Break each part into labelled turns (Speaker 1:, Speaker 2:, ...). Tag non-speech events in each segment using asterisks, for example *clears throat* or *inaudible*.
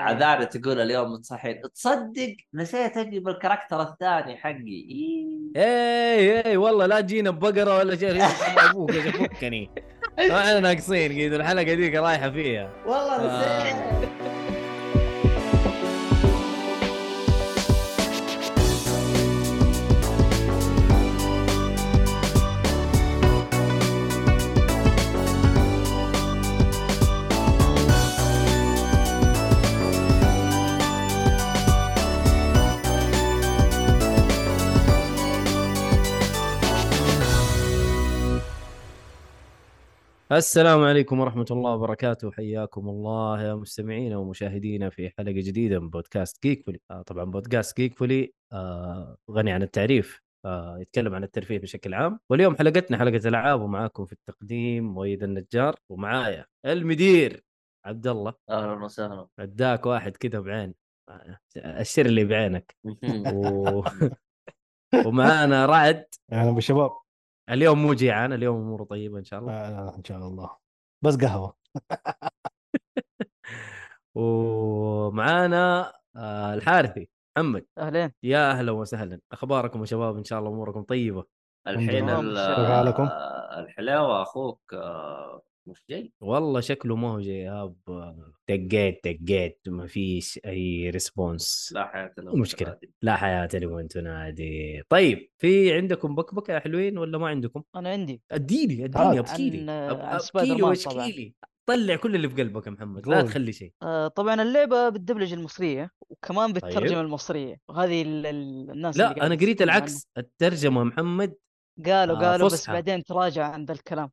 Speaker 1: عذاري تقول اليوم متصحين تصدق نسيت اجيب الكاركتر الثاني حقي إيه.
Speaker 2: اي اي والله لا جينا ببقره ولا شيء ابوك يا شيخ فكني احنا آه، ناقصين قيد الحلقه ذيك رايحه فيها
Speaker 1: والله نسيت
Speaker 2: السلام عليكم ورحمه الله وبركاته حياكم الله يا مستمعينا ومشاهدينا في حلقه جديده من بودكاست جيكفولي آه طبعا بودكاست جيكفولي آه غني عن التعريف آه يتكلم عن الترفيه بشكل عام واليوم حلقتنا حلقه العاب ومعاكم في التقديم مؤيد النجار ومعايا المدير عبد الله
Speaker 1: اهلا وسهلا
Speaker 2: اداك واحد كذا بعين اشر لي بعينك
Speaker 1: *laughs*
Speaker 2: و... ومعانا رعد
Speaker 3: اهلا بالشباب
Speaker 2: اليوم مو جيعان اليوم اموره طيبه ان شاء الله
Speaker 3: لا لا لا، ان شاء الله بس قهوه
Speaker 2: ومعانا آه، الحارثي محمد
Speaker 4: اهلين
Speaker 2: يا اهلا وسهلا اخباركم يا شباب ان شاء الله اموركم طيبه
Speaker 1: الحين
Speaker 4: الحمد
Speaker 1: ال-
Speaker 4: لله.
Speaker 3: كيف حالكم؟
Speaker 1: الحلاوه اخوك آه، مش جاي
Speaker 2: والله شكله ما هو جايب دقيت دقيت ما فيش اي ريسبونس
Speaker 1: لا حياه لنا
Speaker 2: مشكلة. لا حياه لمن تنادي طيب في عندكم بكبكه يا حلوين ولا ما عندكم
Speaker 4: انا عندي
Speaker 2: اديني
Speaker 3: تعال.
Speaker 2: اديني ابكي
Speaker 4: عن- آه،
Speaker 2: لي
Speaker 4: عن
Speaker 2: أب- ابكي
Speaker 4: سبايدر
Speaker 2: لي
Speaker 4: مان طبعاً.
Speaker 2: واشكي لي طلع كل اللي في قلبك يا محمد لا
Speaker 3: قول.
Speaker 2: تخلي شيء
Speaker 4: آه، طبعا اللعبه بالدبلجه المصريه وكمان
Speaker 2: طيب.
Speaker 4: بالترجمه المصريه وهذه ال- ال- الناس اللي
Speaker 2: لا
Speaker 4: قاعدة
Speaker 2: انا قريت
Speaker 4: تتكلم عنها.
Speaker 2: العكس الترجمه محمد
Speaker 4: قالوا
Speaker 2: آه،
Speaker 4: قالوا بس
Speaker 2: فصحى.
Speaker 4: بعدين تراجع عن ذا الكلام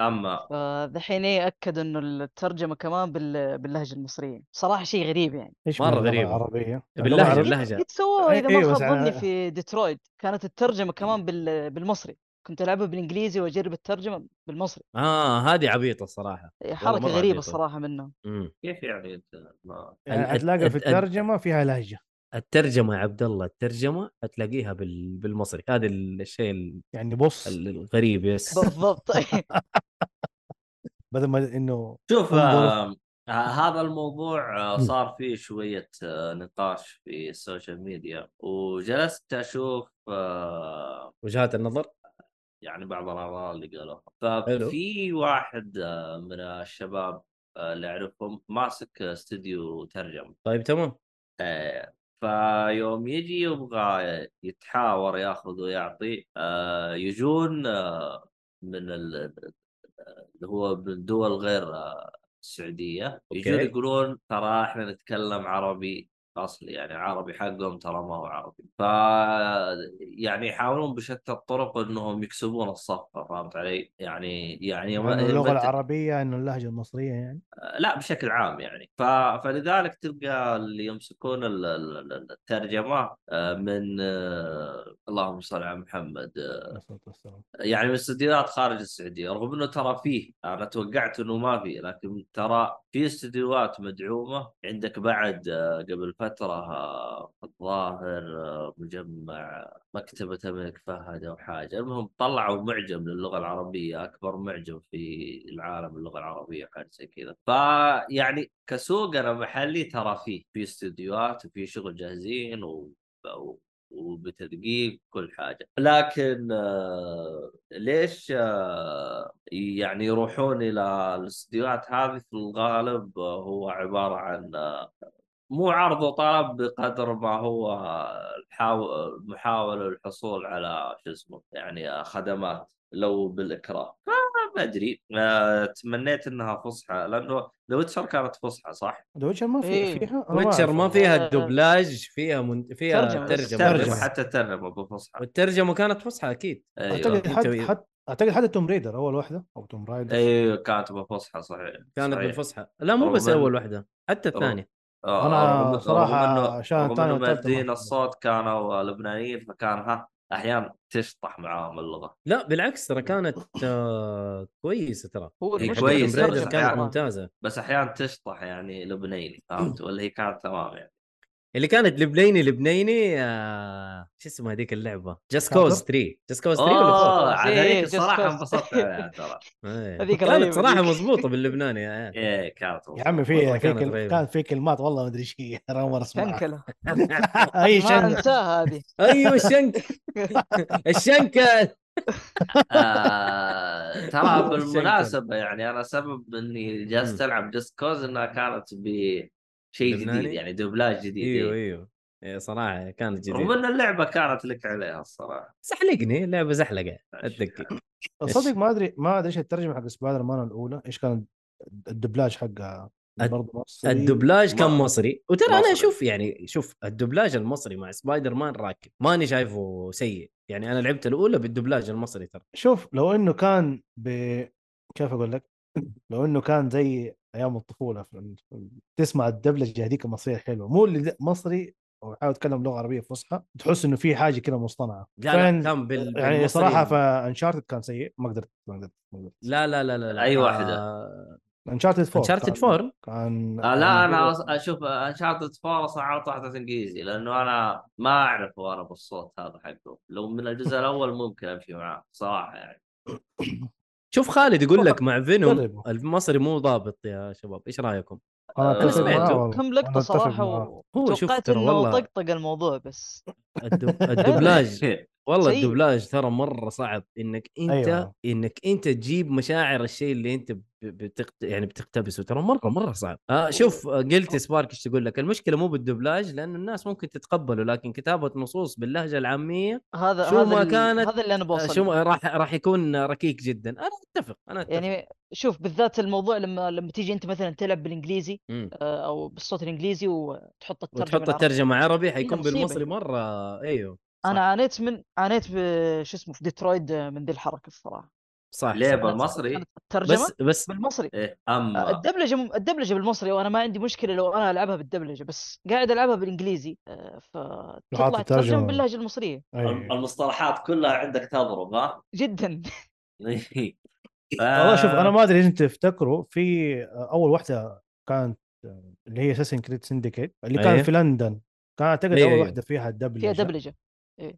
Speaker 1: اما
Speaker 4: فدحين ايه اكد انه الترجمه كمان بال... باللهجه المصريه صراحه شيء غريب يعني
Speaker 3: ايش
Speaker 2: مرة
Speaker 3: من اللغة
Speaker 2: غريبة.
Speaker 3: العربية
Speaker 2: باللهجة،
Speaker 3: اللغة العرب-
Speaker 2: باللهجة. اللهجة.
Speaker 4: قد سووها
Speaker 1: إيه،
Speaker 4: اذا ما
Speaker 3: أيوة، بس
Speaker 4: خاب ظني
Speaker 3: أنا-
Speaker 4: في ديترويد كانت الترجمه كمان بال... بالمصري كنت العبها بالانجليزي واجرب الترجمه بالمصري
Speaker 2: اه هذه عبيطه الصراحه
Speaker 4: حركه
Speaker 2: مرة
Speaker 4: غريبه
Speaker 2: عجيبة.
Speaker 4: صراحه منهم
Speaker 2: امم
Speaker 1: كيف يعني انت ما
Speaker 3: يعني
Speaker 2: ال-
Speaker 3: حتلاقى في
Speaker 2: ال-
Speaker 3: الترجمة فيها لهجة
Speaker 2: الترجمه يا عبد الله الترجمه حتلاقيها بال... بالمصري هذا ال- الشيء ال-
Speaker 3: يعني بص
Speaker 2: ال- الغريب
Speaker 1: *laughs*
Speaker 2: يس
Speaker 4: بالضبط *laughs*
Speaker 3: بدل ما انه
Speaker 1: شوف
Speaker 3: انظر.
Speaker 1: آه، آه، هذا الموضوع آه، صار فيه شوية آه، نقاش في السوشيال ميديا وجلست أشوف آه،
Speaker 2: وجهات النظر
Speaker 1: يعني بعض الآراء اللي قالوها ففي واحد آه، من الشباب آه، اللي أعرفهم ماسك استوديو ترجمة
Speaker 2: طيب تمام
Speaker 1: آه، فيوم يجي يبغى يتحاور ياخذ ويعطي آه، يجون آه، من ال- اللي هو من دول غير آه، السعوديه يجون
Speaker 2: أوكي.
Speaker 1: يقولون ترى احنا نتكلم عربي اصلي يعني عربي حقهم ترى ما هو عربي ف يعني يحاولون بشتى الطرق انهم يكسبون الصفقه فهمت علي؟ يعني يعني
Speaker 3: إنه
Speaker 1: يوم-
Speaker 3: اللغة
Speaker 1: متى-
Speaker 3: العربية انه اللهجة المصرية يعني
Speaker 1: لا بشكل عام يعني ف... فلذلك تلقى اللي يمسكون ال- ال- ال- الترجمه آه، من آه، اللهم صل على محمد
Speaker 2: أه.
Speaker 1: آه،
Speaker 3: عليه الصلاة والسلام
Speaker 1: يعني من استديوهات خارج السعوديه رغم انه ترى فيه انا توقعت انه ما فيه لكن ترى في استديوهات مدعومه عندك بعد آه، قبل فتره آه، الظاهر آه، مجمع مكتبه الملك فهد او حاجه المهم طلعوا معجم للغه العربيه اكبر معجم في العالم اللغه العربيه حاجه زي كذا فيعني كسوقنا محلي ترى فيه في استديوهات وفي شغل جاهزين و... و- وبتدقيق كل حاجه لكن آه، ليش آه، يعني يروحون الى الاستديوهات هذه في الغالب آه، هو عباره عن آه، مو عرض وطلب بقدر ما هو الحاو- محاوله للحصول على شو اسمه يعني آه، خدمات لو بالاكراه آه، ما ادري آه، تمنيت انها فصحى لانه ذا ويتشر كانت فصحى صح؟
Speaker 3: ذا ويتشر ما في
Speaker 4: إيه.
Speaker 3: فيها أنا
Speaker 2: ويتشر ما
Speaker 3: أعرف.
Speaker 2: فيها دبلاج فيها من... فيها
Speaker 4: ترجمة بس.
Speaker 2: ترجمه
Speaker 1: آه، ترجمة
Speaker 2: بس.
Speaker 1: حتى ترجمه بفصحى أيوه.
Speaker 2: والترجمه كانت فصحى اكيد
Speaker 3: اعتقد
Speaker 2: أيوه، أنت أيوه.
Speaker 3: حتى
Speaker 2: وي-
Speaker 3: حتى اعتقد حتى توم ريدر اول واحدة او توم رايدر
Speaker 1: ايوه كانت بفصحى صحيح
Speaker 2: كانت
Speaker 1: صحيح.
Speaker 2: بالفصحى لا مو بس
Speaker 1: رغم إن-
Speaker 2: اول واحده حتى الثانيه
Speaker 1: آه،
Speaker 3: أنا
Speaker 1: رغم- رغم
Speaker 3: صراحة
Speaker 1: إنه-
Speaker 3: عشان
Speaker 1: رغم
Speaker 3: الثانية
Speaker 1: انه
Speaker 3: والثالثة ما
Speaker 1: مادين
Speaker 3: أحبها.
Speaker 1: الصوت كانوا لبنانيين فكان ها احيانا تشطح معاهم اللغه
Speaker 2: لا بالعكس ترى كانت آه كويسه ترى
Speaker 4: هو
Speaker 1: إيه، آه.
Speaker 2: حق
Speaker 4: المشكله
Speaker 1: كويس،
Speaker 2: توم بريدر
Speaker 1: ترجمة
Speaker 4: بالترجمة
Speaker 2: كانت
Speaker 1: يعني.
Speaker 4: صراحة.
Speaker 2: ممتازه
Speaker 1: بس احيانا تشطح يعني لبناني فهمت ولا هي كانت تمام يعني
Speaker 2: اللي كانت لبنيني لبنيني آه، شو اسمها هذيك اللعبه جاست كوز 3 جاست كوز 3 ولا
Speaker 1: اوه
Speaker 4: Four؟
Speaker 1: على
Speaker 4: إيه،
Speaker 1: هذيك
Speaker 4: Just
Speaker 1: الصراحه
Speaker 4: Cause.
Speaker 1: انبسطت عليها ترى
Speaker 2: 4
Speaker 4: هذيك
Speaker 2: إيه. كانت
Speaker 4: رهيبة
Speaker 2: صراحه
Speaker 4: ذيك.
Speaker 2: مضبوطه باللبناني
Speaker 4: *laughs*
Speaker 2: آه.
Speaker 1: ايه كانت
Speaker 3: يا عمي
Speaker 2: والله
Speaker 3: في في
Speaker 2: كانت
Speaker 3: كل...
Speaker 2: غريبة.
Speaker 3: كان في كلمات والله ما ادري ايش هي انا اول مره *laughs* اسمعها
Speaker 4: شنكله
Speaker 3: اي
Speaker 4: ما
Speaker 3: شنكه
Speaker 4: انساها هذه
Speaker 1: *laughs*
Speaker 2: ايوه الشنك الشنكه
Speaker 1: آه، ترى
Speaker 2: والله
Speaker 1: بالمناسبه يعني انا سبب اني جالس العب جاست كوز انها كانت بشيء جديد
Speaker 2: لبناني؟
Speaker 1: يعني دبلاج جديد
Speaker 4: أيوة،
Speaker 2: ايوه
Speaker 1: إيه.
Speaker 2: ايوه إيه، صراحه كانت
Speaker 1: رغم
Speaker 2: جديده
Speaker 1: ان اللعبه كانت لك عليها يعني الصراحه
Speaker 2: زحلقني اللعبه زحلقه
Speaker 1: *laughs*
Speaker 2: اتذكر
Speaker 3: صدق ما ادري ما ادري ايش الترجمه حق سبايدر مان الاولى ايش كان الدبلاج حقها
Speaker 2: الد-
Speaker 3: برضه مصري
Speaker 2: الدبلاج كان
Speaker 1: ما-
Speaker 2: مصري وترى انا
Speaker 1: مصري.
Speaker 2: اشوف يعني شوف الدبلاج المصري مع سبايدر مان راكب ماني شايفه سيء يعني انا لعبت الاولى بالدبلاج المصري ترى
Speaker 3: شوف لو انه كان ب كيف اقول لك؟ *clears throat* لو انه كان زي ايام الطفوله في ال- تسمع الدبلجه هذيك المصريه حلوه مو اللي د- مصري ويحاول يتكلم لغه عربيه فصحى تحس انه في حاجه كده مصطنعه
Speaker 2: لا لا
Speaker 3: فعلاً-
Speaker 2: كان بال
Speaker 3: يعني
Speaker 2: بالمصري-
Speaker 3: صراحه فانشارتد كان سيء ما قدرت ما قدرت ما قدرت
Speaker 2: لا لا لا لا, لا.
Speaker 1: أي
Speaker 2: آه،
Speaker 1: واحدة؟
Speaker 3: انشارتد 4
Speaker 2: Uncharted
Speaker 3: كان-
Speaker 2: 4.
Speaker 3: كان يعني
Speaker 1: آه لا انا
Speaker 3: كان-
Speaker 1: أص- اشوف انشارتد فورس على طاحت انجليزي لانه انا ما اعرفه انا بالصوت هذا حقه لو من الجزء الاول ممكن امشي معاه صراحه يعني
Speaker 2: شوف خالد يقول لك مع فينوم
Speaker 3: جربه.
Speaker 2: المصري مو ضابط يا شباب ايش رايكم؟
Speaker 3: انا
Speaker 1: أنا
Speaker 3: أتفق معاه
Speaker 2: آه، سمعته.
Speaker 3: والله.
Speaker 4: كم
Speaker 3: أنا
Speaker 4: لقطه
Speaker 3: أتفق
Speaker 4: صراحه
Speaker 3: معاه.
Speaker 4: و-
Speaker 2: هو شوف
Speaker 4: توقعت
Speaker 2: ترى
Speaker 4: انه
Speaker 2: والله
Speaker 4: طقطق الموضوع بس
Speaker 1: *laughs*
Speaker 2: الدب- الدبلاج والله
Speaker 4: سيء.
Speaker 2: الدبلاج ترى مره صعب انك انت
Speaker 3: أيوة.
Speaker 2: أيوة. انك انت تجيب مشاعر الشيء اللي انت ب- بتقت... يعني بتقتبسه ترى مره مره صعب آه شوف آه، قلت سبارك ايش تقول لك المشكله مو بالدبلاج لانه الناس ممكن تتقبله لكن كتابه نصوص باللهجه العاميه
Speaker 4: هذا
Speaker 2: شو
Speaker 4: هذا
Speaker 2: ما
Speaker 4: ال-
Speaker 2: كانت-
Speaker 4: هذا اللي انا
Speaker 2: آه،
Speaker 4: بوصل
Speaker 2: شو ما- راح راح يكون ركيك جدا انا اتفق انا اتفق يعني...
Speaker 4: يعني شوف بالذات الموضوع لما لما تيجي انت مثلا تلعب بالانجليزي آه، او بالصوت الانجليزي وتحط الترجمه
Speaker 2: وتحط
Speaker 4: العربية.
Speaker 2: الترجمه عربي حيكون
Speaker 4: مصيبة.
Speaker 2: بالمصري مره ايوه
Speaker 4: انا عانيت من عانيت ب شو اسمه في ديترويد من ذي الحركه الصراحه
Speaker 2: صح
Speaker 1: ليه
Speaker 2: صح.
Speaker 1: بالمصري
Speaker 4: كانت الترجمه
Speaker 2: إيه، بس بس
Speaker 4: بالمصري
Speaker 1: إيه اما
Speaker 4: آه، الدبلجه مم- الدبلجه بالمصري وانا ما عندي مشكله لو انا العبها بالدبلجه بس قاعد العبها بالانجليزي آه، فتطلع
Speaker 3: الترجمة.
Speaker 4: الترجمه باللهجه المصريه
Speaker 3: أيوة.
Speaker 1: المصطلحات كلها عندك تضرب ها *laughs*
Speaker 4: جدا
Speaker 3: والله شوف
Speaker 1: آه.
Speaker 3: انا ما ادري اذا انتم تفتكروا في اول واحده كانت اللي هي اساسن كريد سندكيت اللي كانت
Speaker 2: أيه.
Speaker 3: في لندن كان اعتقد
Speaker 2: أيوه،
Speaker 3: اول
Speaker 2: أيوه.
Speaker 3: واحده فيها الدبلجه
Speaker 4: *laughs* فيها إيه. دبلجه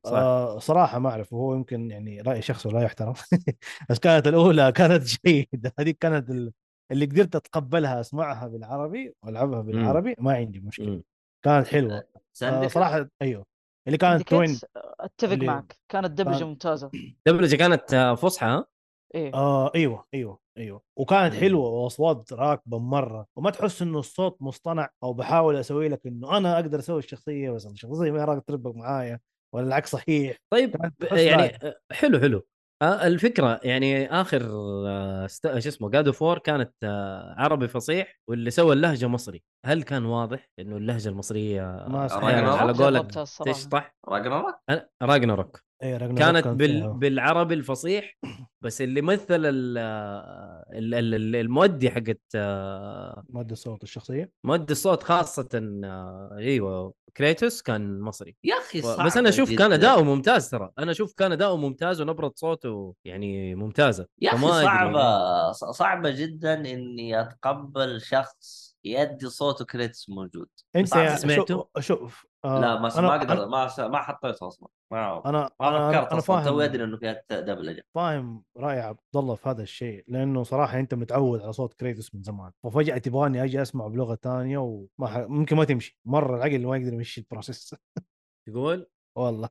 Speaker 2: صح.
Speaker 3: آه صراحه ما اعرف وهو يمكن يعني راي شخصي ولا يحترم *laughs* بس كانت الاولى *laughs* كانت جيده هذيك كانت ال- اللي قدرت اتقبلها اسمعها بالعربي والعبها بالعربي ما عندي مشكله
Speaker 2: مم.
Speaker 3: كانت حلوه آه
Speaker 1: سندك
Speaker 3: صراحه ايوه اللي كانت توين
Speaker 4: Syndicates، آه، اتفق
Speaker 3: اللي-
Speaker 4: معك كانت دبلجه
Speaker 3: كان-
Speaker 4: ممتازه
Speaker 2: دبلجه كانت آه، فصحى ها؟
Speaker 4: ايه
Speaker 3: آه ايوه ايوه ايوه وكانت
Speaker 2: مم.
Speaker 3: حلوه واصوات راكبه مره وما تحس انه الصوت مصطنع او بحاول اسوي لك انه انا اقدر اسوي الشخصيه بس الشخصيه ما راح تربك معايا ولا العكس صحيح
Speaker 2: طيب
Speaker 3: كانت تحس لايق.
Speaker 2: يعني حلو حلو آه، الفكره يعني اخر آه، است- شو اسمه جادو فور كانت آه، عربي فصيح واللي سوى اللهجه مصري هل كان واضح انه اللهجه المصريه
Speaker 3: ما يعني.
Speaker 1: أرى
Speaker 2: أحياناً
Speaker 1: جربت
Speaker 2: على قولك
Speaker 4: جربتها الصراحة.
Speaker 2: تشطح
Speaker 1: راجناروك
Speaker 2: أنا- راجناروك
Speaker 3: اي راجناروك
Speaker 2: كانت بال...
Speaker 3: فيها.
Speaker 2: بالعربي الفصيح بس اللي مثل ال... آه، ال... ال- ال- المؤدي حقت آه،
Speaker 3: مد الصوت الشخصيه
Speaker 2: مؤدي الصوت خاصه آه، ايوه كريتوس كان مصري
Speaker 1: يا اخي
Speaker 2: و-
Speaker 1: صعب
Speaker 2: بس انا اشوف كان
Speaker 1: جداً.
Speaker 2: اداؤه ممتاز ترى انا اشوف كان اداؤه ممتاز ونبره صوته يعني ممتازه
Speaker 1: يا اخي
Speaker 2: فما أدري.
Speaker 1: صعبه ص- صعبه جدا اني اتقبل شخص يدي صوته كريتس موجود
Speaker 3: انت
Speaker 1: صح،
Speaker 3: يا-
Speaker 2: سمعته؟
Speaker 3: شوف, شوف آه
Speaker 1: لا ما ما
Speaker 3: أنا-
Speaker 1: اقدر ما س- ما حطيته اصلا ما
Speaker 3: انا
Speaker 1: ما
Speaker 3: انا
Speaker 1: فكرت
Speaker 3: انا
Speaker 1: اصلا توي ادري
Speaker 3: فاهم
Speaker 1: انه فيها دبلجه
Speaker 3: فاهم راي عبد الله في هذا الشيء لانه صراحه انت متعود على صوت كريتوس من زمان وفجاه تبغاني اجي اسمع بلغه ثانيه وما ح... ممكن ما تمشي مره العقل ما يقدر يمشي البروسيس *laughs*
Speaker 2: تقول
Speaker 3: والله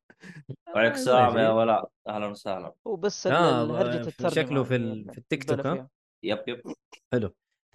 Speaker 1: وعليك
Speaker 2: آه،
Speaker 1: السلام يا
Speaker 2: ماشي.
Speaker 1: ولاء اهلا وسهلا
Speaker 4: وبس
Speaker 2: آه،
Speaker 4: ال- هرجه
Speaker 2: في-
Speaker 4: الترجمه
Speaker 2: شكله في
Speaker 4: هذه
Speaker 2: ال-
Speaker 4: اللي
Speaker 2: في التيك
Speaker 4: نبالة
Speaker 2: توك، ها؟
Speaker 4: يعني فيها.
Speaker 1: يب يب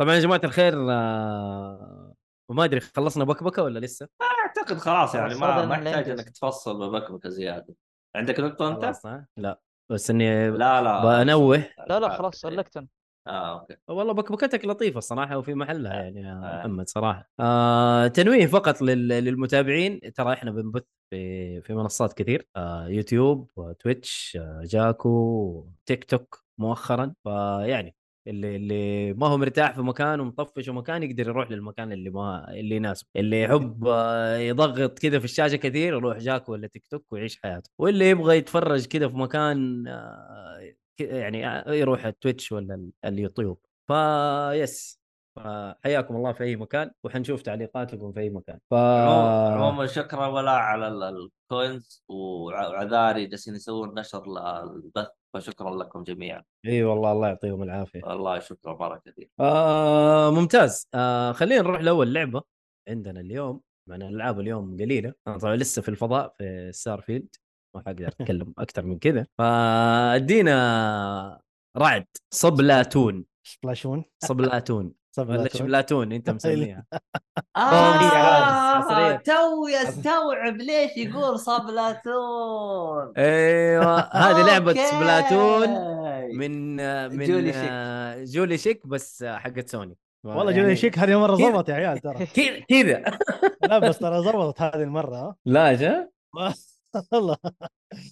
Speaker 2: طبعا يا جماعه الخير آه، ما ادري خلصنا بكبكه ولا لسه
Speaker 1: اعتقد خلاص يعني
Speaker 4: خلاص،
Speaker 1: ما
Speaker 4: هذا
Speaker 1: ما
Speaker 4: اللي
Speaker 1: يحتاج
Speaker 4: عندي.
Speaker 1: انك تفصل ببكبكه زياده عندك نقطه انت؟
Speaker 2: خلاص ها؟ لا بس اني
Speaker 1: لا لا
Speaker 2: بنوه
Speaker 4: لا لا خلاص
Speaker 2: إيه.
Speaker 4: سلكت
Speaker 3: *laughs*
Speaker 4: انا
Speaker 1: اه اوكي
Speaker 2: والله بكبكتك لطيفه الصراحه وفي محلها يعني يا
Speaker 1: آه.
Speaker 2: محمد صراحه آه تنويه فقط لل- للمتابعين ترى احنا بنبث في في منصات كثير آه يوتيوب وتويتش آه جاكو تيك توك مؤخرا فيعني اللي اللي ما هو مرتاح في مكان ومطفش ومكان يقدر يروح للمكان اللي ما اللي يناسبه، اللي يحب آه، يضغط كذا في الشاشه كثير يروح جاكو ولا تيك توك ويعيش حياته، واللي يبغى يتفرج كذا في مكان آه، ك- يعني يروح التويتش ولا ال- اليوتيوب فيس فحياكم الله في اي مكان وحنشوف تعليقاتكم في اي مكان ف آه.
Speaker 1: عموما شكرا ولا على ال- الكوينز وعذاري جالسين يسوون نشر للبث فشكرا لكم جميعا
Speaker 2: اي والله الله يعطيهم العافيه
Speaker 1: والله شكرا مره كثير
Speaker 2: آه ممتاز آه خلينا نروح لاول لعبه عندنا اليوم مع ان الالعاب اليوم قليله انا طبعا لسه في الفضاء في ستار فيلد ما حقدر اتكلم اكثر من كذا فادينا رعد صبلاتون
Speaker 3: سبلاشون
Speaker 2: صبلاتون ولا
Speaker 3: سبلاتون
Speaker 2: شبلاتون انت مسميها
Speaker 1: آه
Speaker 2: حصرية.
Speaker 1: توي استوعب ليش يقول صبلاتون
Speaker 2: ايوه هذه لعبه
Speaker 1: أوكي.
Speaker 2: سبلاتون من آه، من
Speaker 1: جولي شيك.
Speaker 2: آه، جولي شيك بس آه، حقت سوني
Speaker 3: والله
Speaker 2: يعني
Speaker 3: جوني شيك هذه مره
Speaker 2: كذا.
Speaker 3: ظبط يا عيال ترى
Speaker 2: كذا كذا
Speaker 3: لا بس ترى ظبطت هذه المره ها
Speaker 2: لا جا
Speaker 3: ما- *laughs* والله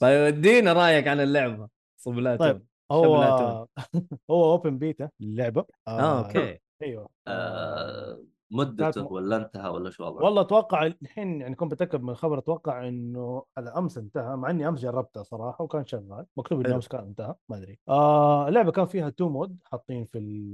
Speaker 2: طيب ادينا رايك عن اللعبه صبلاتون
Speaker 3: طيب، هو
Speaker 2: شبلاتون.
Speaker 3: *laughs* هو اوبن بيتا اللعبه
Speaker 2: اه اوكي
Speaker 3: ايوه
Speaker 1: آه، مدته
Speaker 3: لا،
Speaker 1: ولا انتهى ولا شو وضعه؟
Speaker 3: والله اتوقع الحين يعني كنت بتاكد من الخبر اتوقع انه على امس انتهى مع اني امس جربتها صراحه وكان شغال مكتوب انه
Speaker 2: حلو.
Speaker 3: امس كان انتهى ما ادري آه اللعبه كان فيها تو مود حاطين في ال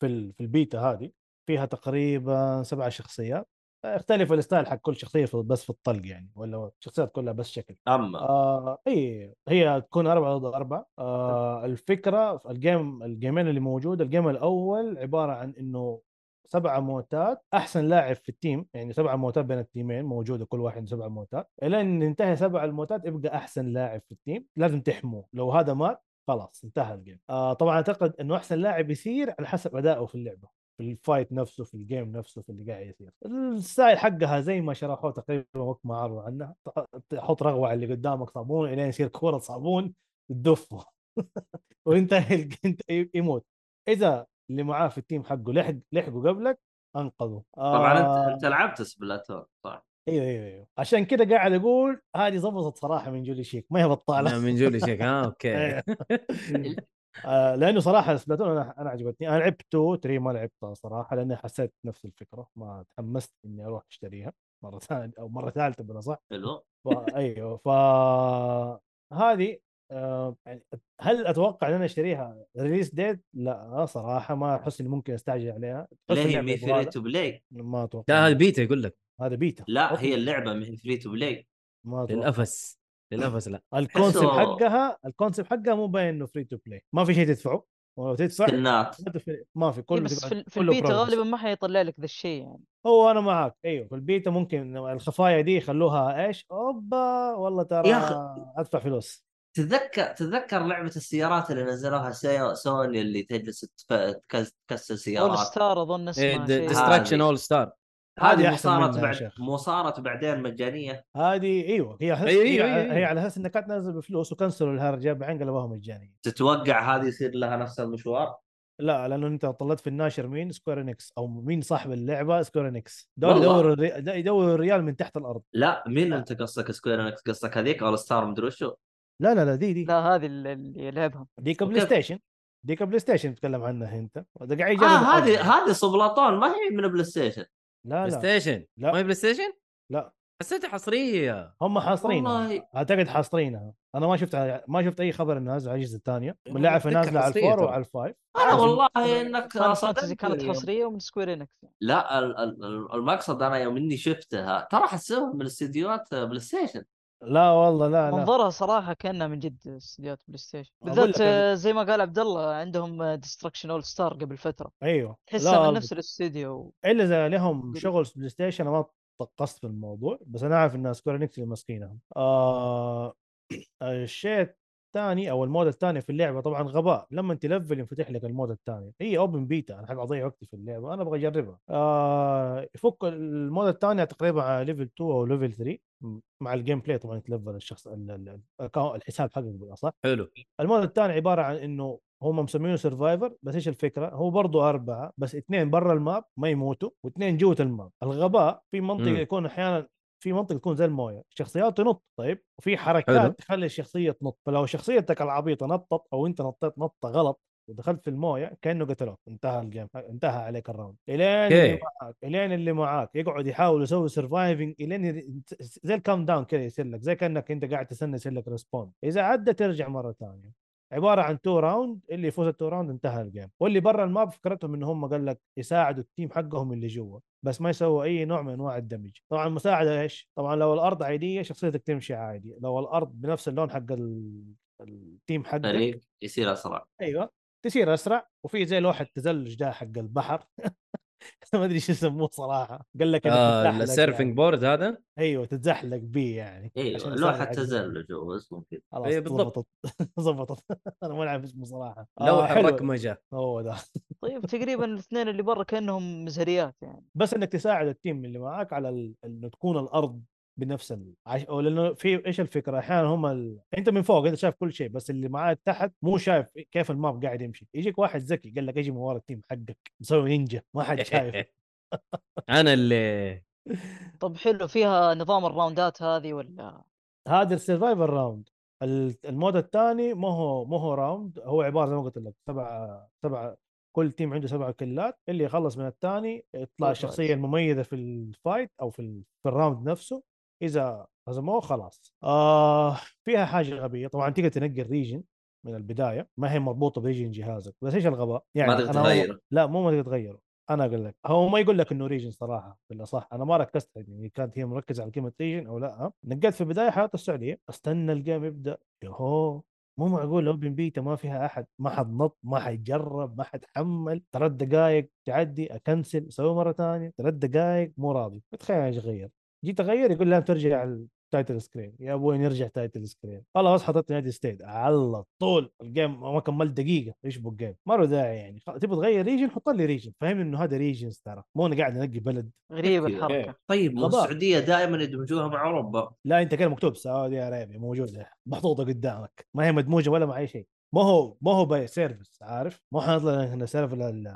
Speaker 3: في ال في البيتا هذه فيها تقريبا سبع شخصيات اختلف الستايل حق كل شخصيه في- بس في الطلق يعني ولا الشخصيات كلها بس شكل
Speaker 1: اما
Speaker 3: آه اي هي تكون أربعة ضد أربعة آه الفكرة في الجيم الجيمين اللي موجود الجيم الأول عبارة عن إنه سبعة موتات أحسن لاعب في التيم يعني سبعة موتات بين التيمين موجودة كل واحد سبعة موتات إلين ينتهي سبع الموتات يبقى أحسن لاعب في التيم لازم تحموه لو هذا مات خلاص انتهى الجيم آه طبعا أعتقد إنه أحسن لاعب يصير على حسب أدائه في اللعبة في الفايت نفسه في الجيم نفسه في اللي قاعد يصير الستايل حقها زي ما شرحوه تقريبا وقت ما عرضوا عنها تحط رغوه على اللي قدامك صابون الين يصير كوره صابون تدفه *laughs* وينتهي الج- *laughs* انت يموت اذا اللي معاه في التيم حقه لحق لحقه قبلك انقذه
Speaker 1: طبعا
Speaker 3: آه،
Speaker 1: انت انت لعبت طيب، سبلاتون صح؟
Speaker 3: ايوه ايوه ايوه عشان كذا قاعد اقول هذه زبطت صراحه من جولي شيك ما هي
Speaker 2: أنا
Speaker 3: بطاله
Speaker 2: من جولي شيك اه اوكي
Speaker 3: *laughs* إيه.
Speaker 4: إيه،
Speaker 3: آه، لانه صراحه سبلاتون انا انا عجبتني انا لعبت 2 3 ما لعبتها صراحه لاني حسيت نفس الفكره ما تحمست اني اروح اشتريها مره ثانيه او مره ثالثه بالاصح
Speaker 1: حلو
Speaker 3: ف- ايوه ف هذه آه، يعني هل اتوقع ان انا اشتريها ريليس ديت؟ لا صراحه ما احس اني ممكن استعجل عليها تحس
Speaker 1: ليه
Speaker 3: اللعبة
Speaker 1: مي
Speaker 3: يبغى
Speaker 1: فري
Speaker 3: لها-
Speaker 1: تو بلاي
Speaker 3: ما
Speaker 2: لا
Speaker 3: اتوقع
Speaker 2: هذا بيتا يقول لك
Speaker 3: هذا بيتا
Speaker 1: لا
Speaker 3: أوكي،
Speaker 1: هي اللعبه ما هي فري تو بلاي
Speaker 3: ما أتوقع.
Speaker 2: للافس للافس لا
Speaker 3: الكونسيبت
Speaker 1: حسوا-
Speaker 3: حقها الكونسيبت حقها مو باين انه فري تو بلاي ما في شيء تدفعه ولو تدفع
Speaker 1: سكنات
Speaker 3: ما في- ما في
Speaker 4: إيه
Speaker 3: كله
Speaker 4: بس في, في
Speaker 3: كله
Speaker 4: البيتا
Speaker 3: progress.
Speaker 4: غالبا ما حيطلع لك ذا الشيء يعني
Speaker 3: هو انا معك ايوه في البيتا ممكن الخفايا دي يخلوها ايش اوبا والله ترى
Speaker 1: يا أخي.
Speaker 3: ادفع فلوس
Speaker 1: تتذكر تتذكر لعبه السيارات اللي نزلوها سيا- سوني اللي تجلس تف- تكس- تكسر
Speaker 4: اول
Speaker 1: سيارات
Speaker 4: ستار
Speaker 2: إيه،
Speaker 4: اظن اسمها شيء
Speaker 1: ها.
Speaker 2: ديستراكشن اول ستار
Speaker 3: هذه
Speaker 1: هذه مو
Speaker 3: أحسن
Speaker 1: صارت
Speaker 3: منها يا
Speaker 1: بعد
Speaker 3: شيخ.
Speaker 1: مو صارت بعدين مجانيه
Speaker 3: هذه ايوه هي حس...
Speaker 2: أيوة،
Speaker 3: هي,
Speaker 2: أيوة،
Speaker 3: على-
Speaker 2: أيوة،
Speaker 3: هي
Speaker 2: أيوة.
Speaker 3: على اساس انها كانت نازله بفلوس وكنسلوا الهرجه بعدين قلبوها مجانيه
Speaker 1: تتوقع هذه يصير لها نفس المشوار
Speaker 3: لا لانه انت طلعت في الناشر مين سكوير انكس او مين صاحب اللعبه سكوير انكس دول
Speaker 1: والله.
Speaker 3: يدوروا الري... دا- يدوروا الريال من تحت الارض
Speaker 1: لا مين انت قصدك سكوير انكس قصدك هذيك اول ستار مدري وشو
Speaker 3: لا لا لا دي دي
Speaker 4: لا هذه اللي-
Speaker 2: *laughs*
Speaker 4: اللي لعبها
Speaker 3: ديك بلاي
Speaker 1: وكيف-
Speaker 3: ستيشن ديك بلاي ستيشن تتكلم عنها انت وده قاعد
Speaker 1: اه
Speaker 3: يجرب
Speaker 1: هذه
Speaker 3: الحظ.
Speaker 1: هذه صبلاطون ما هي من بلاي ستيشن
Speaker 3: لا
Speaker 2: بلاي
Speaker 3: لا
Speaker 2: ستيشن
Speaker 3: لا.
Speaker 2: ما هي بلاي ستيشن؟
Speaker 3: لا.
Speaker 2: حسيتها حصريه
Speaker 3: هم حاصرينها
Speaker 1: والله
Speaker 3: اعتقد حاصرينها انا ما شفت ما شفت اي خبر انها نازله على الاجهزه الثانيه
Speaker 2: أنا
Speaker 3: ملاعب
Speaker 2: أتذكر
Speaker 3: نازله على
Speaker 2: حصرية
Speaker 3: الفور
Speaker 2: ترى.
Speaker 3: وعلى الفايف
Speaker 1: انا
Speaker 3: لازم-
Speaker 1: والله انك
Speaker 4: فان فانتزي كانت
Speaker 1: صدمتني.
Speaker 4: حصريه ومن سكوير انكس يعني.
Speaker 1: لا ال- ال- ال- المقصد انا يوم اني شفتها ترى حسوها من استديوهات بلاي ستيشن
Speaker 3: لا والله لا لا
Speaker 4: منظرها صراحه كانها من جد استديوهات بلاي ستيشن
Speaker 3: أقول
Speaker 4: بالذات
Speaker 3: لك أنا-
Speaker 4: آه، زي ما قال عبد الله عندهم آه، ديستركشن اول ستار قبل فتره
Speaker 3: ايوه
Speaker 4: تحسها
Speaker 3: لا،
Speaker 4: من نفس الاستوديو
Speaker 3: الا اذا لهم
Speaker 4: قول.
Speaker 3: شغل بلاي ستيشن أنا ما طقست في الموضوع بس انا عارف ان سكوير انكس اللي ماسكينها آه *clears throat* الشيء الثاني او المود الثاني في اللعبه طبعا غباء لما تلفل ينفتح لك المود الثاني هي اوبن بيتا انا حق اضيع وقتي في اللعبه انا ابغى اجربها آه يفك المود الثاني تقريبا على ليفل 2 او ليفل 3 م- مع الجيم بلاي طبعا يتلفل الشخص ال- ال- الأكاونت- الحساب حقك بالاصح
Speaker 2: حلو
Speaker 3: المود الثاني عباره عن انه هم مسمينه سرفايفر بس ايش الفكره؟ هو برضه اربعه بس اثنين برا الماب ما يموتوا واثنين جوه الماب، الغباء في منطقه
Speaker 2: مم.
Speaker 3: يكون احيانا في منطقه تكون زي المويه، الشخصيات تنط طيب وفي حركات
Speaker 2: حلو.
Speaker 3: تخلي الشخصيه تنط، فلو شخصيتك العبيطه نطت او انت نطيت نطه غلط ودخلت في المويه كانه قتلوك انتهى الجيم انتهى عليك الراوند الين اللي
Speaker 2: اوكي
Speaker 3: معاك الين اللي معاك يقعد يحاول يسوي سرفايفنج الين ي- زي الكام داون كذا يصير لك زي كانك انت قاعد تستنى يصير لك ريسبون اذا عدى ترجع مره ثانيه عباره عن تو راوند اللي يفوز التو راوند انتهى الجيم واللي برا الماب فكرتهم ان هم قال لك يساعدوا التيم حقهم اللي جوا بس ما يسووا اي نوع من انواع الدمج طبعا المساعده ايش طبعا لو الارض عاديه شخصيتك تمشي عادي لو الارض بنفس اللون حق ال... التيم
Speaker 2: أيوة.
Speaker 3: حقك
Speaker 1: فريق يصير اسرع
Speaker 3: ايوه تسير اسرع وفي زي لوحه تزلج ده حق البحر *laughs* ما ادري شو يسموه صراحه قال لك إنك
Speaker 2: آه
Speaker 3: تتزحلق
Speaker 2: السيرفنج
Speaker 3: يعني.
Speaker 2: بورد هذا
Speaker 3: ايوه تتزحلق بيه يعني عشان
Speaker 1: ايوه
Speaker 3: يسهل
Speaker 1: لوحه
Speaker 3: عليك.
Speaker 1: تزلج هو اسمه كذا
Speaker 3: خلاص
Speaker 2: أيوة بالضبط.
Speaker 3: ضبطت ظبطت *laughs* انا ما العب اسمه صراحه
Speaker 2: لو
Speaker 3: آه، حلو. *laughs*
Speaker 2: ركمجه
Speaker 3: هو ده
Speaker 4: طيب تقريبا الاثنين اللي برا كانهم مزهريات يعني
Speaker 3: بس انك تساعد التيم اللي معاك على ال- انه تكون الارض بنفس ال... عش... أو لانه في ايش الفكره احيانا هم ال... انت من فوق انت شايف كل شيء بس اللي معاك تحت مو شايف كيف الماب قاعد يمشي يجيك واحد ذكي قال لك اجي من ورا التيم حقك مسوي نينجا ما
Speaker 2: *laughs*
Speaker 3: حد شايف
Speaker 2: انا اللي
Speaker 4: طب حلو فيها نظام الراوندات هذه ولا
Speaker 3: هذا السرفايفل راوند ال- المود الثاني ما هو ما هو راوند هو عباره زي ما قلت لك سبع سبع كل تيم عنده سبع كلات اللي يخلص من الثاني يطلع
Speaker 4: فوز فايز.
Speaker 3: الشخصيه المميزه في الفايت او في ال- في الراوند نفسه اذا هزموه خلاص آه فيها حاجه غبيه طبعا تقدر تنقي الريجن من البدايه ما هي مربوطه بريجن جهازك بس ايش الغباء يعني
Speaker 1: ما تقدر
Speaker 3: أنا
Speaker 1: تغيره
Speaker 3: لا مو ما تقدر تغيره انا اقول لك هو ما يقول لك انه ريجن صراحه بالاصح انا ما ركزت يعني كانت هي مركزه على كلمه ريجن او لا نقلت في البدايه حياته السعوديه استنى الجيم يبدا يوهو مو معقول اوبن بيتا ما فيها احد ما حد نط ما حد جرب ما حد حمل ثلاث دقائق تعدي اكنسل اسوي مره ثانيه ثلاث دقائق مو راضي متخيل ايش غير جيت اغير يقول لازم ترجع التايتل سكرين يا ابوي نرجع تايتل سكرين خلاص حطيت نادي ستيت على طول الجيم ما كملت دقيقه ايش بو الجيم ما له داعي يعني خ- تبغى تغير ريجن حط لي ريجن فهمني انه هذا ريجنز ترى مو انا قاعد انقي بلد
Speaker 4: غريبة
Speaker 1: أوكي.
Speaker 2: إيه.
Speaker 4: الحركة
Speaker 1: طيب ما
Speaker 3: غباء.
Speaker 1: السعوديه دائما يدمجوها مع اوروبا
Speaker 3: لا انت كده مكتوب سعودي عربيا موجوده محطوطه قدامك ما هي مدموجه ولا مع اي شيء ما هو ما هو باي سيرفس عارف ما حنطلع احنا سيرفر ال-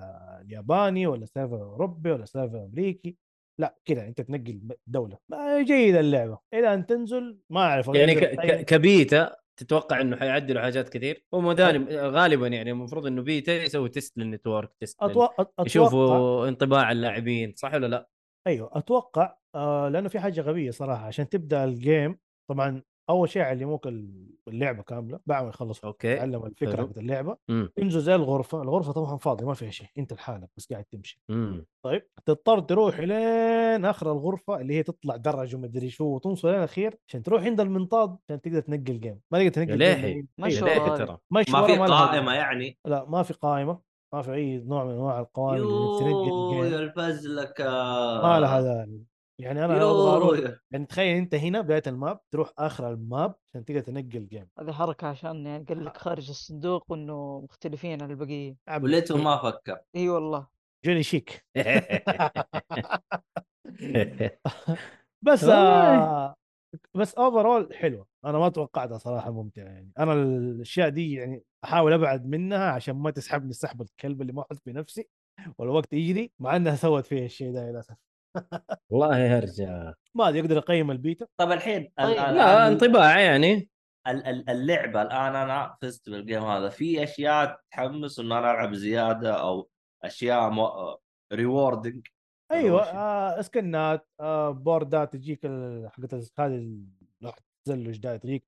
Speaker 3: الياباني ولا سيرفر اوروبي ولا سيرفر امريكي لا كده انت تنقي الب- الدوله ما جيده اللعبه الى ان تنزل ما اعرف
Speaker 2: يعني ك...
Speaker 3: أغير أي-
Speaker 2: ك... كبيتا تتوقع انه حيعدلوا حاجات كثير هم داني غالبا يعني المفروض انه بيتا يسوي تيست للنتورك تيست لل-
Speaker 3: أتوقع أتوقع
Speaker 2: يشوفوا انطباع اللاعبين صح ولا لا؟
Speaker 3: ايوه اتوقع آه لانه في حاجه غبيه صراحه عشان تبدا الجيم طبعا اول شيء يعلموك ال- اللعبه كامله بعد ما يخلصوا
Speaker 2: اوكي
Speaker 3: تعلم الفكره
Speaker 2: حلو.
Speaker 3: حقت اللعبه
Speaker 2: امم
Speaker 3: تنزل زي الغرفه الغرفه طبعا فاضيه ما فيها شيء انت لحالك بس قاعد تمشي
Speaker 2: امم
Speaker 3: طيب تضطر تروح لين اخر الغرفه اللي هي تطلع درج ومدري شو وتوصل للاخير عشان تروح عند المنطاد عشان تقدر تنقي الجيم ما تقدر تنقي
Speaker 2: يا
Speaker 3: الجيم
Speaker 2: لهي.
Speaker 3: من-
Speaker 4: ما
Speaker 3: أيوة.
Speaker 4: شاء الله.
Speaker 2: ليه ترى
Speaker 3: مشي
Speaker 1: ما
Speaker 3: ورا
Speaker 1: في
Speaker 3: لها
Speaker 1: قائمه
Speaker 3: داعي.
Speaker 1: يعني
Speaker 3: لا ما في قائمه ما في اي نوع من انواع القوائم اللي إنك تنقي
Speaker 1: يوه
Speaker 3: الجيم
Speaker 1: يلفز لك
Speaker 3: ما لها داعي يعني انا لو أبغى اروح
Speaker 1: يوه
Speaker 3: يعني تخيل انت هنا بدايه الماب تروح اخر الماب عشان تقدر تنقي الجيم
Speaker 4: هذه حركة عشان يعني قال لك خارج الصندوق وانه مختلفين عن البقية
Speaker 3: عم
Speaker 1: وليته ما فكر
Speaker 4: اي والله
Speaker 3: جوني شيك بس آه بس اوفرول حلوه انا ما توقعتها صراحه ممتعه يعني انا الاشياء دي يعني احاول ابعد منها عشان ما تسحبني السحب الكلب اللي ما احط في نفسي والوقت يجري مع انها سوت فيها الشيء ده للاسف
Speaker 2: *laughs* والله يا هرجه
Speaker 3: ما ادري اقدر اقيم البيتا
Speaker 1: طب الحين
Speaker 4: طيب.
Speaker 1: الآن-
Speaker 2: لا
Speaker 1: الآن-
Speaker 2: انطباع يعني
Speaker 1: ال- ال- اللعبه الان انا فزت بالجيم هذا في اشياء تحمس ان انا العب زياده او اشياء مو... ريوردنج
Speaker 3: ايوه
Speaker 1: وش-
Speaker 3: آه سكنات آه بوردات تجيك ال- حقت ال- هذه ال- لوحة التزلج ده تجيك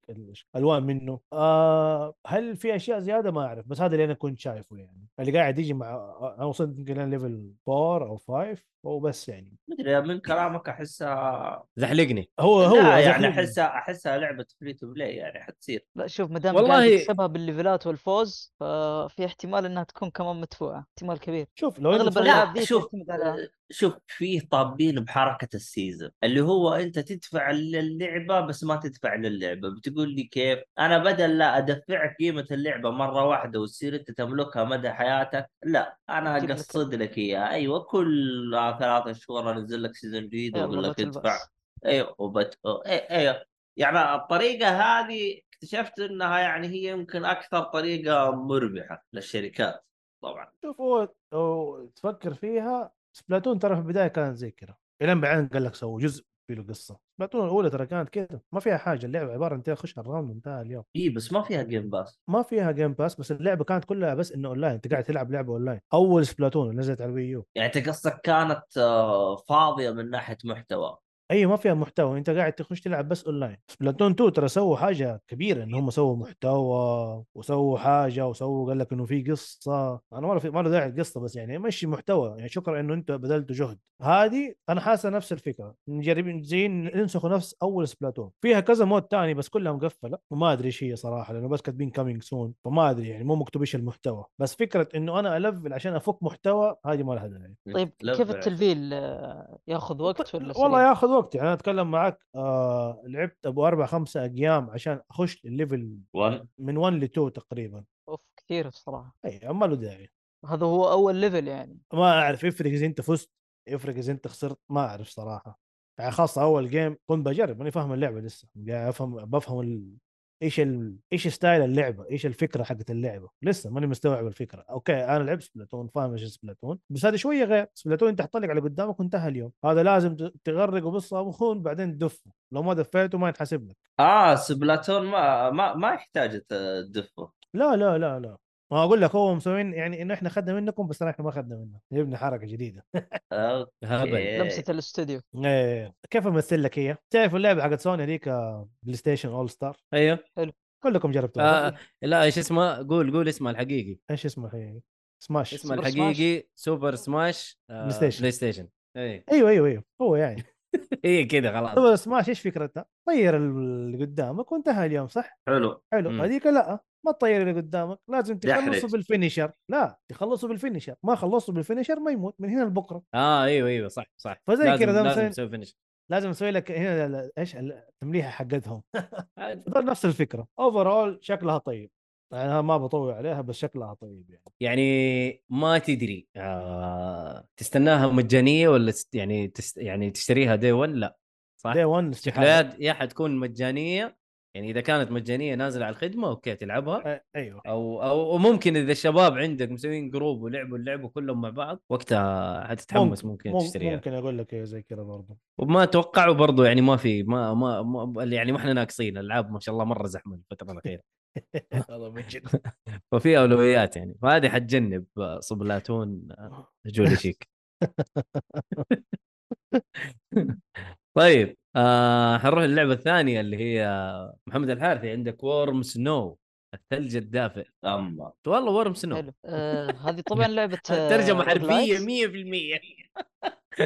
Speaker 3: الالوان منه آه هل في اشياء زياده ما اعرف بس هذا اللي انا كنت شايفه يعني اللي قاعد يجي مع انا وصلت يمكن ليفل 4 او 5 وبس يعني
Speaker 1: مدري من كلامك احسها
Speaker 2: زحلقني
Speaker 3: هو هو
Speaker 1: لا يعني
Speaker 3: زحليق.
Speaker 1: احسها احسها لعبه فري تو بلاي يعني حتصير
Speaker 4: لا شوف ما دام
Speaker 2: والله-
Speaker 4: قاعد تكسبها بالليفلات والفوز ففي احتمال انها تكون كمان مدفوعة احتمال كبير
Speaker 3: شوف لو
Speaker 2: طيب،
Speaker 3: انت
Speaker 4: اغلب
Speaker 3: تفكر-
Speaker 1: لا،
Speaker 4: الالعاب دي
Speaker 1: شوف. آه،
Speaker 4: تعتمد على
Speaker 1: شوف فيه طابين بحركه السيزون اللي هو انت تدفع للعبه بس ما تدفع للعبه بتقول لي كيف انا بدل لا ادفعك قيمه اللعبه مره واحده وتصير انت تملكها مدى حياتك لا انا
Speaker 4: أجيب لك-
Speaker 1: اقصد لك اياها ايوه كل ثلاثة شهور انزل لك سيزون جديد واقول
Speaker 4: يلا لا
Speaker 1: لك ادفع
Speaker 4: تلبس
Speaker 1: ايوه وبت... أي- ايوه يعني الطريقه هذه اكتشفت انها يعني هي يمكن اكثر طريقه مربحه للشركات طبعا
Speaker 3: شوف هو لو تفكر فيها سبلاتون ترى في البدايه كانت زي كذا الين بعدين قال لك سووا جزء في له قصه سبلاتون الاولى ترى كانت كذا ما فيها حاجه اللعبه عباره انت خش الراوند وانتهى اليوم
Speaker 1: اي بس ما فيها جيم باس
Speaker 3: ما فيها جيم باس بس اللعبه كانت كلها بس انه اونلاين انت قاعد تلعب لعبه اونلاين اول سبلاتون اللي نزلت على الويو
Speaker 1: يعني انت قصدك كانت آه، فاضيه من ناحيه محتوى
Speaker 3: ايوه ما فيها محتوى انت قاعد تخش تلعب بس اونلاين سبلاتون 2 ترى سووا حاجه كبيره ان هم سووا محتوى وسووا حاجه وسووا قال لك انه في قصه انا ما له في- ما له داعي القصه بس يعني مشي محتوى يعني شكرا انه انت بذلت جهد هذه انا حاسه نفس الفكره مجربين زي ينسخوا نفس اول سبلاتون فيها كذا مود تاني بس كلها مقفله وما ادري ايش هي صراحه لانه بس كاتبين كامينج سون فما ادري يعني مو مكتوب ايش المحتوى بس فكره انه انا الفل عشان افك محتوى هذه ما لها داعي
Speaker 4: طيب
Speaker 1: لبع.
Speaker 4: كيف التلفيل آه، ياخذ وقت ولا سريع؟
Speaker 3: والله ياخذ وقت يعني انا اتكلم معك آه لعبت ابو اربع خمسة ايام عشان اخش الليفل
Speaker 1: ون
Speaker 3: من 1 ل 2 تقريبا
Speaker 4: اوف كثير بصراحه
Speaker 3: اي ما له داعي
Speaker 4: هذا هو اول ليفل يعني
Speaker 3: ما اعرف يفرق اذا انت فزت يفرق اذا انت خسرت ما اعرف صراحه يعني خاصه اول جيم كنت بجرب انا فاهم اللعبه لسه قاعد افهم بفهم ال... ايش ال... ايش ستايل اللعبه ايش الفكره حقت اللعبه لسه ماني مستوعب الفكره اوكي انا لعبت سبلاتون فاهم ايش سبلاتون بس هذا شويه غير سبلاتون انت حطلق على قدامك وانتهى اليوم هذا لازم ت- تغرقه بالصابون بعدين تدفه لو ما دفيته ما ينحسب لك
Speaker 1: اه سبلاتون ما ما ما يحتاج تدفه
Speaker 3: لا لا لا لا ما اقول لك هو مسوين يعني انه احنا خدنا منكم بس احنا ما خدنا منه جبنا حركه جديده
Speaker 1: آه، اوكي
Speaker 2: إيه.
Speaker 4: لمسه الاستوديو
Speaker 3: ايه كيف امثل لك هي؟ تعرف اللعبه حقت سوني هذيك آه، بلاي ستيشن اول ستار
Speaker 2: ايوه
Speaker 3: كلكم جربتوها
Speaker 2: آه لا ايش اسمه قول قول اسمه الحقيقي
Speaker 3: ايش اسمها هي؟ سماش
Speaker 2: اسمه
Speaker 4: سوبر
Speaker 2: الحقيقي سوبر سماش آه،
Speaker 3: بلاي ستيشن.
Speaker 2: بلاي ستيشن اي
Speaker 3: ايوه ايوه ايوه
Speaker 2: *laughs*
Speaker 3: هو يعني
Speaker 2: هي إيه، كذا
Speaker 3: *laughs*
Speaker 2: خلاص
Speaker 3: هو سماش ايش فكرتها؟ طير اللي قدامك وانتهى اليوم صح؟
Speaker 1: حلو
Speaker 3: حلو
Speaker 2: مم.
Speaker 3: هذيك لا ما تطير اللي قدامك لازم
Speaker 1: يحرج.
Speaker 3: تخلصه بالفينيشر لا تخلصه بالفينيشر ما خلصته بالفينيشر ما يموت من هنا لبكره
Speaker 2: اه ايوه ايوه صح صح
Speaker 3: فزي
Speaker 2: لازم-
Speaker 3: كذا ده
Speaker 2: لازم
Speaker 3: مثلاً-
Speaker 2: تسوي فينش
Speaker 3: لازم اسوي لك هنا ال- ال- ايش ال- التمليحه
Speaker 2: *laughs*
Speaker 3: حقتهم هذول نفس الفكره اوفر شكلها طيب يعني أنا ما بطول عليها بس شكلها طيب يعني
Speaker 2: يعني ما تدري آه تستناها مجانيه ولا تست- يعني تست يعني تشتريها دي 1 لا صح؟
Speaker 3: دي 1 استحاله
Speaker 2: شكلها يا حتكون مجانيه يعني اذا كانت مجانيه نازله على الخدمه اوكي تلعبها
Speaker 3: أي- ايوه
Speaker 2: او او ممكن اذا الشباب عندك مسويين جروب ولعبوا اللعبه كلهم مع بعض وقتها حتتحمس ممكن,
Speaker 3: مم-
Speaker 2: ممكن تشتريها
Speaker 3: ممكن اقول لك إيه زي كذا
Speaker 2: *laughs*
Speaker 3: *laughs* برضه
Speaker 2: وما توقعوا برضو يعني ما في ما ما, ما يعني ما احنا ناقصين الالعاب ما شاء الله مره زحمه الفتره *laughs* الاخيره
Speaker 3: والله من جد
Speaker 2: ففي اولويات يعني فهذه حتجنب صبلاتون *laughs* جولي شيك طيب آه حنروح للعبه الثانيه اللي هي محمد الحارثي عندك وورم سنو الثلج الدافئ
Speaker 1: اما
Speaker 2: والله وورم سنو
Speaker 4: حلو آه هذه طبعا
Speaker 2: نعم.
Speaker 4: لعبه آه،
Speaker 2: ترجمه
Speaker 4: روج لايت.
Speaker 2: حرفيه 100%
Speaker 3: اي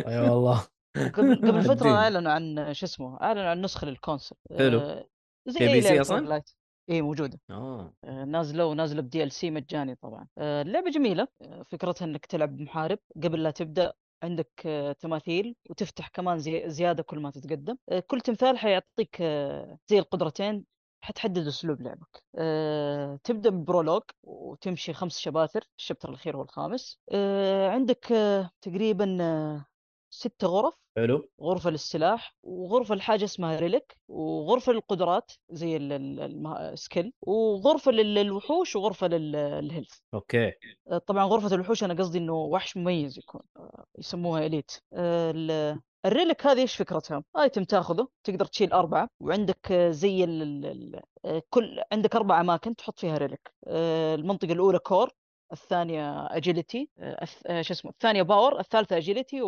Speaker 3: أيوة والله
Speaker 4: قبل
Speaker 2: *laughs*
Speaker 4: قبل فتره
Speaker 2: الدين.
Speaker 4: اعلنوا عن شو اسمه اعلنوا عن نسخه للكونسول
Speaker 2: حلو.
Speaker 4: آه، زي
Speaker 2: في
Speaker 4: اي
Speaker 2: بي سي
Speaker 4: لعبة إيه،
Speaker 2: أصلاً؟
Speaker 4: روج لايت. اي موجوده
Speaker 2: اه
Speaker 4: آه، نازله ونازله بدي ال سي مجاني طبعا آه، اللعبه جميله آه، فكرتها انك تلعب بمحارب قبل لا تبدا عندك آه، تماثيل وتفتح كمان زي زياده كل ما تتقدم آه، كل تمثال حيعطيك آه، زي القدرتين حتحدد اسلوب لعبك أه، تبدا ببرولوج وتمشي خمس شباتر الشابتر الاخير هو الخامس أه، عندك أه، تقريبا أه، ست غرف
Speaker 2: حلو
Speaker 4: غرفة للسلاح وغرفة لحاجة اسمها ريليك وغرفة للقدرات زي ال- ال- المه- السكيل وغرفة لل- للوحوش وغرفة لل- للهيلث
Speaker 2: اوكي
Speaker 4: آه، طبعا غرفة الوحوش أنا قصدي إنه وحش مميز يكون آه، يسموها إليت آه، ال- الريليك هذه إيش فكرتها؟ آيتم تاخذه تقدر تشيل أربعة وعندك آه، زي ال ال- ال- آه، كل عندك أربع أماكن تحط فيها ريليك آه، المنطقة الأولى كور الثانية اجيلتي آه، شو اسمه الثانية باور الثالثة اجيلتي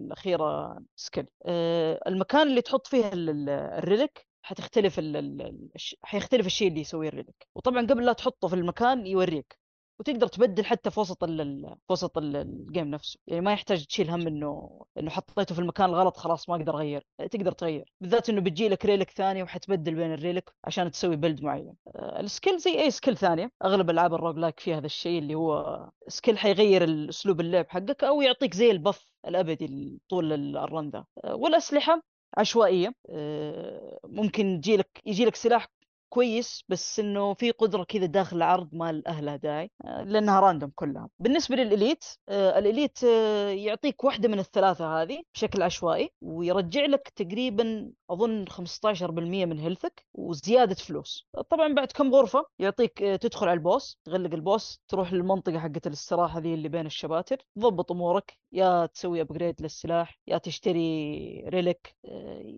Speaker 4: والأخيرة سكيل آه، المكان اللي تحط فيه ال- ال- الريلك حتختلف ال- ال- ال- الش- حيختلف الشيء اللي يسويه الريلك وطبعا قبل لا تحطه في المكان يوريك وتقدر تبدل حتى في وسط ال- ال- في وسط ال- الجيم نفسه يعني ما يحتاج تشيل هم انه انه حطيته في المكان الغلط خلاص ما اقدر اغير تقدر تغير بالذات انه بتجي لك ريلك ثاني وحتبدل بين الريلك عشان تسوي بلد معين آه، السكيل زي اي سكيل ثانيه اغلب العاب الروج لايك فيها هذا الشيء اللي هو سكيل حيغير ال- اسلوب اللعب حقك او يعطيك زي البف الابدي ال- طول ال- الرن ذا آه، والاسلحه عشوائيه آه، ممكن يجيلك يجيلك سلاح كويس بس انه في قدره كذا داخل عرض ما الاهلها داعي آه، لانها راندوم كلها بالنسبه للاليت آه، الاليت آه، يعطيك واحده من الثلاثه هذه بشكل عشوائي ويرجع لك تقريبا اظن 15% من هيلثك وزياده فلوس طبعا بعد كم غرفه يعطيك آه، تدخل على البوس تغلق البوس تروح للمنطقه حقت الاستراحه ذي اللي بين الشباتر تضبط امورك يا تسوي ابجريد للسلاح يا تشتري ريلك آه،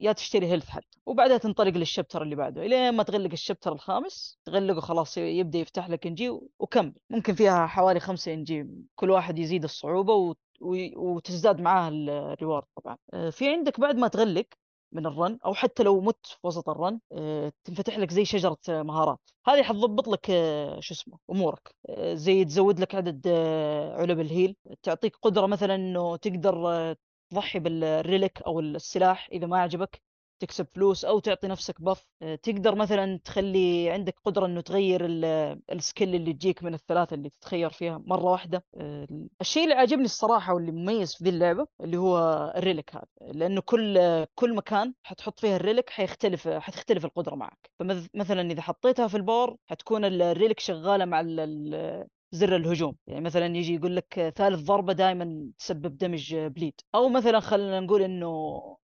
Speaker 4: يا تشتري هيلث حتى وبعدها تنطلق للشابتر اللي بعده الين ما تغلق الشابتر الخامس تغلقه خلاص يبدا يفتح لك انجي وكمل ممكن فيها حوالي خمسة انجي كل واحد يزيد الصعوبه و- وي- وتزداد معاه ال- الريورد طبعا آه، في عندك بعد ما تغلق من الرن او حتى لو مت في وسط الرن آه، تنفتح لك زي شجره آه، مهارات هذه حتضبط لك آه، شو اسمه امورك آه، زي تزود لك عدد آه، علب الهيل تعطيك قدره مثلا انه تقدر آه، تضحي بالريلك او السلاح اذا ما عجبك تكسب فلوس او تعطي نفسك بف آه، تقدر مثلا تخلي عندك قدره انه تغير ال- السكيل اللي تجيك من الثلاثه اللي تتخير فيها مره واحده آه، الشيء اللي عجبني الصراحه واللي مميز في ذي اللعبه اللي هو الريلك هذا لانه كل كل مكان حتحط فيه الريلك حيختلف حتختلف القدره معك فمثلا اذا حطيتها في الباور حتكون ال- الريلك شغاله مع ال- ال- زر الهجوم يعني مثلا يجي يقول لك ثالث ضربه دائما تسبب دمج بليد او مثلا خلينا نقول انه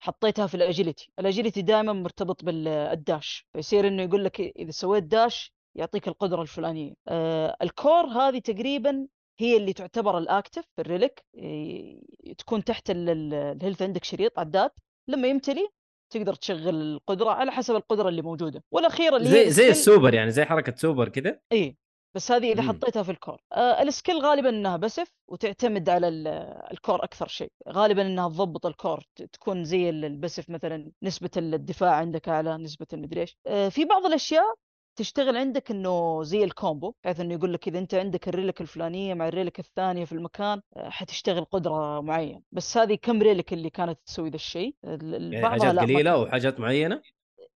Speaker 4: حطيتها في الاجيلتي الاجيلتي دائما مرتبط بالداش فيصير انه يقول لك اذا سويت داش يعطيك القدره الفلانيه آه الكور هذه تقريبا هي اللي تعتبر الاكتف في الريلك إي- تكون تحت ال- ال- الهيلث عندك شريط عداد لما يمتلي تقدر تشغل القدره على حسب القدره اللي موجوده والاخيره اللي هي
Speaker 2: زي زي
Speaker 4: السكيل-
Speaker 2: السوبر يعني زي حركه سوبر آه، كذا
Speaker 4: اي بس هذه اذا
Speaker 2: مم.
Speaker 4: حطيتها في الكور آه السكيل غالبا انها بسف وتعتمد على ال- الكور اكثر شيء غالبا انها تضبط الكور ت- تكون زي ال- البسف مثلا نسبه الدفاع عندك اعلى نسبه المدري ايش آه في بعض الاشياء تشتغل عندك انه زي الكومبو بحيث انه يقول لك اذا انت عندك الريلك الفلانيه مع الريلك الثانيه في المكان آه، حتشتغل قدره معينه بس هذه كم ريلك اللي كانت تسوي ذا الشيء ال- ال-
Speaker 2: يعني
Speaker 4: بعضها
Speaker 2: حاجات
Speaker 4: لا ما
Speaker 2: قليله
Speaker 4: كان.
Speaker 2: وحاجات معينه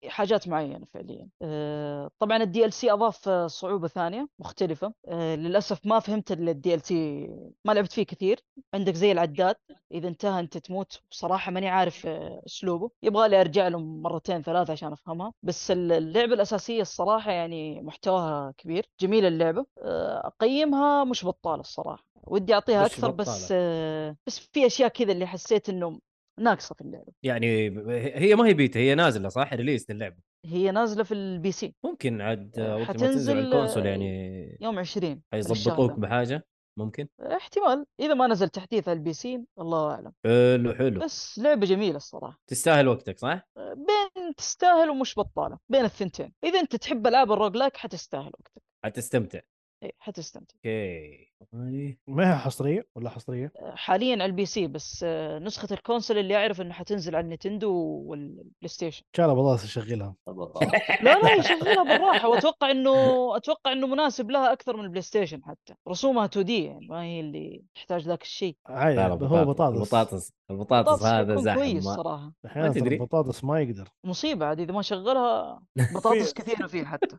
Speaker 4: حاجات معينه فعليا آه، طبعا الدي ال سي اضاف آه، صعوبه ثانيه مختلفه آه، للاسف ما فهمت الدي ال سي ما لعبت فيه كثير عندك زي العداد اذا انتهى انت تموت بصراحه ماني عارف آه، اسلوبه يبغى لي ارجع له مرتين ثلاثه عشان افهمها بس ال- اللعبه الاساسيه الصراحه يعني محتواها كبير جميله اللعبه آه، اقيمها مش بطاله الصراحه ودي اعطيها
Speaker 2: مش
Speaker 4: اكثر
Speaker 2: بطالة.
Speaker 4: بس آه، بس في اشياء كذا اللي حسيت انه ناقصه في اللعبه
Speaker 2: يعني ب- هي ما هي بيتا هي نازله صح ريليس للعبه
Speaker 4: هي نازله في البي سي
Speaker 2: ممكن عاد
Speaker 4: آه،
Speaker 2: آه، وقت ما تنزل
Speaker 4: حتنزل،
Speaker 2: على الكونسول
Speaker 4: آه،
Speaker 2: يعني
Speaker 4: يوم 20 من الشهر
Speaker 2: حيظبطوك
Speaker 4: ذا.
Speaker 2: بحاجه ممكن
Speaker 4: احتمال اذا ما نزل تحديث على البي سي الله اعلم
Speaker 2: حلو حلو
Speaker 4: بس لعبه جميله الصراحه
Speaker 2: تستاهل وقتك صح؟
Speaker 4: أه، بين تستاهل ومش بطاله بين الثنتين اذا انت تحب العاب الروج لايك حتستاهل وقتك
Speaker 2: حتستمتع
Speaker 4: اي حتستمتع
Speaker 2: اوكي والله
Speaker 3: ما هي حصريه ولا حصريه؟
Speaker 4: أه، حاليا على البي سي بس أه، نسخه الكونسل اللي اعرف انها حتنزل على النتندو والبلاي
Speaker 2: *laughs*
Speaker 4: ستيشن
Speaker 3: ان شاء الله والله سيشغلها
Speaker 4: لا لا يشغلها بالراحه واتوقع انه اتوقع انه مناسب لها اكثر من البلاي ستيشن حتى رسومها 2 دي يعني ما هي اللي تحتاج ذاك الشيء
Speaker 3: عادي
Speaker 2: لا لا
Speaker 3: هو بطاطس
Speaker 2: البطاطس البطاطس
Speaker 4: بطاطس
Speaker 2: هذا
Speaker 4: حيكون كويس
Speaker 2: زحمه
Speaker 4: صراحه
Speaker 3: احيانا ترى
Speaker 2: تدري.
Speaker 3: البطاطس ما يقدر
Speaker 4: مصيبه عاد اذا ما
Speaker 2: *laughs*
Speaker 4: شغلها بطاطس كثيره فيه حتى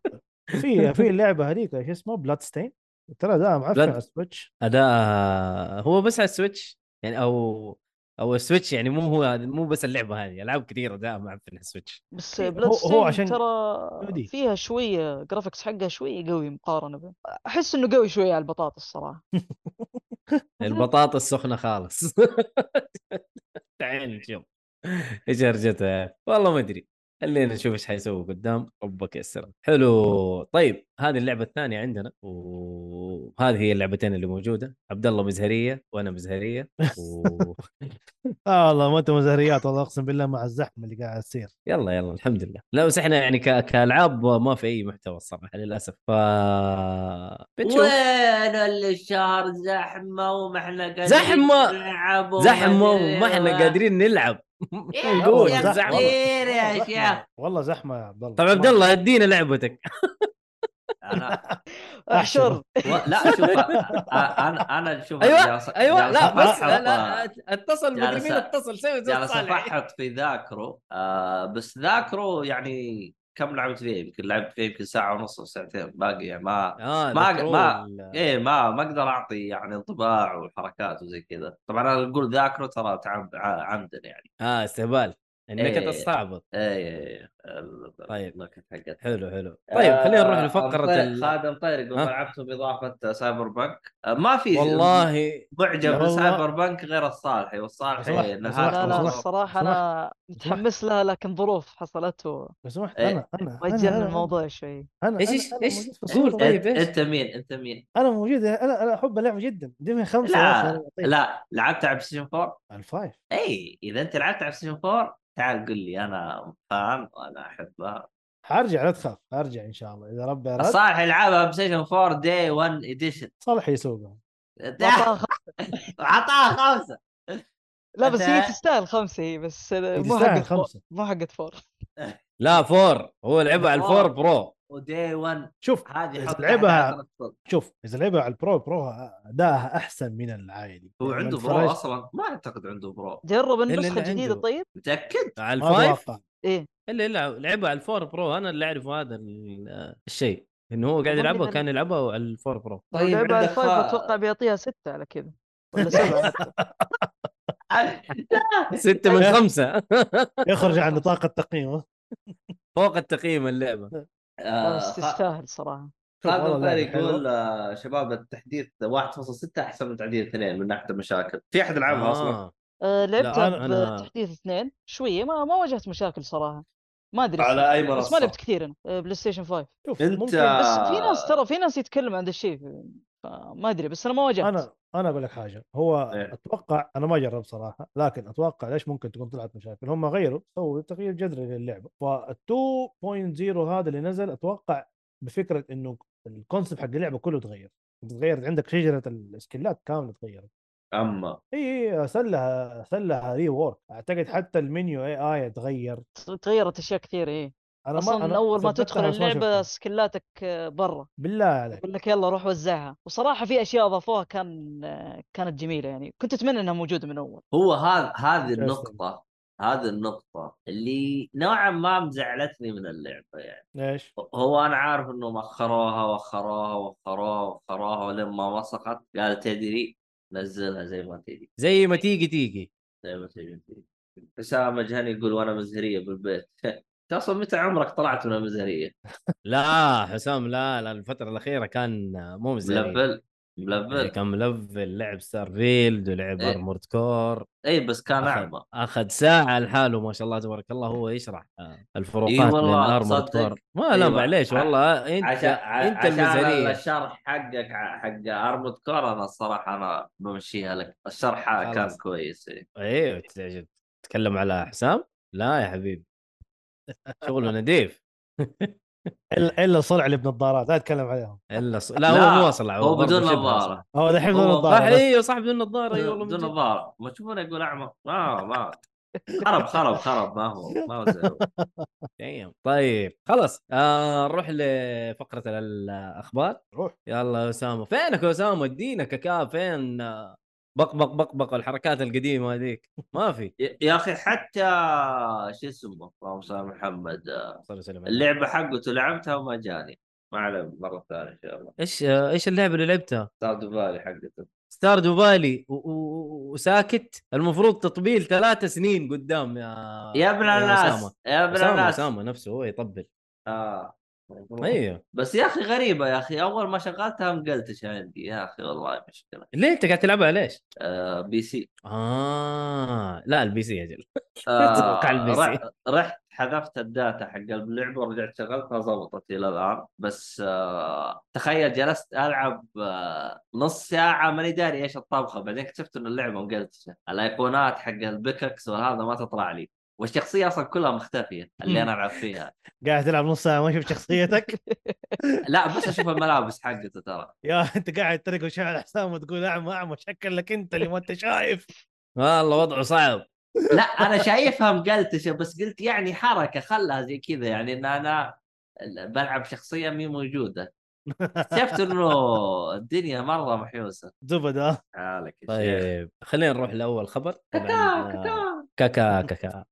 Speaker 3: في في اللعبه هذيك شو اسمه بلاد ستين ترى ده معفن
Speaker 2: Blood-
Speaker 3: على السويتش
Speaker 2: اداءها هو بس على السويتش يعني او او السويتش يعني مو هو مو بس اللعبه هذه العاب كثيره اداءها معفن على السويتش
Speaker 4: بس
Speaker 3: في-
Speaker 4: بلاد
Speaker 3: هو- هو
Speaker 4: ستين
Speaker 3: عشان
Speaker 4: ترى
Speaker 3: 2D.
Speaker 4: فيها شويه جرافيكس حقها شويه قوي مقارنه به احس انه قوي شويه على البطاطس صراحه
Speaker 2: البطاطس سخنه خالص *laughs* تعال نشوف ايش هرجتها يا أخي. والله ما ادري خلينا نشوف ايش حيسوي قدام ربك يسر حلو طيب هذه اللعبه الثانيه عندنا وهذه هي اللعبتين اللي موجوده عبد الله مزهريه وانا مزهريه *laughs* و...
Speaker 3: اه والله ما انت مزهريات والله اقسم بالله مع الزحمه اللي قاعد تصير
Speaker 2: يلا يلا الحمد لله لا بس احنا يعني ك... كالعاب ما في اي محتوى الصراحه للاسف ف بتشوف
Speaker 1: وين اللي الشهر زحمه وما احنا قادرين
Speaker 2: زحمة!
Speaker 1: نلعب وما
Speaker 2: زحمه
Speaker 1: أدري
Speaker 2: وما احنا
Speaker 1: وما-
Speaker 2: قادرين نلعب
Speaker 1: يا
Speaker 2: *laughs* نقول
Speaker 1: يا
Speaker 2: زحمة.
Speaker 1: صغير إيه يا *laughs*
Speaker 3: والله زحمة.
Speaker 1: شيخ
Speaker 3: والله زحمه يا عبد الله
Speaker 2: طب طيب، عبد الله ادينا لعبتك
Speaker 1: أنا-
Speaker 4: احشر
Speaker 1: و- لا شوف أ- انا انا شوف
Speaker 2: أيوة،
Speaker 1: جالس-
Speaker 2: ايوه
Speaker 1: جالس
Speaker 2: لا بس
Speaker 1: أفحط-
Speaker 2: لا لا اتصل مدري مين
Speaker 1: جالس-
Speaker 2: اتصل سوي زي
Speaker 1: جالس
Speaker 2: الصالح
Speaker 1: افحط في ذاكره آه بس ذاكره يعني كم لعبت فيه يمكن لعبت فيه يمكن ساعه ونص او ساعتين باقي يعني ما
Speaker 2: آه
Speaker 1: ما-
Speaker 2: ذكروا
Speaker 1: ما-
Speaker 2: ال-
Speaker 1: ايه ما ما اقدر اعطي يعني انطباع وحركات وزي كذا طبعا انا اقول ذاكره ترى تعب ع- عمدا يعني
Speaker 2: اه استهبال انك
Speaker 1: إيه.
Speaker 2: تستعبط
Speaker 1: ايه ال-
Speaker 2: طيب.
Speaker 1: النكت حقت
Speaker 2: حلو حلو طيب
Speaker 1: آه،
Speaker 2: خلينا نروح لفقره
Speaker 1: ال...
Speaker 2: ال...
Speaker 1: خادم طير يقول
Speaker 2: ها؟
Speaker 1: لعبته باضافه سايبر بنك آه، ما في
Speaker 2: والله
Speaker 1: معجب
Speaker 3: والله.
Speaker 1: بسايبر بنك غير الصالحي والصالحي
Speaker 3: صراحة- صراحة-
Speaker 4: لا لا
Speaker 3: صراحة-
Speaker 4: الصراحه
Speaker 3: صراحة-
Speaker 4: انا متحمس لها لكن ظروف حصلت
Speaker 3: لو سمحت
Speaker 1: إيه.
Speaker 3: انا انا أنا-
Speaker 4: وأجلنا
Speaker 3: أنا-
Speaker 4: الموضوع شوي
Speaker 3: انا
Speaker 2: إيش-
Speaker 3: أنا-
Speaker 2: إيش-
Speaker 3: أنا
Speaker 2: إيش
Speaker 3: موجود في
Speaker 2: قول
Speaker 3: الصورة.
Speaker 2: طيب،
Speaker 1: انت
Speaker 2: إيش؟
Speaker 1: انت مين انت مين
Speaker 3: انا موجود انا انا احب اللعبه جدا دي من طيب. خمسه يا أخي، أنا
Speaker 1: لا
Speaker 3: بعطيك.
Speaker 1: لا لعبت على بلاي 4
Speaker 3: الفايف
Speaker 1: اي اذا انت لعبت على بلاي 4 تعال قل لي انا فاهم وانا احبها
Speaker 3: حرجع لا تخاف حرجع ان شاء الله اذا ربي اراد
Speaker 1: الصالح يلعبها بلاي 4 دي 1 اديشن
Speaker 3: صالح يسوقها
Speaker 4: لا تاخذ
Speaker 1: *laughs* عطاها خمسه
Speaker 4: لا بس هي
Speaker 1: أنت-
Speaker 4: تستاهل خمسه هي بس
Speaker 1: إيه،
Speaker 4: مو
Speaker 3: تستاهل
Speaker 4: حقت فور
Speaker 3: خمسه
Speaker 4: مو حقت فور
Speaker 2: لا فور هو لعبها على الفور
Speaker 1: فور.
Speaker 2: برو
Speaker 1: ودي 1
Speaker 3: شوف
Speaker 1: هذه
Speaker 3: إذا
Speaker 1: حط
Speaker 3: لعبها-
Speaker 1: تحت عشرة.
Speaker 3: شوف اذا لعبها على البرو برو ادائها احسن من العادي يعني
Speaker 1: هو
Speaker 3: لما
Speaker 1: عنده برو
Speaker 3: انفرجت-
Speaker 1: اصلا ما اعتقد عنده برو
Speaker 4: جرب
Speaker 2: اللي
Speaker 4: النسخه
Speaker 2: عنده.
Speaker 4: الجديده طيب
Speaker 1: متاكد
Speaker 2: على
Speaker 3: ما
Speaker 2: الفايف
Speaker 3: اتوقع
Speaker 4: ايه
Speaker 2: الا الا لعبها على الفور برو انا اللي اعرفه هذا ال- الشيء انه هو قاعد
Speaker 4: والله
Speaker 2: يلعبها
Speaker 4: أنا-
Speaker 2: كان يلعبها على الفور
Speaker 1: *laughs*
Speaker 2: برو
Speaker 4: لو
Speaker 3: طيب،
Speaker 4: لعبها على
Speaker 1: عندك
Speaker 4: الفايف
Speaker 1: فا- *laughs*
Speaker 3: *laughs*
Speaker 4: اتوقع بيعطيها سته على كذا ولا سبعه حتى
Speaker 2: ستة من خمسة *laughs*
Speaker 3: يخرج عن نطاق التقييم ها؟
Speaker 2: فوق التقييم اللعبة
Speaker 1: آه،
Speaker 4: لا، بس
Speaker 1: خ-
Speaker 4: تستاهل صراحه
Speaker 1: خالد
Speaker 3: والله
Speaker 1: الغفاري
Speaker 3: لعبة حلوة.
Speaker 1: يقول آه، شباب التحديث 1.6 احسن من تعديل 2 من ناحيه المشاكل في احد لعبها اصلا
Speaker 2: آه.
Speaker 4: آه، لعبتها
Speaker 2: أنا- أنا-
Speaker 4: بتحديث اثنين شويه ما ما واجهت مشاكل صراحه ما ادري
Speaker 1: على اي
Speaker 4: بس ما لعبت
Speaker 1: منصه
Speaker 4: كثير انا آه، بلاي ستيشن 5
Speaker 3: شوف
Speaker 1: أنت-
Speaker 3: ممكن
Speaker 4: بس
Speaker 1: آه.
Speaker 4: في ناس ترى في ناس يتكلم عن الشيء ما ادري بس انا ما واجهت
Speaker 3: انا انا اقول لك حاجه هو
Speaker 1: إيه.
Speaker 3: اتوقع انا ما جربت صراحه لكن اتوقع ليش ممكن تكون طلعت مشاكل هم غيروا سووا تغيير جذري للعبه فال 2.0 هذا اللي نزل اتوقع بفكره انه الكونسبت حق اللعبه كله تغير تغيرت عندك شجره السكلات كامله تغيرت
Speaker 1: اما
Speaker 3: اي صار لها صار لها ري وورك اعتقد حتى المنيو اي اي تغير
Speaker 4: تغيرت اشياء كثير ايه
Speaker 3: انا
Speaker 4: اصلا من اول ما
Speaker 3: ثبتها
Speaker 4: تدخل
Speaker 3: بس ما شفتها.
Speaker 4: اللعبه سكلاتك آه، برا
Speaker 3: بالله عليك
Speaker 4: يقول لك يلا روح وزعها وصراحه في اشياء اضافوها كان آه، كانت جميله يعني كنت اتمنى انها موجوده من اول
Speaker 1: هو هذا هذه
Speaker 3: أسلم.
Speaker 1: النقطه هذه النقطة اللي نوعا ما مزعلتني من اللعبة يعني
Speaker 3: ايش؟
Speaker 1: هو أنا عارف إنه مخروها وخروها وخروها وخروها لما وسخت قال تدري نزلها زي ما تدري
Speaker 2: زي ما تيجي تيجي
Speaker 1: زي ما تدري حسام مجهني يقول وأنا مزهرية بالبيت *laughs* أنت أصلا متى عمرك طلعت من المزهرية؟
Speaker 2: لا حسام لا لا الفترة الأخيرة كان مو مزعج
Speaker 1: ملفل ملفل
Speaker 2: يعني كان ملفل لعب ستار فيلد ولعب
Speaker 1: إيه.
Speaker 2: ارمورد كور
Speaker 1: اي إيه، بس كان
Speaker 2: أخذ.
Speaker 1: اعمى
Speaker 2: اخذ ساعه لحاله ما شاء الله تبارك الله هو يشرح آه، الفروقات
Speaker 1: إي
Speaker 2: بين
Speaker 1: والله،
Speaker 2: ارمورد
Speaker 1: تصدق.
Speaker 2: كور ما لا
Speaker 1: أيوة.
Speaker 2: معليش
Speaker 1: ع-
Speaker 2: والله انت
Speaker 1: عشان
Speaker 2: انت
Speaker 1: عشان
Speaker 2: المزهريه
Speaker 1: الشرح حقك ع- حق ارمود كور انا الصراحه انا بمشيها لك الشرح كان
Speaker 2: خلاص.
Speaker 1: كويس إي.
Speaker 2: ايوه تت- تتكلم على حسام لا يا حبيبي
Speaker 1: *laughs*
Speaker 2: شغله نظيف
Speaker 3: الا الا صلع اللي بنظارات لا اتكلم عليهم
Speaker 2: الا ص... لا,
Speaker 1: لا،
Speaker 2: هو مو صلع
Speaker 1: هو
Speaker 2: برضه
Speaker 1: بدون
Speaker 2: شبه
Speaker 1: نظاره
Speaker 3: هو دحين
Speaker 1: هو-
Speaker 2: صح
Speaker 3: نظاره
Speaker 2: ايوه صح بدون نظاره اي والله
Speaker 1: بدون
Speaker 2: من جد.
Speaker 1: نظاره ما تشوفونه يقول اعمى ما ما خرب خرب خرب ما هو ما هو زي هو.
Speaker 2: Damn. طيب خلاص آه نروح لفقره ال- الاخبار
Speaker 3: روح
Speaker 2: يلا يا اسامه فينك يا اسامه ادينك يا كاب فين آه، بقبق بقبق الحركات القديمه هذيك ما في
Speaker 1: يا يا اخي حتى شو اسمه اللهم صل على محمد
Speaker 2: صلى الله عليه وسلم.
Speaker 1: اللعبه حقته لعبتها وما جاني ما عليه مره ثانيه ان شاء الله
Speaker 2: ايش آه، ايش اللعبه اللي لعبتها؟
Speaker 1: ستاردو فالي حقته
Speaker 2: ستار دوبالي و- و- وساكت المفروض تطبيل ثلاثة سنين قدام يا
Speaker 1: يا ابن
Speaker 2: أسامة.
Speaker 1: الناس يا ابن
Speaker 2: اسامه
Speaker 1: الناس
Speaker 2: اسامه نفسه هو يطبل
Speaker 1: اه
Speaker 2: ايوه
Speaker 1: بس يا اخي غريبه يا اخي اول ما شغلتها مقلتش عندي يا اخي والله مشكله
Speaker 2: ليه انت قاعد تلعبها ليش؟
Speaker 1: آه بي
Speaker 2: *laughs*
Speaker 1: سي
Speaker 2: اه لا البي سي اجل
Speaker 1: آه
Speaker 2: أتوقع البي سي.
Speaker 1: رح- رحت حذفت الداتا حق اللعبه ورجعت شغلتها ضبطت الى الان بس آه تخيل جلست العب آه نص ساعه ماني داري ايش الطبخه بعدين اكتشفت ان اللعبه مقلتشه الايقونات حق البيككس وهذا ما تطلع لي والشخصيه اصلا كلها مختفيه اللي انا العب فيها
Speaker 3: قاعد تلعب نص ساعه ما شفت *laughs* شخصيتك
Speaker 1: لا بس اشوف الملابس حقته ترى
Speaker 3: يا *laughs* انت قاعد ترق وشاعر حسام وتقول اعمى اعمى شكل لك انت اللي ما انت شايف
Speaker 2: والله وضعه صعب
Speaker 1: لا انا شايفها مقلتشه بس قلت يعني حركه خلها زي كذا يعني ان انا بلعب شخصيه مي موجوده شفت انه الدنيا مره محيوسه
Speaker 3: زبده
Speaker 1: حالك يا شيخ
Speaker 2: طيب خلينا نروح لاول خبر آه،
Speaker 1: كاكا كاكا
Speaker 2: كاكا كاكا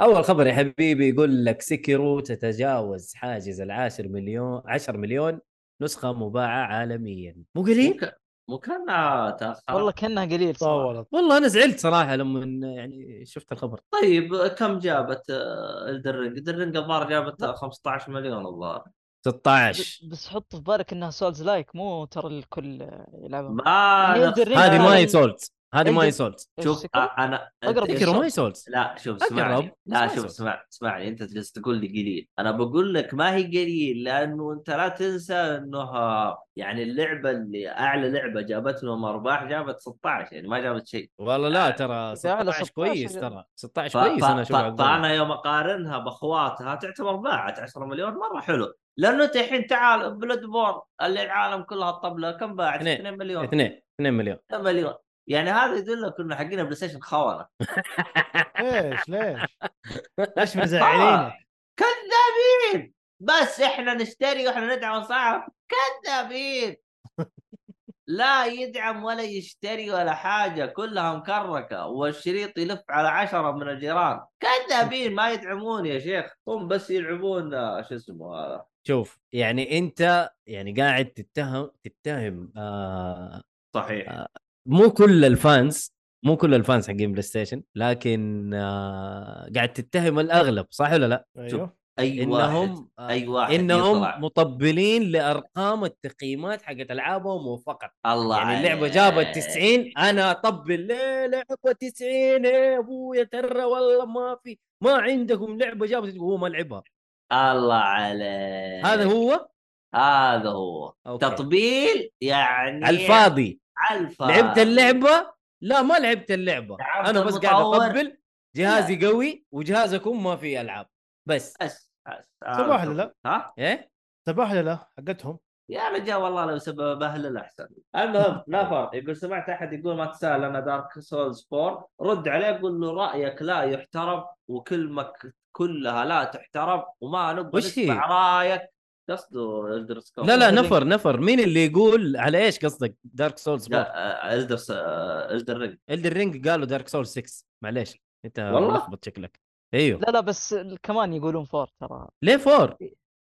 Speaker 2: اول خبر يا حبيبي يقول لك سكيرو تتجاوز حاجز العاشر مليون 10 مليون نسخه مباعه عالميا مو قليل؟
Speaker 1: مو ك- مو كانها تاخر
Speaker 4: والله كانها قليل صراحه
Speaker 3: طولت
Speaker 2: والله انا زعلت صراحه لما يعني شفت الخبر
Speaker 1: طيب كم جابت الدرنج؟ الدرنج الظاهر جابت 15 مليون الظاهر
Speaker 2: 16
Speaker 4: بس حط في بالك انها سولز لايك مو ترى الكل آه، يلعبها
Speaker 1: ما
Speaker 4: هي
Speaker 1: نخ-
Speaker 4: الدرينج
Speaker 2: هذه ما هي
Speaker 4: هي
Speaker 2: سولت هذه ما هي سولت
Speaker 1: شوف انا
Speaker 4: أقرب
Speaker 2: تذكروا ما هي سولت
Speaker 1: لا شوف
Speaker 2: أقرب.
Speaker 1: اسمعني
Speaker 2: اسمعني
Speaker 1: لا شوف
Speaker 2: صوت.
Speaker 1: اسمع اسمعني انت جالس تقول لي قليل انا بقول لك ما هي قليل لانه انت لا تنسى انه يعني اللعبه اللي اعلى لعبه جابت لهم ارباح جابت 16 يعني ما جابت شيء
Speaker 2: والله
Speaker 1: *laughs*
Speaker 2: لا ترى
Speaker 4: إذا على
Speaker 2: 16 كويس
Speaker 4: 16
Speaker 2: ترى 16
Speaker 1: ف-
Speaker 2: كويس
Speaker 1: ف-
Speaker 2: انا
Speaker 1: ف-
Speaker 2: اشوفها أقول.
Speaker 1: فانا يوم اقارنها باخواتها تعتبر باعت 10 مليون مره حلو لانه انت الحين تعال بلاد بورن اللي العالم كلها الطبله كم باعت؟
Speaker 2: اثنين.
Speaker 1: 2 مليون
Speaker 2: اثنين 2 مليون
Speaker 1: *laughs* 2 مليون يعني هذا يدلك انه حقنا بلاي ستيشن خونه *laughs*
Speaker 3: ليش ليش؟ ليش مزعلينك؟
Speaker 1: آه، كذابين بس احنا نشتري واحنا ندعم صعب
Speaker 2: *laughs*
Speaker 1: كذابين لا يدعم ولا يشتري ولا حاجه كلها مكركه والشريط يلف على عشره من الجيران كذابين ما يدعمون يا شيخ هم بس يلعبون آه، شو اسمه هذا
Speaker 2: شوف يعني انت يعني قاعد تتهم تتهم آه
Speaker 1: صحيح
Speaker 2: مو كل الفانز مو كل الفانز حقين بلاي ستيشن لكن آه قاعد تتهم الاغلب صح ولا لا؟
Speaker 3: ايوه
Speaker 1: اي واحد
Speaker 2: انهم آه
Speaker 1: اي واحد يطلع.
Speaker 2: انهم مطبلين لارقام التقييمات حقت العابهم وفقط
Speaker 1: الله
Speaker 2: يعني اللعبه
Speaker 1: عليك.
Speaker 2: جابت 90 انا اطبل ليه لعبه 90 إيه يا ابويا ترى والله ما في ما عندكم لعبه جابت هو ما لعبها
Speaker 1: الله عليك
Speaker 2: هذا هو
Speaker 1: هذا هو
Speaker 2: أوكي.
Speaker 1: إيه. تطبيل يعني
Speaker 2: على الفاضي
Speaker 1: الفاضي
Speaker 2: لعبت اللعبه لا ما لعبت اللعبه
Speaker 1: لعبت
Speaker 2: انا بس قاعد
Speaker 1: المطور.
Speaker 2: اطبل جهازي قوي وجهازكم ما فيه العاب بس
Speaker 1: بس بس.
Speaker 3: صباح لا
Speaker 1: ها
Speaker 2: ايه
Speaker 3: تبهلله حقتهم
Speaker 1: يا رجال والله لو سبب اهل احسن
Speaker 2: *laughs*
Speaker 1: المهم لا فرق يقول سمعت احد يقول ما تسال انا دارك سولز 4 رد عليه قول له رايك لا يحترم وكلمك كلها لا تحترم وما نبغى
Speaker 2: وش هي؟
Speaker 1: نسمع رايك قصده الدر سكولز
Speaker 2: لا لا نفر نفر مين اللي يقول على ايش قصدك دارك سولز
Speaker 1: لا آه، الدر الدر رينج
Speaker 2: الدر رينج قالوا دارك سول 6 معليش انت
Speaker 1: والله؟
Speaker 2: ملخبط شكلك ايوه
Speaker 4: لا لا بس ال- كمان يقولون فور ترى
Speaker 2: ليه فور؟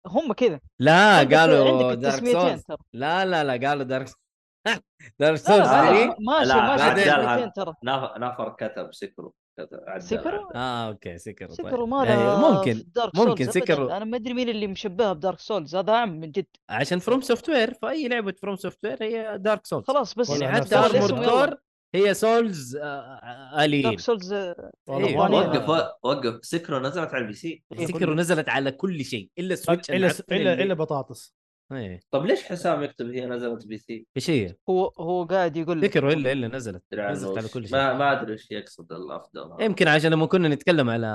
Speaker 4: هم كذا
Speaker 2: لا
Speaker 4: عندك-
Speaker 2: آه، قالوا
Speaker 4: عندك
Speaker 2: دارك
Speaker 4: التسميتين
Speaker 2: سولز
Speaker 4: ترى
Speaker 2: لا لا لا قالوا دارك *laughs* دارك
Speaker 4: لا
Speaker 2: سولز
Speaker 4: لا
Speaker 1: سوري.
Speaker 2: 3
Speaker 4: بعد- ماشي
Speaker 1: لا،
Speaker 4: ماشي
Speaker 2: بعدين.
Speaker 4: التسميتين ترى
Speaker 1: نفر كتب سكرو كتب عدل.
Speaker 4: سيكرو
Speaker 2: اه اوكي سكر طيب.
Speaker 4: سكروا ما
Speaker 2: إيه،
Speaker 4: لها في
Speaker 2: ممكن
Speaker 4: دارك
Speaker 2: ممكن
Speaker 4: سولز أبداً.
Speaker 2: سكروا.
Speaker 4: انا ما ادري مين اللي مشبهها بدارك سولز هذا عم من جد
Speaker 2: عشان فروم سوفت وير فاي لعبه فروم سوفت وير هي دارك سولز
Speaker 4: خلاص بس
Speaker 2: يعني
Speaker 3: والله
Speaker 2: حتى
Speaker 3: نفس
Speaker 2: ارمور
Speaker 3: الشيء.
Speaker 2: كور هي سولز آه، اليين
Speaker 4: دارك سولز آه،
Speaker 3: والله
Speaker 2: إيه.
Speaker 3: والله.
Speaker 4: والله.
Speaker 1: وقف وقف سكرو نزلت على البي سي
Speaker 2: سكر نزلت على كل شيء الا السويتش
Speaker 3: الا الا الا بطاطس
Speaker 2: الا
Speaker 1: طب ليش حسام يكتب هي نزلت بي سي؟
Speaker 2: ايش إيه، هي؟
Speaker 4: هو هو قاعد يقول لك
Speaker 2: سكر الا الا نزلت
Speaker 1: أدري عنه
Speaker 2: نزلت على
Speaker 1: وش-
Speaker 2: كل شيء. إيه،
Speaker 1: ما ما ادري ايش يقصد الافضل
Speaker 2: يمكن عشان لما كنا نتكلم على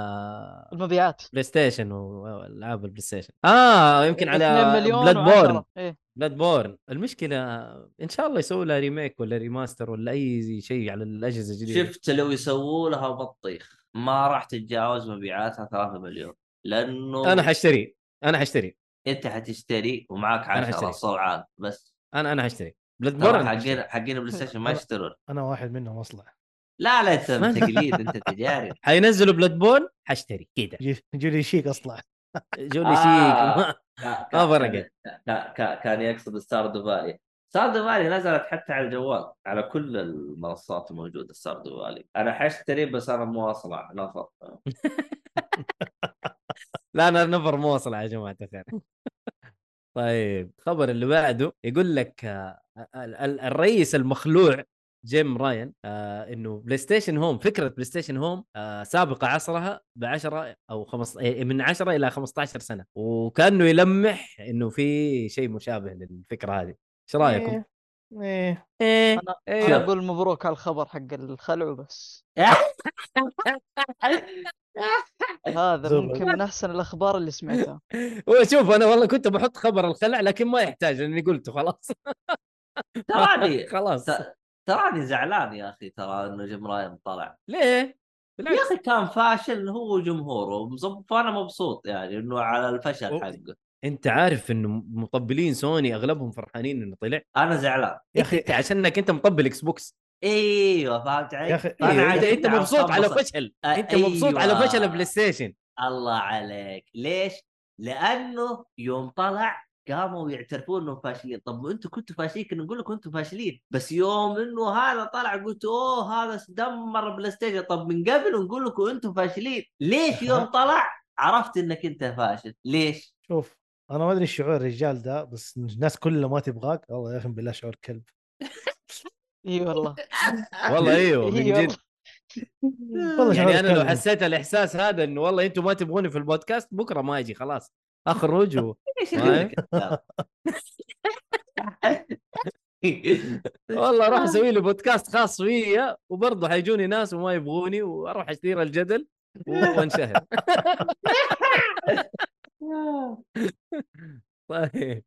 Speaker 4: المبيعات
Speaker 2: بلاي ستيشن والعاب البلاي ستيشن اه يمكن على
Speaker 4: 2 إيه، مليون
Speaker 2: بلاد بورن
Speaker 4: و10. إيه.
Speaker 2: بلاد بورن المشكله ان شاء الله يسووا لها ريميك ولا ريماستر ولا اي شيء على الاجهزه الجديده
Speaker 1: شفت لو يسووا لها بطيخ ما راح تتجاوز مبيعاتها 3 مليون لانه
Speaker 2: انا حشتري انا حشتري
Speaker 1: انت حتشتري ومعك
Speaker 2: أنا
Speaker 1: 10
Speaker 2: حشتري.
Speaker 1: صرعان بس
Speaker 2: انا انا حشتري بلاد
Speaker 1: ترى
Speaker 2: بورن
Speaker 1: حقين حقين بلاي ستيشن ما يشترون
Speaker 3: انا واحد منهم اصلع
Speaker 1: لا لا انت
Speaker 2: ما-
Speaker 1: تقليد انت تجاري
Speaker 2: حينزلوا بلاد بورن حشتري كذا
Speaker 3: يجي- جولي شيك اصلع
Speaker 2: جولي
Speaker 1: آه. لا،
Speaker 2: شيك *laughs* ما
Speaker 1: كان-
Speaker 2: فرقت.
Speaker 1: كان- كان- كان يقصد ستار فالي ستار فالي نزلت حتى على الجوال على كل المنصات الموجوده ستار فالي انا حاشتري بس انا مو اصلع نفر
Speaker 2: لا انا نفر مو واصل يا جماعه *laughs* الخير طيب الخبر اللي بعده يقول لك آه، ال- ال- الرئيس المخلوع جيم راين آه انه بلاي ستيشن هوم فكره بلاي ستيشن هوم آه سابقه عصرها ب 10 او خمس إيه، من 10 الى 15 سنه وكانه يلمح انه في شيء مشابه للفكره هذه ايش رايكم؟
Speaker 3: إيه. ايه
Speaker 2: ايه
Speaker 4: أنا-
Speaker 2: *laughs* إيه.
Speaker 4: انا اقول مبروك على الخبر حق الخلع
Speaker 2: *laughs*
Speaker 4: وبس هذا
Speaker 3: زبل.
Speaker 4: ممكن من احسن الاخبار اللي سمعتها
Speaker 2: وشوف انا والله كنت بحط خبر الخلع لكن ما يحتاج لاني قلته خلاص
Speaker 1: تراني
Speaker 2: *laughs* خلاص
Speaker 1: ت- تراني زعلان يا اخي ترى انه جيم راين طلع
Speaker 2: ليه؟
Speaker 1: يا اخي كان فاشل هو وجمهوره مزب- فانا مبسوط يعني انه على الفشل
Speaker 2: أوه.
Speaker 1: حقه
Speaker 2: انت عارف انه مطبلين سوني اغلبهم فرحانين انه طلع
Speaker 1: انا زعلان
Speaker 3: يا
Speaker 2: يا
Speaker 3: أخي-
Speaker 2: اخي انت عشانك انت مطبل اكس بوكس
Speaker 1: ايوه فهمت علي؟
Speaker 3: يا أخي-
Speaker 1: فأنا
Speaker 2: أيوه، انت
Speaker 1: عايش
Speaker 2: انت
Speaker 1: على
Speaker 2: مبسوط على
Speaker 1: الخبصة.
Speaker 2: فشل
Speaker 1: أ-
Speaker 2: انت مبسوط على فشل
Speaker 1: أيوة.
Speaker 2: بلاي
Speaker 1: *laughs*
Speaker 2: ستيشن
Speaker 1: الله عليك ليش؟ لانه يوم طلع قاموا يعترفون انهم فاشلين طب ما انتم كنتوا فاشلين كنا نقول لكم انتم فاشلين بس يوم انه هذا طلع قلت اوه هذا دمر بلاي ستيشن طب من قبل نقول لكم انتم فاشلين ليش يوم طلع عرفت انك انت فاشل ليش
Speaker 3: شوف انا ما ادري شعور الرجال ده بس الناس كلها ما تبغاك والله يا اخي بالله شعور كلب
Speaker 4: اي والله
Speaker 1: *laughs*
Speaker 2: والله
Speaker 1: أيوة.
Speaker 2: ايوه من
Speaker 4: اي والله
Speaker 2: جد
Speaker 3: والله شعور
Speaker 2: يعني انا لو
Speaker 3: كلب.
Speaker 2: حسيت الاحساس هذا انه والله انتم ما تبغوني في البودكاست بكره ما اجي خلاص اخرج
Speaker 1: *laughs*
Speaker 2: و...
Speaker 1: ايش
Speaker 2: فاهم؟ والله اروح اسوي لي بودكاست خاص فيا وبرضه حيجوني ناس وما يبغوني واروح اشتري الجدل و-
Speaker 1: *laughs*
Speaker 2: وانشهر *laughs* طيب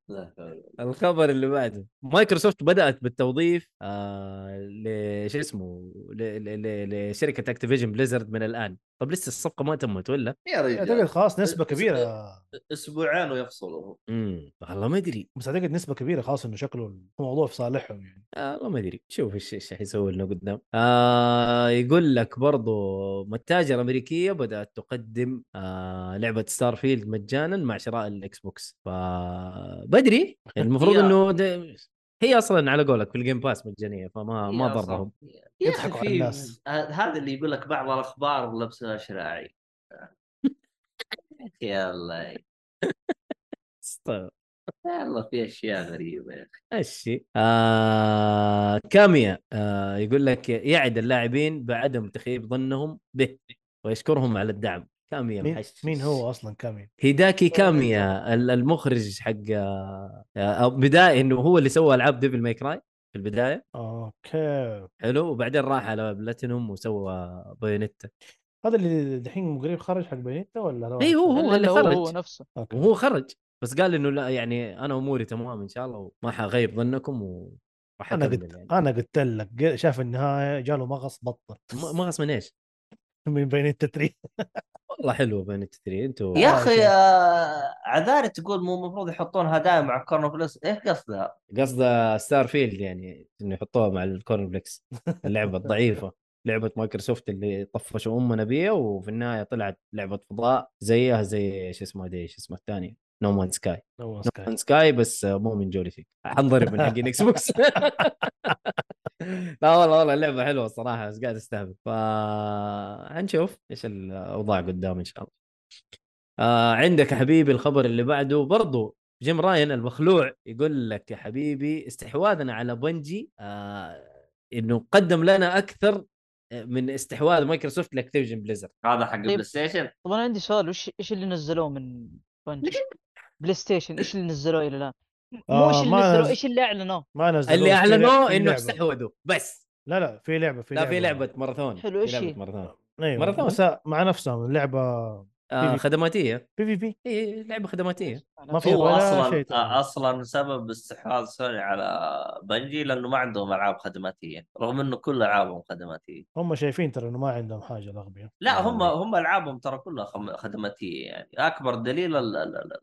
Speaker 2: الخبر اللي بعده مايكروسوفت بدات بالتوظيف آه لش اسمه ل- ل- ل- لشركه اكتيفيجن بليزرد من الان طب لسه الصفقه ما تمت ولا؟
Speaker 1: يا
Speaker 3: اعتقد
Speaker 1: رجال
Speaker 3: خلاص نسبه كبيره
Speaker 1: اسبوعين ويفصلوا
Speaker 2: امم والله ما ادري
Speaker 3: بس اعتقد نسبه كبيره خلاص انه شكله الموضوع في صالحهم يعني
Speaker 2: آه، والله ما ادري شوف ايش ايش حيسوي لنا قدام آه يقول لك برضو متاجر امريكيه بدات تقدم آه لعبه ستار فيلد مجانا مع شراء الاكس بوكس فبدري المفروض
Speaker 1: يا.
Speaker 2: انه ده- هي اصلا على قولك في الجيم باس مجانيه فما ما
Speaker 1: يا صاحبي.
Speaker 2: ضرهم
Speaker 1: يا
Speaker 3: يضحكوا
Speaker 1: أخي
Speaker 3: على الناس.
Speaker 1: ه- هذا اللي يقول لك بعض الاخبار لبسها شراعي *laughs* يلا
Speaker 2: است-
Speaker 1: يلا في اشياء غريبه يا اخي
Speaker 2: هالشيء آه كاميا آه يقول لك يعد اللاعبين بعدم تخيب ظنهم به ويشكرهم على الدعم كاميا
Speaker 3: مين,
Speaker 2: محشش.
Speaker 3: مين هو اصلا كامي
Speaker 2: هيداكي كاميا ال- المخرج حق آه، آه، بدائي انه هو اللي سوى العاب ديفل ماي كراي في البدايه
Speaker 3: اوكي
Speaker 2: حلو وبعدين راح على بلاتينوم وسوى بايونيتا
Speaker 3: هذا اللي دحين قريب خرج حق بينيتا ولا هذا
Speaker 2: اي إيه، هو
Speaker 4: لا،
Speaker 2: هو
Speaker 4: لا،
Speaker 2: اللي
Speaker 4: هو هو
Speaker 2: خرج
Speaker 4: نفسه
Speaker 3: أوكي.
Speaker 2: وهو خرج بس قال انه لا يعني انا اموري تمام ان شاء الله وما حغيب ظنكم وراح
Speaker 3: انا
Speaker 2: اكمل
Speaker 3: قلت
Speaker 2: يعني
Speaker 3: انا قلت لك قل- شاف النهايه جاله مغص بطل
Speaker 2: ما ما غص من ايش
Speaker 3: *laughs* من بينيتا 3
Speaker 2: والله حلوه بايونيتا 3 انتوا
Speaker 1: يا
Speaker 3: آه،
Speaker 1: اخي
Speaker 3: أوكي.
Speaker 1: آه، عذاري تقول مو المفروض يحطون هدايا مع كورن فلوس ايه قصدها؟
Speaker 2: قصده ستار فيلد يعني انه يحطوها مع الكورن *laughs* بليكس اللعبه الضعيفه لعبه مايكروسوفت اللي طفشوا امنا بيها وفي النهايه طلعت لعبه فضاء زيها زي شو اسمه دي شو اسمه الثاني نو مان سكاي
Speaker 3: هو
Speaker 2: نو *laughs* مان سكاي بس مو من جولتي حنضرب من حقين اكس
Speaker 3: *laughs*
Speaker 2: بوكس لا والله والله اللعبه حلوه الصراحه بس قاعد استهبل فحنشوف ايش الاوضاع قدام ان شاء الله آه عندك يا حبيبي الخبر اللي بعده برضو جيم راين المخلوع يقول لك يا حبيبي استحواذنا على بنجي آه انه قدم لنا اكثر من استحواذ مايكروسوفت لاكتيفيجن بليزر
Speaker 1: هذا حق
Speaker 4: طيب.
Speaker 1: بلاي ستيشن
Speaker 4: طب انا عندي سؤال وش ايش اللي نزلوه من
Speaker 3: *laughs*
Speaker 4: بنجي بلاي ستيشن ايش اللي نزلوه الى الان؟ مو ايش
Speaker 3: آه،
Speaker 4: اللي
Speaker 3: ما
Speaker 4: نزلوه
Speaker 3: نز-
Speaker 4: ايش اللي اعلنوه؟
Speaker 3: ما نزلوه
Speaker 2: اللي
Speaker 3: في لعبة-
Speaker 2: اعلنوه
Speaker 3: في
Speaker 2: انه
Speaker 3: لعبة.
Speaker 2: استحوذوا بس
Speaker 3: لا لا في لعبه في
Speaker 2: لا
Speaker 3: لعبه
Speaker 2: في لعبه ماراثون
Speaker 4: حلو، إيش
Speaker 2: في
Speaker 4: هي؟
Speaker 2: لعبه ماراثون
Speaker 3: ايوه
Speaker 2: ماراثون.
Speaker 3: بس مع نفسهم لعبه
Speaker 2: آه خدماتيه
Speaker 3: بي في بي
Speaker 2: هي لعبه خدماتيه
Speaker 4: أنا
Speaker 3: ما في
Speaker 1: هو
Speaker 3: ولا
Speaker 1: اصلا
Speaker 3: شيء تقريباً.
Speaker 1: اصلا سبب استحواذ سوني على بنجي لانه ما عندهم العاب خدماتيه رغم انه كل العابهم خدماتيه
Speaker 3: هم شايفين ترى انه ما عندهم حاجه الاغبياء
Speaker 1: لا هم
Speaker 2: يعني.
Speaker 1: هم العابهم ترى كلها خم- خدماتيه يعني اكبر دليل ال- ال- ال- ال-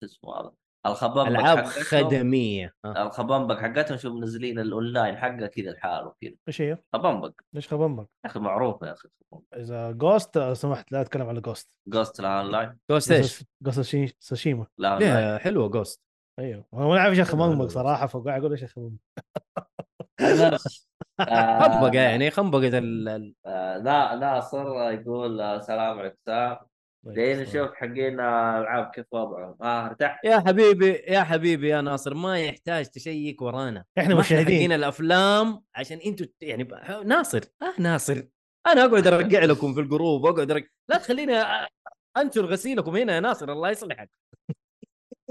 Speaker 1: شو اسمه هذا الخبامبك *laughs*
Speaker 2: العاب
Speaker 1: حقتهم
Speaker 2: خدميه آه.
Speaker 1: الخبامبك حقتهم شوف منزلين الاونلاين حقه كذا لحاله كذا
Speaker 3: ايش هي؟
Speaker 1: خبامبك
Speaker 3: ليش خبمك؟
Speaker 1: يا اخي معروف يا اخي
Speaker 3: اذا جوست لو سمحت لا اتكلم على جوست
Speaker 1: جوست
Speaker 4: *laughs*
Speaker 1: لا اونلاين
Speaker 2: جوست ايش؟
Speaker 3: جوست ساشيما
Speaker 1: لا اونلاين
Speaker 2: ليها حلوه *laughs* جوست
Speaker 3: ايوه انا ما اعرف ايش
Speaker 2: حلو،
Speaker 3: خممك
Speaker 2: حلو.
Speaker 3: صراحه فقاعد اقول ايش خممك
Speaker 1: آه،
Speaker 2: خنبقه يعني خنبقه ال- ال-
Speaker 1: آه، نا- ناصر يقول آه، السلام عليكم سام
Speaker 3: طيب،
Speaker 1: دين نشوف حقين آه، العاب كيف وضعهم اه ارتحت
Speaker 2: يا حبيبي يا حبيبي يا ناصر ما يحتاج تشيك ورانا
Speaker 3: احنا
Speaker 2: ما احنا
Speaker 3: مشاهدين
Speaker 2: حقين الافلام عشان انتوا ت- يعني ب- ناصر اه ناصر انا اقعد ارجع لكم في الجروب واقعد أرجع... لا تخليني أ- انشر غسيلكم هنا يا ناصر الله يصلحك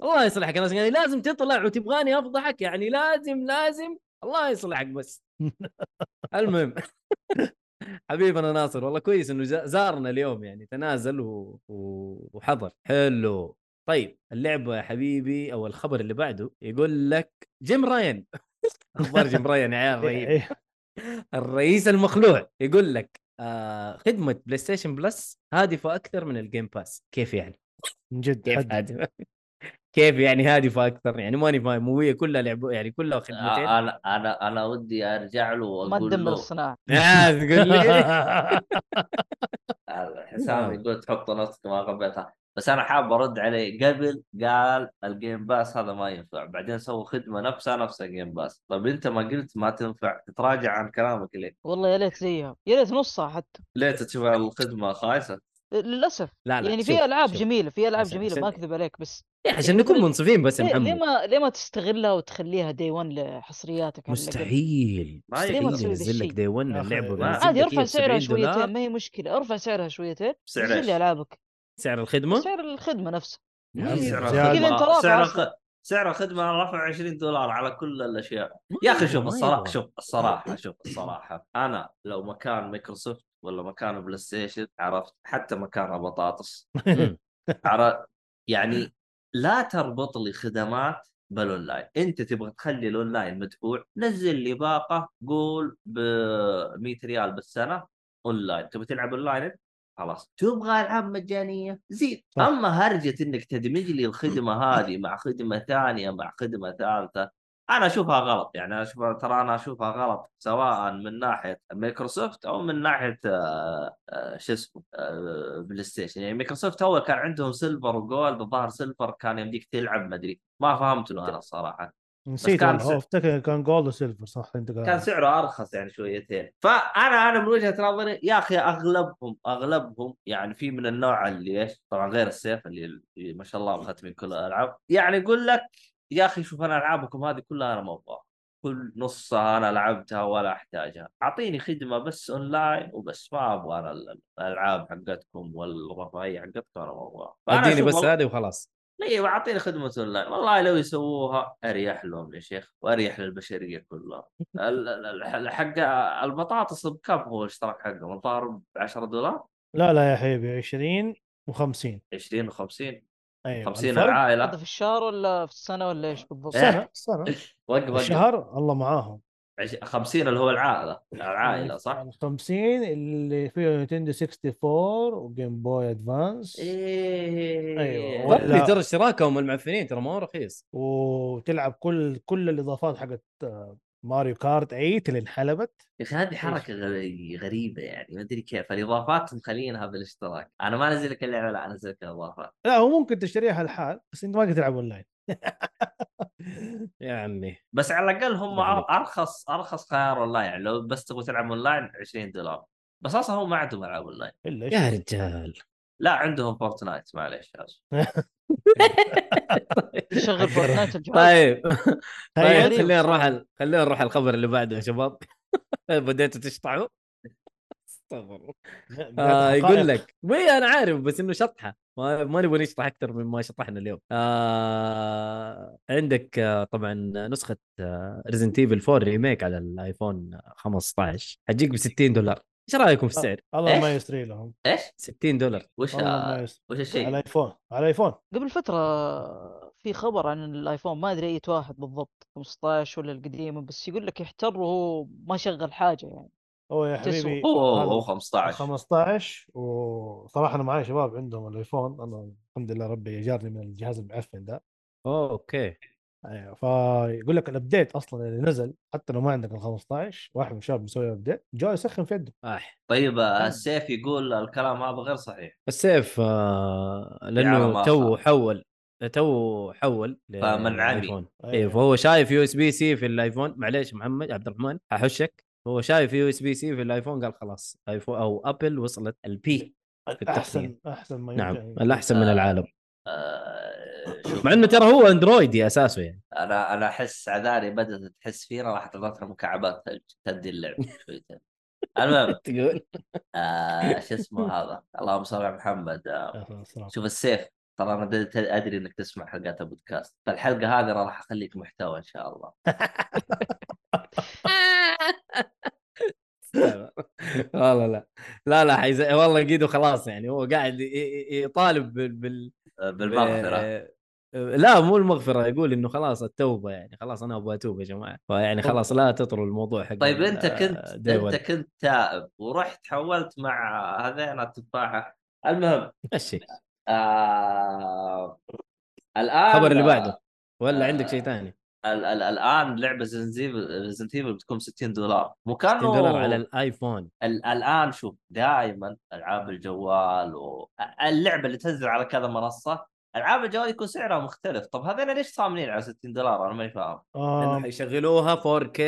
Speaker 2: الله يصلحك يا ناصر يعني لازم تطلع وتبغاني افضحك يعني لازم لازم الله يصلحك
Speaker 1: *laughs*
Speaker 2: بس المهم حبيبنا ناصر والله كويس انه زا- زارنا اليوم يعني تنازل و... و... وحضر حلو طيب اللعبه يا حبيبي او الخبر اللي بعده يقول لك جيم راين *laughs* اخبار جيم راين يا
Speaker 1: *laughs*
Speaker 2: عيال رهيب
Speaker 3: إيه، إيه.
Speaker 2: الرئيس المخلوع يقول لك آه خدمه بلاي ستيشن بلس هادفه اكثر من الجيم باس كيف يعني
Speaker 3: من جد
Speaker 2: كيف
Speaker 3: حد. *laughs*
Speaker 2: هادفه كيف يعني هادفه اكثر يعني ماني فاهم وهي كلها لعبه يعني كلها خدمتين *laughs*
Speaker 1: آه، انا انا انا ودي ارجع له
Speaker 4: ما
Speaker 1: واقول
Speaker 4: تدمر
Speaker 1: له
Speaker 4: الصناعه
Speaker 2: آه
Speaker 1: *laughs*
Speaker 2: تقول لي
Speaker 1: آه، حسام
Speaker 2: نعم.
Speaker 1: يقول تحط نصك ما قبلتها بس انا حاب ارد عليه قبل قال الجيم باس هذا ما ينفع بعدين سووا خدمه نفسها نفس الجيم باس طب انت طيب ما قلت ما تنفع تتراجع عن كلامك ليه؟
Speaker 4: والله يا ليت زيها يا ليت نصها حتى
Speaker 1: ليه تشوف الخدمه خايسه؟
Speaker 4: للاسف
Speaker 2: لا لا
Speaker 4: يعني
Speaker 2: شوف،
Speaker 4: في العاب
Speaker 2: شوف.
Speaker 4: جميله في العاب
Speaker 2: عشان-
Speaker 4: جميله
Speaker 2: عشان-
Speaker 4: ما اكذب عليك بس
Speaker 2: إيه، عشان نكون منصفين بس يا
Speaker 4: ليه, ليه
Speaker 2: محمد
Speaker 4: ما ليه ما تستغلها وتخليها دي 1 لحصرياتك على الأقل؟
Speaker 2: مستحيل
Speaker 1: ما يقدر.
Speaker 2: مستحيل
Speaker 4: يسوي ذا
Speaker 2: ينزل لك
Speaker 4: الشيء.
Speaker 2: دي 1
Speaker 3: يا أخي،
Speaker 2: اللعبه
Speaker 3: ما-
Speaker 2: بينزل
Speaker 4: عادي
Speaker 2: لك
Speaker 4: ارفع
Speaker 2: هي ب
Speaker 4: سعرها
Speaker 2: 70
Speaker 4: شويتين
Speaker 2: دولار.
Speaker 4: ما هي مشكله ارفع سعرها شويتين
Speaker 1: بسعر
Speaker 4: نزل
Speaker 1: ايش؟
Speaker 4: لي العابك
Speaker 2: سعر الخدمه
Speaker 4: سعر الخدمه نفسها
Speaker 2: ما
Speaker 3: يا عمي
Speaker 2: ينزل.
Speaker 1: سعر
Speaker 3: زيادة.
Speaker 4: كذا أنت
Speaker 1: الخدمه
Speaker 4: رافع
Speaker 1: سعر
Speaker 4: أصلاً.
Speaker 1: الخ- سعر الخدمه أنا رافع 20 دولار على كل الاشياء يا اخي شوف
Speaker 2: ما
Speaker 1: الصراحه *laughs*
Speaker 2: يبغى.
Speaker 1: شوف الصراحه شوف الصراحه انا لو مكان مايكروسوفت ولا مكان بلاي ستيشن عرفت حتى مكانها بطاطس
Speaker 2: مم.
Speaker 1: عر- يعني لا تربط لي خدمات بالاونلاين انت تبغى تخلي الاونلاين مدفوع نزل لي باقه قول ب 100 ريال بالسنه اونلاين تبغى تلعب اونلاين خلاص تبغى العاب مجانيه زيد
Speaker 3: صح.
Speaker 1: اما هرجه انك تدمج لي الخدمه هذه مع خدمه ثانيه مع خدمه ثالثه انا اشوفها غلط يعني انا اشوفها ترى انا اشوفها غلط سواء من ناحيه مايكروسوفت او من ناحيه آه، آه، شو اسمه آه، بلاي ستيشن يعني مايكروسوفت اول كان عندهم سيلفر وجولد الظاهر سيلفر كان يمديك تلعب ما ادري ما فهمت له انا الصراحه
Speaker 3: نسيت
Speaker 1: كان
Speaker 3: والله
Speaker 1: س-
Speaker 3: هو افتكر كان جولد وسيلفر صح انت قاعد.
Speaker 1: كان سعره ارخص يعني شويتين فانا انا من وجهه نظري يا اخي اغلبهم اغلبهم يعني في من النوع اللي ايش طبعا غير السيف اللي اللي ما شاء الله مختم من كل الالعاب يعني يقول لك يا اخي شوف انا العابكم هذه كلها انا ما ابغاها كل نصها انا لعبتها ولا احتاجها اعطيني خدمه بس اونلاين وبس ما ابغى انا ال- الالعاب حقتكم والرفاهيه حقتكم انا ما ابغاها فأنا
Speaker 2: اديني
Speaker 1: أشوف
Speaker 2: بس
Speaker 1: والله-
Speaker 2: هذه وخلاص
Speaker 1: ايوه اعطيني خدمه اونلاين والله لو يسووها اريح لهم يا شيخ واريح للبشريه كلها ال- ال- ال- حق البطاطس بكم هو الاشتراك حقهم الظاهر ب 10 دولار
Speaker 3: لا لا يا حبيبي 20 و50
Speaker 1: 20 و50
Speaker 3: ايوه
Speaker 1: 50
Speaker 3: الفرق
Speaker 4: هذا
Speaker 1: العائله
Speaker 4: في الشهر ولا في السنه ولا ايش بالضبط؟
Speaker 1: آه، إيه.
Speaker 3: سنه سنه
Speaker 1: وقف وقف
Speaker 3: الشهر إيه. الله معاهم
Speaker 1: عش- 50 اللي هو العائله العائله صح؟
Speaker 3: 50 اللي فيه نينتندو 64 وجيم بوي ادفانس
Speaker 1: إيه. ايه
Speaker 3: أيوة.
Speaker 1: ولا-
Speaker 3: ولا-
Speaker 2: ولا ترى اشتراكهم المعفنين ترى ما هو رخيص
Speaker 3: وتلعب كل كل الاضافات حقت آه، ماريو كارت 8 اللي انحلبت
Speaker 1: يا اخي هذه حركه غ- غريبه يعني ما ادري كيف الاضافات مخلينها بالاشتراك انا ما نزل لك اللعبه لا انزل لك الاضافات
Speaker 3: لا هو ممكن تشتريها الحال بس انت ما قد تلعب اونلاين
Speaker 2: يا عمي
Speaker 1: بس على الاقل هم
Speaker 2: ما عليك.
Speaker 1: أر- ارخص ارخص خيار اونلاين يعني لو بس تبغى تلعب اونلاين 20 دولار بس اصلا هم ما عندهم العاب اونلاين
Speaker 3: الا ايش
Speaker 2: يا رجال
Speaker 1: لا عندهم فورتنايت معليش آسف.
Speaker 4: يشغل فورتنايت الجهاز
Speaker 2: طيب
Speaker 3: تخيل.
Speaker 2: طيب خلينا نروح ال- خلينا نروح الخبر اللي بعده يا شباب *laughs* بديتوا تشطحوا *laughs* استغفر الله آه يقول لك وي انا عارف بس انه شطحه ما ما نبغى نشطح اكثر مما شطحنا اليوم آه عندك آه طبعا نسخه آه ريزنت ايفل 4 ريميك على الايفون 15 حتجيك ب 60 دولار ايش رايكم في
Speaker 1: آه.
Speaker 2: السعر؟
Speaker 3: الله ما
Speaker 1: إيش؟
Speaker 3: يسري لهم
Speaker 1: ايش
Speaker 2: 60 دولار
Speaker 1: وش
Speaker 3: والله ما
Speaker 1: آه،
Speaker 3: يس-
Speaker 1: وش
Speaker 3: على
Speaker 1: الشيء
Speaker 3: الايفون على الايفون
Speaker 4: قبل فتره في خبر عن الايفون ما ادري اي واحد بالضبط 15 ولا القديم بس يقول لك يحتر وهو ما شغل حاجه
Speaker 2: *laughs*
Speaker 4: يعني
Speaker 3: هو يا
Speaker 4: تسوى.
Speaker 3: حبيبي
Speaker 1: اوه
Speaker 3: هذا
Speaker 1: أوه، 15
Speaker 3: 15 وصراحه انا معي شباب عندهم الايفون انا الحمد لله ربي اجارني من الجهاز المعفن ده
Speaker 2: اوكي
Speaker 3: ايوه فيقول لك الابديت اصلا اللي نزل حتى لو ما عندك ال 15 واحد من الشباب مسوي ابديت جاء يسخن في يده
Speaker 2: اح
Speaker 1: طيب آه، السيف يقول الكلام هذا غير صحيح
Speaker 2: السيف آه
Speaker 1: يا ما
Speaker 2: لانه تو حول تو حول
Speaker 1: فمنعني.
Speaker 2: للايفون
Speaker 3: آه،
Speaker 1: إيه،
Speaker 2: ايه فهو شايف يو اس بي سي في الايفون معليش محمد عبد الرحمن احشك هو شايف يو اس بي سي في الايفون قال خلاص ايفون او ابل وصلت *laughs* البي
Speaker 3: احسن احسن يعني ما
Speaker 2: نعم
Speaker 3: يمكن
Speaker 2: الاحسن من
Speaker 1: آه.
Speaker 2: العالم
Speaker 1: آه، شوف
Speaker 2: مع انه ترى هو اندرويدي اساسه يعني
Speaker 1: انا انا احس عذاري بدات تحس فينا راح تضغطنا مكعبات ثلج تدي
Speaker 3: *laughs*
Speaker 1: اللعب شويتين المهم
Speaker 2: *laughs* تقول
Speaker 1: آه، شو اسمه هذا اللهم صل على محمد آه،
Speaker 3: أهلاً وسهلاً.
Speaker 1: شوف السيف ترى انا د- ت- ادري انك تسمع حلقات البودكاست فالحلقه هذه أنا راح اخليك محتوى ان شاء الله
Speaker 2: والله لا لا لا حيز... والله قيده خلاص يعني هو قاعد ي- ي- يطالب بال... بال...
Speaker 1: آه، بالمغفره
Speaker 2: لا مو المغفره يقول انه خلاص التوبه يعني خلاص انا ابغى اتوب يا جماعه فيعني خلاص لا تطروا الموضوع حق
Speaker 1: طيب انت
Speaker 2: ال-
Speaker 1: كنت
Speaker 2: آه، day
Speaker 1: انت
Speaker 2: one.
Speaker 1: كنت تائب ورحت حولت مع هذين التفاحه المهم
Speaker 2: ماشي
Speaker 1: آه... الان
Speaker 2: الخبر اللي بعده ولا
Speaker 1: آه،
Speaker 2: عندك شيء ثاني
Speaker 1: ال- ال- الان لعبه ريزنت ايفل بتكون 60 دولار وكانوا
Speaker 2: 60 دولار على الايفون
Speaker 1: ال- الان شوف دائما العاب الجوال و... اللعبه اللي تنزل على كذا منصه العاب الجوال يكون سعرها مختلف طب هذين ليش صاملين على 60 دولار انا ماني فاهم
Speaker 2: لانه
Speaker 3: آم،
Speaker 2: حيشغلوها 4K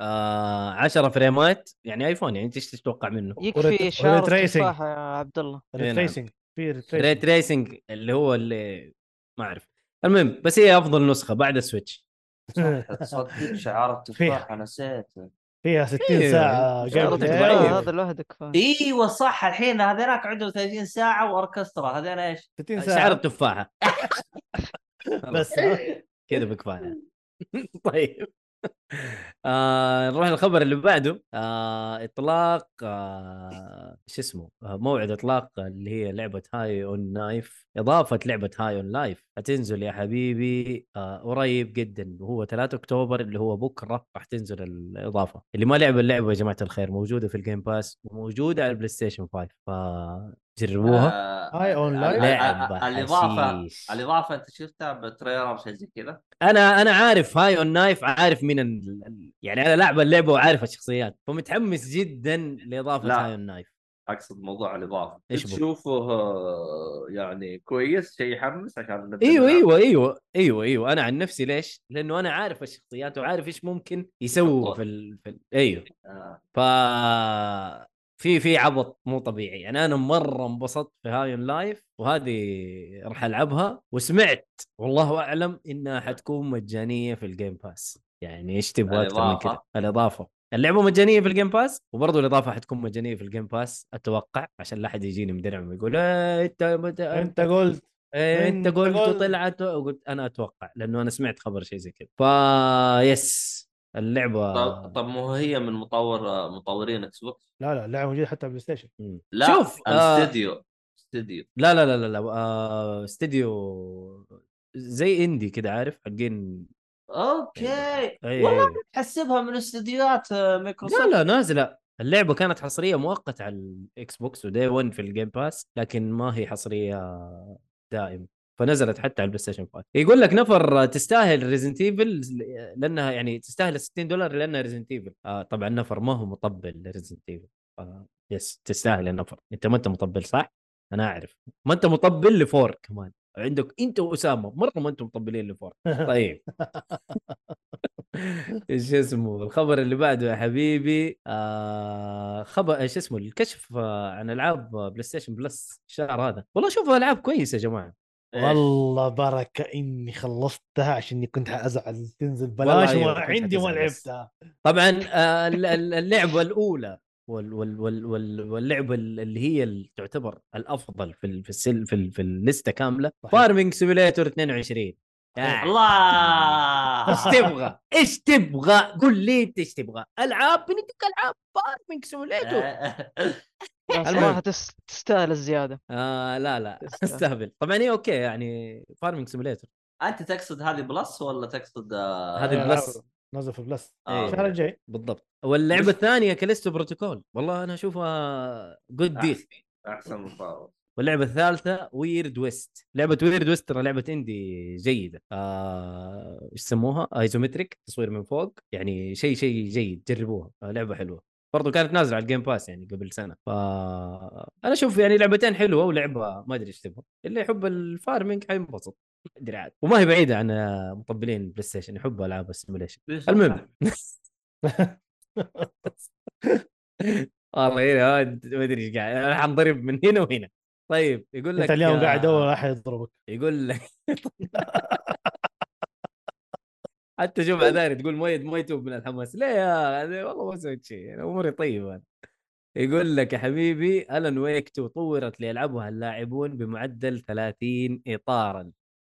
Speaker 2: آه 10 فريمات يعني ايفون يعني انت ايش تتوقع منه؟
Speaker 3: وريت-
Speaker 4: يكفي
Speaker 3: وريت
Speaker 4: شهر
Speaker 3: ريسنج.
Speaker 4: تفاحه يا عبد الله
Speaker 2: نعم.
Speaker 3: ريتريسنج في ريتريسنج
Speaker 2: ريت ريسنج اللي هو اللي ما اعرف المهم بس هي افضل نسخه بعد السويتش
Speaker 1: صح،
Speaker 2: *laughs*
Speaker 1: تصدق شعار التفاح نسيت
Speaker 3: *laughs*
Speaker 1: إيه،
Speaker 3: فيها 60
Speaker 1: يعني
Speaker 2: إيوه،
Speaker 3: ساعه
Speaker 2: أنت
Speaker 3: جيم
Speaker 2: شعرتك
Speaker 3: بلاي.
Speaker 2: ضعيف.
Speaker 4: هذا لوحده
Speaker 2: إيه،
Speaker 4: كفايه
Speaker 1: ايوه صح الحين هذيناك عندهم 30 ساعه واوركسترا هذين ايش؟
Speaker 3: 60
Speaker 2: شعر
Speaker 3: ساعه
Speaker 2: التفاحه
Speaker 3: بس آه.
Speaker 1: *laughs*
Speaker 2: كذا بكفايه طيب آه نروح للخبر اللي بعده آه اطلاق آه شو اسمه آه موعد اطلاق اللي هي لعبه هاي اون نايف اضافه لعبه هاي اون لايف حتنزل يا حبيبي آه قريب جدا وهو 3 اكتوبر اللي هو بكره راح تنزل الاضافه اللي ما لعب اللعبه يا جماعه الخير موجوده في الجيم باس وموجوده على البلاي ستيشن 5 فجربوها
Speaker 1: آه،
Speaker 3: هاي اون لايف
Speaker 1: لا.
Speaker 2: لعبه
Speaker 1: الإضافة-
Speaker 2: حشيش.
Speaker 1: الاضافه انت شفتها بتريلر او شيء زي كذا
Speaker 2: انا انا عارف هاي اون نايف عارف مين ال... ال- يعني انا لاعب اللعبه وعارف الشخصيات فمتحمس جدا لاضافه
Speaker 1: لا.
Speaker 2: هاي اون نايف
Speaker 1: اقصد موضوع الاضافه
Speaker 2: إيش بو؟
Speaker 1: تشوفه آه، يعني كويس شيء يحمس عشان نبدأ
Speaker 2: ايوه
Speaker 1: نلعب.
Speaker 2: ايوه ايوه ايوه ايوه انا عن نفسي ليش؟ لانه انا عارف الشخصيات وعارف ايش ممكن يسووا
Speaker 1: بالضبط.
Speaker 2: في, ال... في ال... ايوه
Speaker 1: آه،
Speaker 2: ف في في عبط مو طبيعي يعني انا مره انبسطت في هاي اون لايف وهذه راح العبها وسمعت والله اعلم انها حتكون مجانيه في الجيم باس يعني ايش تبغى اكثر من
Speaker 1: الإضافة.
Speaker 2: كذا الاضافه اللعبه مجانيه في الجيم باس وبرضه الاضافه حتكون مجانيه في الجيم باس اتوقع عشان لا احد يجيني مدرعم ويقول إيه، انت انت
Speaker 3: انت قلت
Speaker 2: إيه انت
Speaker 3: أنت
Speaker 2: قلت
Speaker 3: قلت.
Speaker 2: وطلعت وقلت انا اتوقع لانه انا سمعت خبر شيء زي كذا فا يس اللعبه
Speaker 1: طب طب مو هي من مطور آه، مطورين اكس بوكس
Speaker 3: لا لا اللعبه موجوده حتى على البلاي ستيشن
Speaker 2: مم.
Speaker 1: لا
Speaker 2: شوف آه،
Speaker 1: الاستديو استديو
Speaker 2: لا لا لا لا, لا. آه، استديو زي اندي كده عارف حقين
Speaker 1: اوكي
Speaker 2: أي
Speaker 1: والله
Speaker 2: أي.
Speaker 1: تحسبها من استديوهات آه، مايكروسوفت
Speaker 2: لا لا نازله اللعبه كانت حصريه مؤقته على الاكس بوكس ودي 1 في الجيم باس لكن ما هي حصريه دائم فنزلت حتى على البلاي ستيشن 5 يقول لك نفر آه، تستاهل ريزنت ايفل لانها يعني تستاهل 60 دولار لانها ريزنت ايفل آه طبعا نفر ما هو مطبل لريزنت ايفل آه يس تستاهل يا نفر انت ما انت مطبل صح؟ انا اعرف ما انت مطبل لفور كمان عندك انت واسامه مره ما انتم مطبلين لفور طيب *laughs* ايش اسمه الخبر اللي بعده يا حبيبي آه خبر ايش اسمه الكشف آه، عن العاب بلاي ستيشن بلس الشهر هذا والله شوفوا العاب كويسه يا جماعه
Speaker 1: إيش؟
Speaker 3: والله بركه اني خلصتها عشان كنت حازعل تنزل
Speaker 2: والله
Speaker 3: بلاش
Speaker 2: أيوة،
Speaker 3: وما
Speaker 2: كنت
Speaker 3: عندي وما
Speaker 2: حتزعل بس.
Speaker 3: لعبتها
Speaker 2: طبعا آه، ال- ال- اللعبه الاولى وال وال وال وال واللعبه ال- اللي هي ال- تعتبر الافضل في ال- في السل في, ال- في اللسته كامله
Speaker 3: صحيح.
Speaker 2: فارمنج سيميليتور 22 آه، ايش
Speaker 1: *laughs* الله
Speaker 2: تبغى؟ ايش تبغى؟ قول لي انت ايش تبغى؟ العاب بنديك العاب فارمنج سيميليتور
Speaker 4: لا،
Speaker 2: المهم.
Speaker 4: صراحه تس- تستاهل الزياده
Speaker 2: آه لا لا *laughs*
Speaker 4: تستاهل.
Speaker 2: استهبل طبعا هي اوكي يعني فارمنج سيميليتر
Speaker 1: انت تقصد هذه بلس ولا تقصد آه،
Speaker 2: هذه
Speaker 3: أنا
Speaker 2: البلس
Speaker 3: نزل في بلس
Speaker 1: آه،
Speaker 3: الشهر الجاي
Speaker 2: بالضبط واللعبه
Speaker 1: بس-
Speaker 2: الثانيه كاليستو بروتوكول والله انا اشوفها جود ديل
Speaker 1: احسن مطور
Speaker 2: واللعبه الثالثه ويرد ويست لعبه ويرد ويست ترى لعبه اندي جيده آه، ايش يسموها ايزومتريك تصوير من فوق يعني شيء شيء جيد جربوها آه، لعبه حلوه برضو كانت نازله على الجيم باس يعني قبل سنه ف انا اشوف يعني لعبتين حلوه ولعبه ما ادري ايش تبغى اللي يحب الفارمنج حينبسط ما ادري عاد وما هي بعيده عن آه، مطبلين بلاي ستيشن يحبوا العاب السيموليشن المهم *laughs* والله هنا ما ادري ايش قاعد أنا حنضرب من هنا وهنا طيب يقول لك
Speaker 3: انت اليوم
Speaker 2: آه،
Speaker 3: قاعد اول احد يضربك
Speaker 2: يقول
Speaker 3: *laughs*
Speaker 2: لك حتى شوف عذاري تقول مؤيد ما يتوب من الحماس ليه يا أخي؟ والله ما سويت شيء أنا اموري طيبه انا يقول لك يا حبيبي الن ويك 2 طورت ليلعبها اللاعبون بمعدل 30 اطارا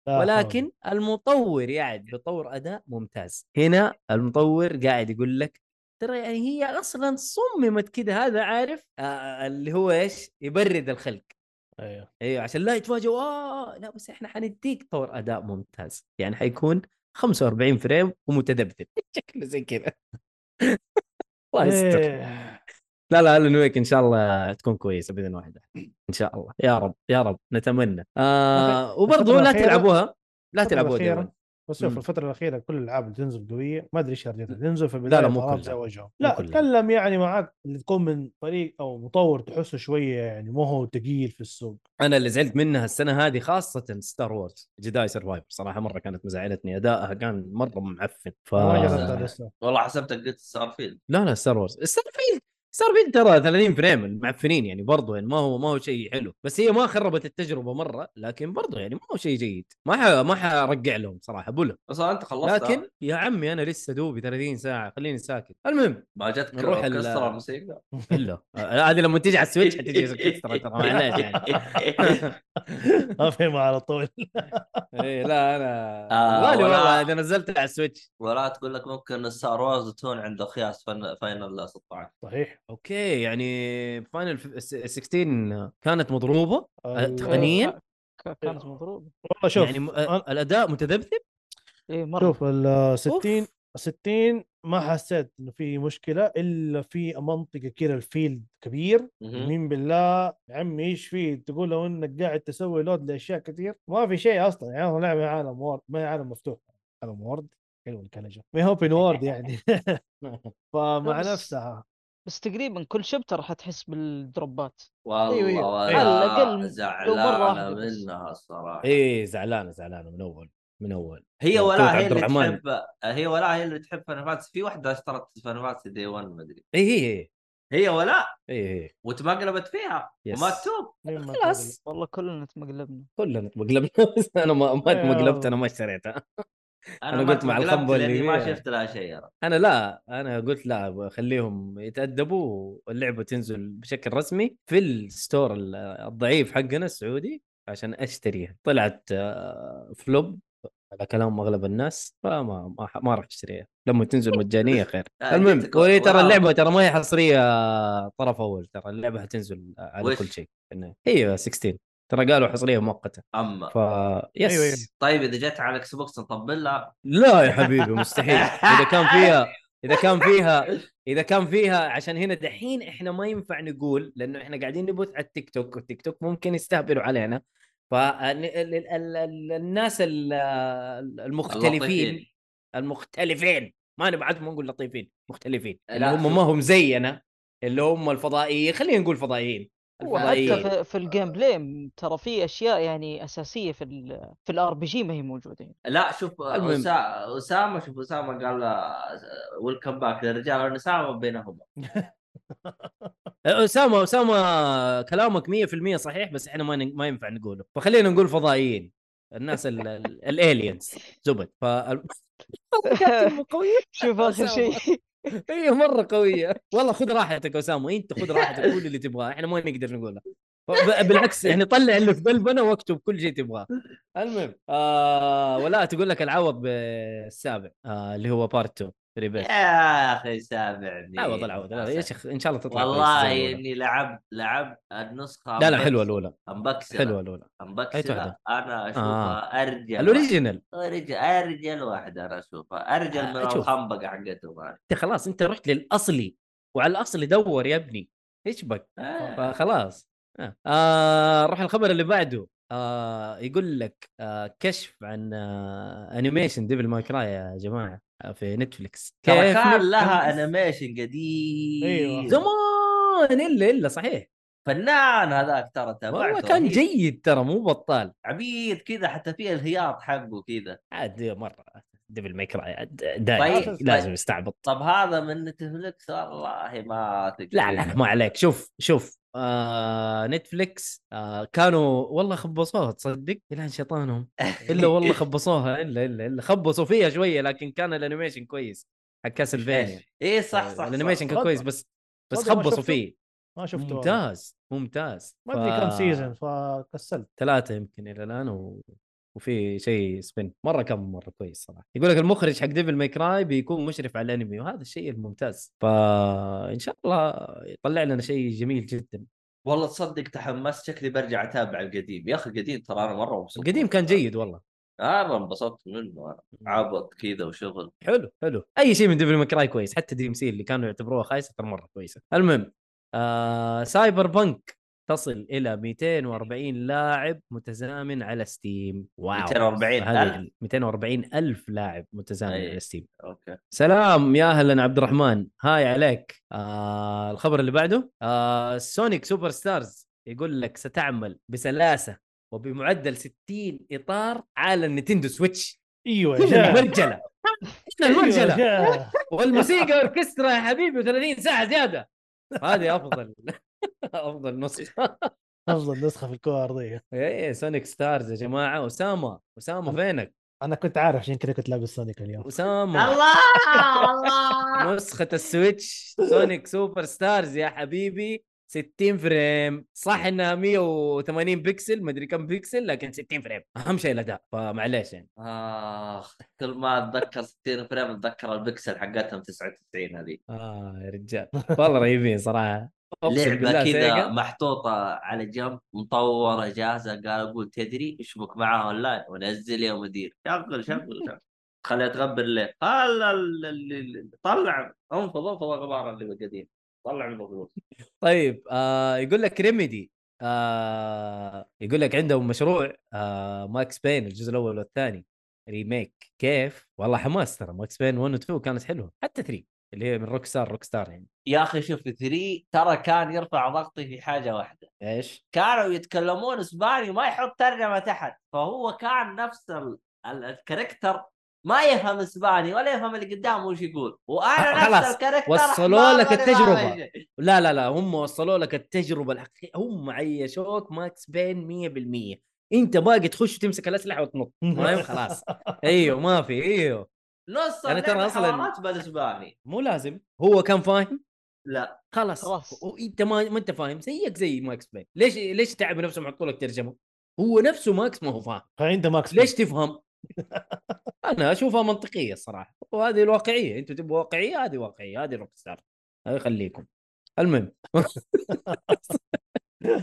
Speaker 3: لا حول.
Speaker 2: ولكن المطور يعد بطور اداء ممتاز هنا المطور قاعد يقول لك ترى يعني هي اصلا صممت كده هذا عارف آه، اللي هو ايش يبرد الخلق
Speaker 3: ايوه
Speaker 2: ايوه عشان لا يتفاجئوا اه لا بس احنا حنديك طور اداء ممتاز يعني حيكون 45 فريم ومتذبذب *laughs* شكله زي كذا *laughs* الله يستر
Speaker 3: إيه.
Speaker 2: لا لا الن ويك ان شاء الله تكون كويسه باذن واحده ان شاء الله يا رب يا رب نتمنى آه وبرضه
Speaker 3: الفترة
Speaker 2: لا
Speaker 3: الأخيرة-
Speaker 2: تلعبوها لا
Speaker 3: الفترة
Speaker 2: تلعبوها
Speaker 3: الأخيرة
Speaker 2: دايما
Speaker 3: بس شوف
Speaker 2: مم.
Speaker 3: الفترة الأخيرة كل الألعاب اللي تنزل قوية ما أدري ايش هرجتها تنزل في
Speaker 2: لا،
Speaker 3: البداية
Speaker 2: مو
Speaker 3: ضرب
Speaker 2: كلها.
Speaker 3: زي وجهه
Speaker 2: مو
Speaker 3: لا
Speaker 2: كلها.
Speaker 3: تكلم يعني معك اللي تكون من فريق أو مطور تحسه شوية يعني مو هو ثقيل في السوق
Speaker 2: انا اللي زعلت منها السنه هذه خاصه ستار وورز جداي سرفايفر صراحه مره كانت مزعلتني ادائها كان مره معفن ف
Speaker 3: ما
Speaker 1: آه.
Speaker 3: جربتها لسه *laughs*
Speaker 1: والله حسبتك قلت ستار فيلد
Speaker 2: لا لا ستار وورز ستار فيلد صار بين ترى 30 فريم المعفنين يعني برضو يعني ما هو ما هو شيء حلو بس هي ما خربت التجربه مره لكن برضو يعني ما هو شيء جيد ما ح... ما حرجع لهم صراحه بلهم
Speaker 1: اصلا انت خلصت آه،
Speaker 2: لكن يا عمي انا لسه دوبي 30 ساعه خليني ساكت المهم
Speaker 1: ما جتك
Speaker 2: نروح ال-
Speaker 1: كسر الموسيقى
Speaker 2: الا هذه لما تيجي على
Speaker 1: *laughs*
Speaker 2: السويتش حتجي اوركسترا ترى معليش يعني *laughs*
Speaker 3: افهمها على طول
Speaker 2: إيه لا انا
Speaker 1: آه،
Speaker 2: غالي
Speaker 1: ولا-
Speaker 2: والله اذا نزلتها على السويتش
Speaker 1: *laughs* ولا تقول لك ممكن ستار وورز تكون عند اخياس فن- فاينل 16
Speaker 3: صحيح
Speaker 2: اوكي يعني فاينل 16 كانت مضروبه
Speaker 3: ال-
Speaker 2: تقنياً؟
Speaker 4: ك- كانت
Speaker 2: إيه.
Speaker 4: مضروبه
Speaker 3: والله شوف
Speaker 2: أه، يعني م...
Speaker 3: أنا-
Speaker 2: الاداء متذبذب
Speaker 4: اي مره
Speaker 3: شوف ال 60
Speaker 2: أوف.
Speaker 3: 60 ما حسيت انه في مشكله الا في منطقه كده الفيلد كبير
Speaker 1: مهم.
Speaker 3: يمين بالله يا عمي ايش فيه تقول لو انك قاعد تسوي لود لاشياء كثير ما في شيء اصلا يعني هو لعبه عالم وورد ما هي عالم مفتوح عالم وورد حلو الكلجه ما هي اوبن
Speaker 2: *laughs*
Speaker 3: وورد يعني *laughs* فمع
Speaker 4: بس-
Speaker 3: نفسها
Speaker 4: بس تقريبا كل شبتر حتحس بالدروبات
Speaker 3: أيوة، أيوة.
Speaker 1: والله
Speaker 3: أيوة.
Speaker 4: على
Speaker 1: ولا
Speaker 4: الأقل لو مرة
Speaker 1: زعلانه
Speaker 4: واحدة بس.
Speaker 1: منها الصراحه
Speaker 2: ايه زعلانه زعلانه من اول من اول
Speaker 1: هي
Speaker 2: مقطوع
Speaker 1: ولا هي
Speaker 2: عبد
Speaker 1: اللي
Speaker 2: الرحمن.
Speaker 1: تحب هي ولا هي اللي تحب فانفاتس في واحده اشترت فانفاتس دي 1 ما ادري
Speaker 2: ايه ايه
Speaker 1: هي ولا
Speaker 2: ايه ايه
Speaker 1: وتمقلبت فيها
Speaker 2: يس.
Speaker 1: وما تتوب
Speaker 3: لما
Speaker 2: خلاص
Speaker 4: والله كلنا تمقلبنا
Speaker 2: كلنا تمقلبنا انا ما ما تمقلبت انا ما اشتريتها أنا
Speaker 1: ما
Speaker 2: قلت مع
Speaker 1: تمقلبت
Speaker 2: الخنبة اللي
Speaker 1: لاني ما
Speaker 2: فيها.
Speaker 1: شفت لها شيء أنا.
Speaker 2: انا لا انا قلت لا خليهم يتادبوا واللعبه تنزل بشكل رسمي في الستور ال- الضعيف حقنا السعودي عشان اشتريها طلعت آه، فلوب على كلام اغلب الناس فما ما, ما راح اشتريها لما تنزل مجانيه خير
Speaker 1: آه،
Speaker 2: المهم
Speaker 1: جبتك
Speaker 2: وهي ترى
Speaker 1: وراها.
Speaker 2: اللعبه ترى ما هي حصريه طرف اول ترى اللعبه حتنزل على
Speaker 1: وش؟
Speaker 2: كل شيء إنه- هي 16 ترى قالوا حصريه مؤقته
Speaker 1: اما
Speaker 2: ف يس
Speaker 3: أيوة.
Speaker 1: طيب اذا جت على اكس بوكس نطبل لها
Speaker 2: لا يا حبيبي مستحيل اذا كان فيها اذا كان فيها اذا كان فيها عشان هنا دحين احنا ما ينفع نقول لانه احنا قاعدين نبث على التيك توك والتيك توك ممكن يستهبلوا علينا فالناس المختلفين
Speaker 1: اللطيفين.
Speaker 2: المختلفين ما نبعدهم نقول لطيفين مختلفين
Speaker 1: لا،
Speaker 2: اللي هم
Speaker 1: شوف.
Speaker 2: ما هم زينا اللي هم الفضائيين خلينا نقول فضائيين
Speaker 4: وحتى
Speaker 2: الفضائيين
Speaker 4: في, في الجيم بلاي ترى في اشياء يعني اساسيه في ال في الار بي جي ما هي موجوده يعني.
Speaker 1: لا شوف
Speaker 2: المهم.
Speaker 1: أسا- اسامه شوف اسامه قال ويلكم باك للرجال والنساء بينهما
Speaker 2: اسامه اسامه أه، كلامك 100% صحيح بس احنا ما ن- ما ينفع نقوله فخلينا نقول فضائيين الناس ال- ال- الالينز زبد ف قويه
Speaker 4: شوف اخر شيء
Speaker 2: *laughs* هي مره قويه إيه، والله خذ راحتك يا اسامه انت خذ راحتك قول اللي تبغاه احنا ما نقدر نقوله ف- ب- بالعكس يعني طلع اللي في قلبنا واكتب كل شيء تبغاه المهم آه ولا تقول لك العوض بالسابع آه اللي هو بارت 2 ريبيرث
Speaker 1: يا اخي سامعني
Speaker 2: عوض العوض لا، يا شيخ ان شاء الله تطلع كويسة زي
Speaker 1: والله
Speaker 2: الأولى.
Speaker 1: اني لعبت لعبت النسخه
Speaker 2: لا لا حلوه الاولى
Speaker 1: انبكسله
Speaker 2: حلوه الاولى أي آه.
Speaker 1: انبكسله
Speaker 2: واحدة؟
Speaker 1: انا اشوفها ارجل واحدة.
Speaker 2: الاوريجينال
Speaker 1: ارجل ارجل واحده انا اشوفها ارجل من
Speaker 2: آه، شوف.
Speaker 1: الخنبقه حقتهم هذه.
Speaker 2: انت خلاص انت رحت للاصلي وعلى الاصلي دور يا ابني ايش بك
Speaker 1: آه.
Speaker 2: فخلاص آه. آه روح الخبر اللي بعده آه يقول لك آه كشف عن آه انيميشن ديفل ماي كراي يا جماعه آه، في نتفلكس
Speaker 1: ترى كان لها
Speaker 2: نتفليكس؟
Speaker 1: انيميشن قديم
Speaker 3: أيوة.
Speaker 2: زمان الا الا صحيح
Speaker 1: فنان هذاك ترى
Speaker 2: والله
Speaker 1: تابعته
Speaker 2: كان
Speaker 1: رهيب.
Speaker 2: جيد ترى مو بطال
Speaker 1: عبيد كذا حتى فيه الهياط حقه كذا
Speaker 2: عاد مره ديفل ماي كراي عاد دايم
Speaker 1: طيب،
Speaker 2: لازم
Speaker 1: طيب.
Speaker 2: يستعبط
Speaker 1: طب هذا من نتفلكس والله ما تقدر
Speaker 2: لا لا ما عليك شوف شوف آه نتفليكس آه كانوا والله خبصوها تصدق الى شيطانهم الا
Speaker 1: *laughs*
Speaker 3: *laughs*
Speaker 2: والله خبصوها الا الا الا خبصوا فيها شويه لكن كان الانيميشن كويس حق كاسلفينيا
Speaker 1: اي إيه، صح صح
Speaker 2: الانيميشن
Speaker 1: صح.
Speaker 2: كان كويس بس بس
Speaker 3: صدق ما
Speaker 2: خبصوا
Speaker 3: شفته.
Speaker 2: فيه
Speaker 3: ما شفته والله.
Speaker 2: ممتاز ممتاز
Speaker 3: ما ادري كم سيزون فكسلت
Speaker 2: ثلاثة يمكن الى الان و... وفي شيء سبين مره كان مره كويس صراحه يقول لك المخرج حق ديفل ماي كراي بيكون مشرف على الانمي وهذا الشيء الممتاز فان شاء الله يطلع لنا شيء جميل جدا
Speaker 1: والله تصدق تحمست شكلي برجع اتابع القديم يا اخي القديم ترى انا مره مبسوط
Speaker 2: القديم كان جيد والله
Speaker 1: مره انبسطت منه انا عبط كذا وشغل
Speaker 2: حلو حلو اي شيء من ديفل ماكراي كويس حتى دي ام سي اللي كانوا يعتبروها خايسه ترى مره كويسه المهم آه سايبر بنك تصل الى 240 لاعب متزامن على ستيم واو
Speaker 1: 240
Speaker 2: هذه
Speaker 1: ألف.
Speaker 2: 240 الف لاعب متزامن
Speaker 1: أي.
Speaker 2: على ستيم
Speaker 1: اوكي
Speaker 2: سلام يا اهلا عبد الرحمن هاي عليك آه الخبر اللي بعده آه سونيك سوبر ستارز يقول لك ستعمل بسلاسه وبمعدل 60 اطار على النينتندو سويتش
Speaker 3: *laughs* ايوه يا
Speaker 2: احنا
Speaker 3: شباب.
Speaker 2: المرجله احنا
Speaker 3: أيوة يا
Speaker 2: المرجله
Speaker 3: شباب.
Speaker 2: والموسيقى اوركسترا يا حبيبي 30 ساعه زياده هذه *laughs* افضل افضل نسخه
Speaker 3: افضل نسخه في الكره الارضيه
Speaker 2: ايه سونيك ستارز يا جماعه اسامه اسامه فينك
Speaker 3: انا كنت عارف عشان كذا كنت لابس سونيك اليوم
Speaker 2: اسامه
Speaker 5: الله الله
Speaker 2: نسخه السويتش سونيك سوبر ستارز يا حبيبي 60 فريم صح انها 180 بكسل مدري كم بكسل لكن 60 فريم اهم شيء الاداء فمعليش يعني
Speaker 1: اخ كل ما اتذكر 60 فريم اتذكر البكسل حقتهم 99 هذه
Speaker 2: اه يا رجال والله رهيبين صراحه أقسم بالله
Speaker 1: لعبه كذا
Speaker 2: سيجا.
Speaker 1: محطوطه على جنب مطوره جاهزه قال اقول تدري اشبك معاها اونلاين ونزل يا مدير شغل شغل شغل خليها تغبر ليه هلا ال- ال- ال- طلع انفض انفض الغبار اللي بالقديم طلع المظلوم
Speaker 2: طيب آه يقول لك ريميدي آه يقول لك عندهم مشروع آه ماكس بين الجزء الاول والثاني ريميك كيف؟ والله حماس ترى ماكس بين 1 و 2 كانت حلوه حتى 3 اللي هي من روك ستار روك ستار يعني
Speaker 1: يا اخي شوف 3 ترى كان يرفع ضغطي في حاجه واحده
Speaker 2: ايش؟
Speaker 1: كانوا يتكلمون اسباني ما يحط ترجمه تحت فهو كان نفس ال- ال- الكاركتر ما يفهم اسباني ولا يفهم اللي قدامه وش يقول وانا
Speaker 2: خلاص،
Speaker 1: نفس الكاركتر
Speaker 2: وصلوا
Speaker 1: أحمر
Speaker 2: لك
Speaker 1: ولا
Speaker 2: التجربة.
Speaker 1: فاهم شيء.
Speaker 2: لا لا لا هم وصلوا لك التجربه الحقيقيه هم عيشوك ماكس بين 100% انت باقي تخش وتمسك الاسلحه وتنط فاهم طيب، خلاص ايوه ما في ايوه
Speaker 1: نص
Speaker 2: يعني
Speaker 1: يعني
Speaker 2: ترى
Speaker 1: ترى
Speaker 2: أصلاً-
Speaker 1: اصلا حوارات بالاسباني
Speaker 2: مو لازم هو كان فاهم
Speaker 1: لا
Speaker 2: خلاص
Speaker 4: خلاص.
Speaker 2: وانت ما ما انت فاهم زيك زي ماكس بين ليش ليش تعب نفسه محطوا لك ترجمه هو نفسه ماكس ما هو فاهم
Speaker 3: عنده ماكس
Speaker 2: ليش تفهم انا اشوفها منطقيه الصراحه وهذه الواقعيه انتم تبغوا واقعيه هذه واقعيه هذه روك ستار هذه خليكم المهم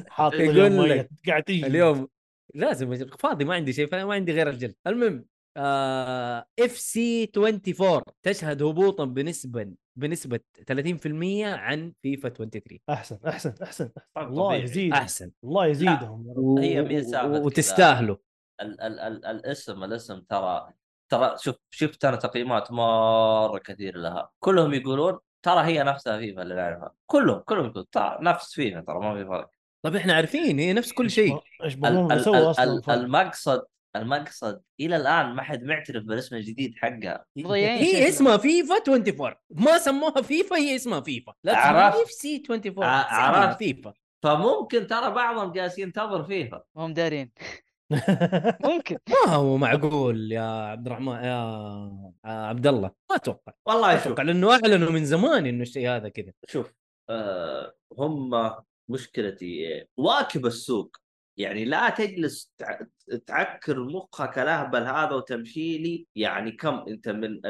Speaker 3: حاط
Speaker 1: إيه،
Speaker 2: يقول
Speaker 3: اليوم ميت،
Speaker 2: لك
Speaker 3: قاعد تيجي
Speaker 2: اليوم لازم أجل- فاضي ما عندي شيء فانا ما عندي غير الجلد المهم آه، اف سي 24 تشهد هبوطا بنسبه بنسبه 30% عن فيفا 23
Speaker 3: احسن احسن احسن
Speaker 1: طبعاً
Speaker 3: الله
Speaker 1: طيب. طبيعي.
Speaker 3: يزيد
Speaker 2: احسن
Speaker 3: الله يزيدهم يا رب.
Speaker 2: و-
Speaker 1: هي
Speaker 2: و-
Speaker 1: بيساعدك إذا-
Speaker 2: وتستاهلوا
Speaker 1: ال ال ال الاسم الاسم ترى ترى شوف شفت انا تقييمات مره كثير لها كلهم يقولون ترى هي نفسها فيفا اللي نعرفها كلهم كلهم يقولون ترى نفس فيفا ترى ما في فرق
Speaker 2: طب احنا عارفين هي نفس كل شيء
Speaker 3: ايش
Speaker 1: إيه. ال-
Speaker 3: بقولهم
Speaker 1: ال-
Speaker 3: يسووا
Speaker 1: ال-
Speaker 3: اصلا
Speaker 1: ال- المقصد المقصد الى الان ما حد معترف بالاسم الجديد حقها
Speaker 2: *laughs*
Speaker 4: مضيعين شيء
Speaker 2: هي
Speaker 4: في
Speaker 2: اسمها فيفا 24 ما سموها فيفا هي اسمها فيفا لا
Speaker 1: عرفت.
Speaker 2: اف سي 24
Speaker 1: ع-
Speaker 2: سموها
Speaker 1: عرفت.
Speaker 2: فيفا
Speaker 1: فممكن ترى بعضهم جالس ينتظر فيفا
Speaker 2: إيه.
Speaker 4: ما هم دارين
Speaker 3: *laughs*
Speaker 4: ممكن
Speaker 2: ما هو معقول يا عبد الرحمن يا آه، عبد الله ما اتوقع
Speaker 1: والله شوف
Speaker 2: اتوقع لانه اعلنوا من زمان انه الشيء هذا كذا
Speaker 1: شوف آه هم مشكلتي إيه؟ واكب السوق يعني لا تجلس تع- تعكر مخك الاهبل هذا وتمشي لي يعني كم انت من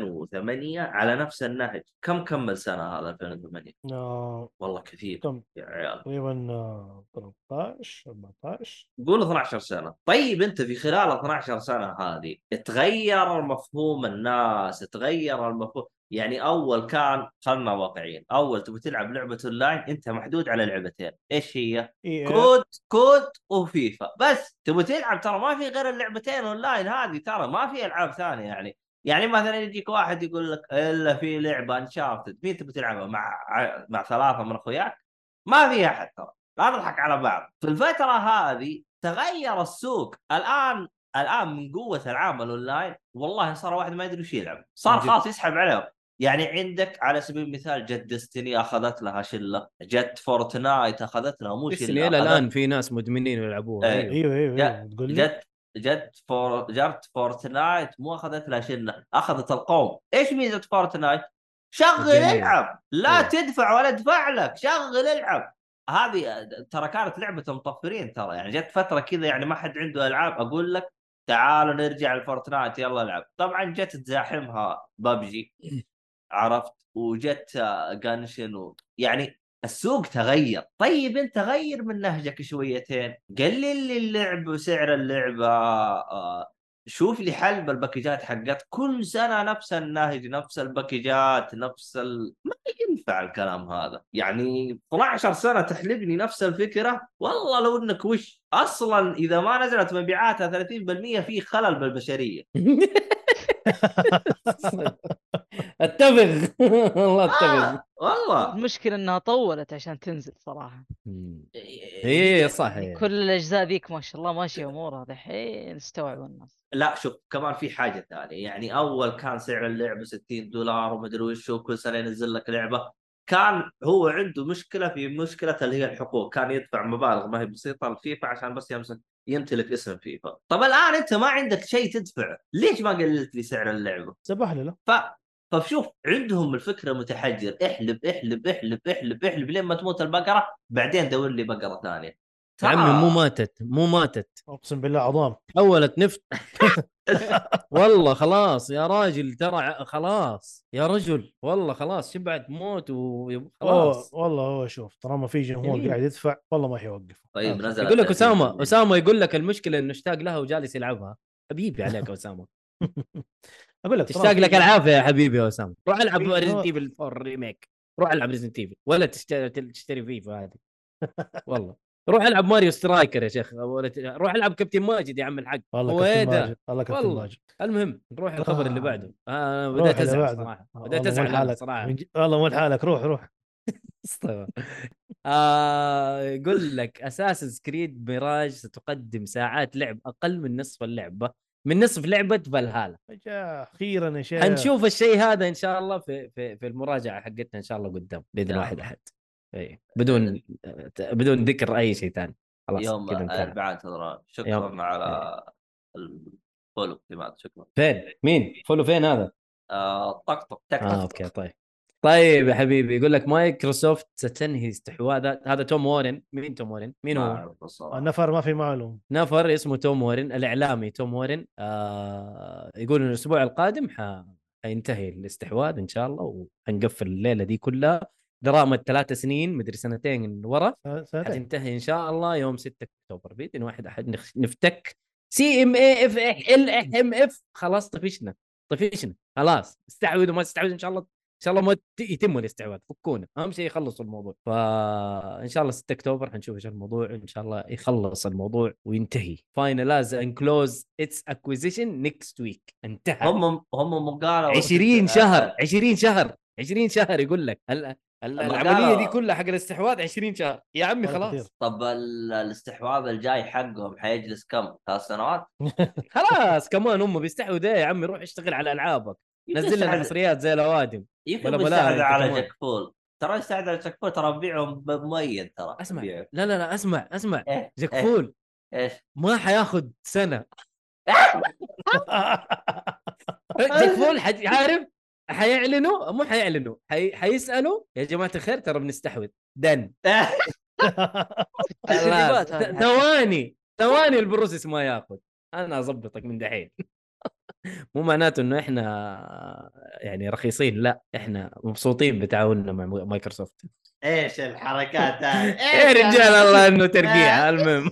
Speaker 1: 2008 على نفس النهج كم كمل سنه هذا 2008
Speaker 3: آه،
Speaker 1: والله كثير
Speaker 3: كم
Speaker 1: يا عيال
Speaker 3: تقريبا آه، 13 14
Speaker 1: قول 12 سنه طيب انت في خلال 12 سنه هذه تغير مفهوم الناس تغير المفهوم يعني اول كان خلنا واقعيين اول تبي تلعب لعبه اونلاين انت محدود على لعبتين ايش هي
Speaker 3: اي إيه،
Speaker 1: كود كود وفيفا بس تبغى تلعب ترى ما في غير اللعبتين اونلاين هذه ترى ما في العاب ثانيه يعني يعني مثلا يجيك واحد يقول لك الا في لعبه انشارتد مين تبغى تلعبها مع مع ثلاثه من اخوياك ما في احد ترى لا نضحك على بعض في الفتره هذه تغير السوق الان الان من قوه العاب الاونلاين والله صار واحد ما يدري وش يلعب صار
Speaker 2: من جد.
Speaker 1: خلاص يسحب عليهم يعني عندك على سبيل المثال جت ديستني اخذت لها شله جت فورتنايت اخذت لها مو
Speaker 2: بس
Speaker 1: شله
Speaker 2: الى
Speaker 1: أخذت-
Speaker 2: الان في ناس مدمنين يلعبوها
Speaker 1: إيه.
Speaker 2: أيوة.
Speaker 3: ايوه ايوه
Speaker 1: جا-
Speaker 3: ايوه تقول لي
Speaker 1: جت جت فور جت فورتنايت مو اخذت لها شله اخذت القوم ايش ميزه فورتنايت شغل
Speaker 2: جميل.
Speaker 1: العب لا
Speaker 2: إيه.
Speaker 1: تدفع ولا ادفع لك شغل العب هذه ترى كانت لعبه مطفرين ترى يعني جت فتره كذا يعني ما حد عنده العاب اقول لك تعالوا نرجع لفورتنايت يلا العب طبعا جت تزاحمها ببجي عرفت وجت جانشن و... يعني السوق تغير طيب انت غير من نهجك شويتين قلل لي اللعب وسعر اللعبه آه، شوف لي حل بالباكجات حقت كل سنه نفس النهج نفس الباكجات نفس ال... ما ينفع الكلام هذا يعني 12 سنه تحلبني نفس الفكره والله لو انك وش اصلا اذا ما نزلت مبيعاتها 30% في خلل بالبشريه
Speaker 2: أيوه. اتفق والله
Speaker 1: آه.
Speaker 2: اتفق آه.
Speaker 1: والله
Speaker 4: المشكله انها طولت عشان تنزل صراحه
Speaker 2: اي صح إيه.
Speaker 4: كل الاجزاء ذيك ما شاء الله ماشيه امورها دحين استوعبوا الناس
Speaker 1: لا شوف كمان في حاجه ثانيه يعني اول كان سعر اللعبه 60 دولار ومدري وش وكل سنه ينزل لك لعبه كان هو عنده مشكله في مشكله اللي هي الحقوق كان يدفع مبالغ ما هي بسيطه لفيفا عشان بس يمسك يمتلك اسم فيفا طب الان انت ما عندك شيء تدفعه ليش ما قللت لي سعر اللعبه
Speaker 3: سبح له
Speaker 1: ف فشوف طيب عندهم الفكره متحجر احلب احلب احلب احلب احلب لين ما تموت البقره بعدين دور لي بقره ثانيه
Speaker 2: يا
Speaker 1: تعال.
Speaker 2: عمي مو ماتت مو ماتت
Speaker 3: اقسم بالله عظام
Speaker 2: حولت نفط *laughs* والله خلاص يا راجل ترى ع- خلاص يا رجل والله خلاص شبعت موت وخلاص
Speaker 3: هو- والله هو شوف طالما في جمهور
Speaker 2: جميل.
Speaker 3: قاعد يدفع والله ما حيوقف
Speaker 1: طيب
Speaker 3: *laughs*
Speaker 1: نزل
Speaker 2: آه، يقول لك اسامه اسامه يقول لك المشكله انه اشتاق لها وجالس يلعبها حبيبي عليك يا اسامه
Speaker 3: اقول لك
Speaker 2: تشتاق لك العافيه يا حبيبي يا اسامه روح العب
Speaker 3: إيه،
Speaker 2: ريزنت
Speaker 3: هو-
Speaker 2: ايفل 4 ريميك روح العب ريزنت ايفل ولا تشتري تشتري فيفا هذه *laughs* والله روح العب ماريو سترايكر يا شيخ ولا ت- روح العب كابتن ماجد يا عم الحق
Speaker 3: والله
Speaker 2: ويدا.
Speaker 3: كابتن ماجد والله كابتن
Speaker 2: والله.
Speaker 3: ماجد
Speaker 2: المهم نروح الخبر اللي
Speaker 3: آه.
Speaker 2: بعده آه، انا
Speaker 3: روح
Speaker 2: بديت
Speaker 3: اللي
Speaker 2: ازعل
Speaker 3: بعده.
Speaker 2: صراحه
Speaker 3: آه،
Speaker 2: بديت
Speaker 3: والله مو
Speaker 2: ازعل أنا
Speaker 3: لحالك.
Speaker 2: صراحه
Speaker 3: من ج- والله مو حالك روح روح
Speaker 2: طيب. *laughs* آه يقول لك اساسن كريد ميراج ستقدم ساعات لعب اقل من نصف اللعبه من نصف لعبه فالهالا
Speaker 3: يا اخيرا يا شيخ
Speaker 2: حنشوف الشيء هذا ان شاء الله في في, في المراجعه حقتنا ان شاء الله قدام باذن
Speaker 1: يا
Speaker 2: واحد
Speaker 1: الله.
Speaker 2: احد اي بدون بدون ذكر اي شيء ثاني خلاص
Speaker 1: يوم
Speaker 2: كذا انتهى.
Speaker 1: الاربعاء ترى
Speaker 2: يوم-
Speaker 1: شكرا على الفولو كلمات شكرا
Speaker 2: فين مين فولو فين هذا
Speaker 1: آه، طقطق تك *laughs*
Speaker 2: اه
Speaker 1: تك
Speaker 2: اوكي طيب طيب يا حبيبي يقول لك مايكروسوفت ستنهي استحواذها هذا توم وارن مين توم وارن؟ مين
Speaker 1: ما
Speaker 2: هو؟
Speaker 1: أعرف الصراحة.
Speaker 3: النفر ما في معلوم
Speaker 2: نفر اسمه توم وارن الاعلامي توم وارن آه يقول انه الاسبوع القادم ح... حينتهي الاستحواذ ان شاء الله وحنقفل الليله دي كلها دراما ثلاث سنين مدري سنتين ورا
Speaker 3: سنة- سنتين
Speaker 2: حتنتهي ان شاء الله يوم 6 اكتوبر باذن واحد احد نخ- نفتك سي ام اي اف ال اح ام اف خلاص طفشنا طفشنا خلاص استعوذوا ما تستعوذوا ان شاء الله ان شاء الله ما ت- يتم الاستعواذ فكونا اهم شيء يخلصوا الموضوع فان شاء الله 6 اكتوبر حنشوف ايش الموضوع ان شاء الله يخلص الموضوع وينتهي فاينلايز اند كلوز اتس اكوزيشن نيكست ويك انتهى
Speaker 1: هم هم هم قالوا
Speaker 2: 20 شهر
Speaker 1: آه،
Speaker 2: 20 شهر 20 شهر يقول لك ال- ال- العمليه
Speaker 1: قالوا-
Speaker 2: دي كلها حق الاستحواذ 20 شهر يا عمي
Speaker 3: والله
Speaker 2: خلاص
Speaker 3: كثير.
Speaker 1: طب ال- الاستحواذ الجاي حقهم حيجلس كم؟ ثلاث سنوات؟
Speaker 2: خلاص كمان هم بيستحوا ده يا عمي روح اشتغل على العابك نزل لنا
Speaker 1: يستحوذ-
Speaker 2: حصريات زي الاوادم
Speaker 1: يمكن
Speaker 2: ولا
Speaker 1: بيستحوذ
Speaker 2: بلاها
Speaker 1: على
Speaker 2: أنت كمان.
Speaker 1: جاك فول ترى يستحوذ على جاك فول ترى بيعهم بمؤيد ترى
Speaker 2: أسمع.
Speaker 1: بيعه.
Speaker 2: لا لا لا اسمع اسمع
Speaker 1: إيه
Speaker 2: جاك
Speaker 1: إيه،
Speaker 2: فول
Speaker 1: *laughs* ايش؟
Speaker 2: ما حياخد سنه
Speaker 3: *laughs*
Speaker 2: جاك فول حد عارف حيعلنوا مو حيعلنوا حي... حيسالوا يا جماعه الخير ترى بنستحوذ دن
Speaker 1: إيه،
Speaker 2: خلاص.
Speaker 4: تسريبات
Speaker 2: ت- *laughs*
Speaker 4: هذه.
Speaker 2: ثواني ثواني البروسيس ما ياخذ انا اظبطك من دحين *laughs* مو معناته انه احنا يعني رخيصين لا احنا مبسوطين بتعاوننا مع مايكروسوفت
Speaker 1: ايش الحركات هذه؟
Speaker 5: إيه،
Speaker 2: يا إيه
Speaker 5: يعني.
Speaker 2: رجال الله انه *laughs* ترقيع المهم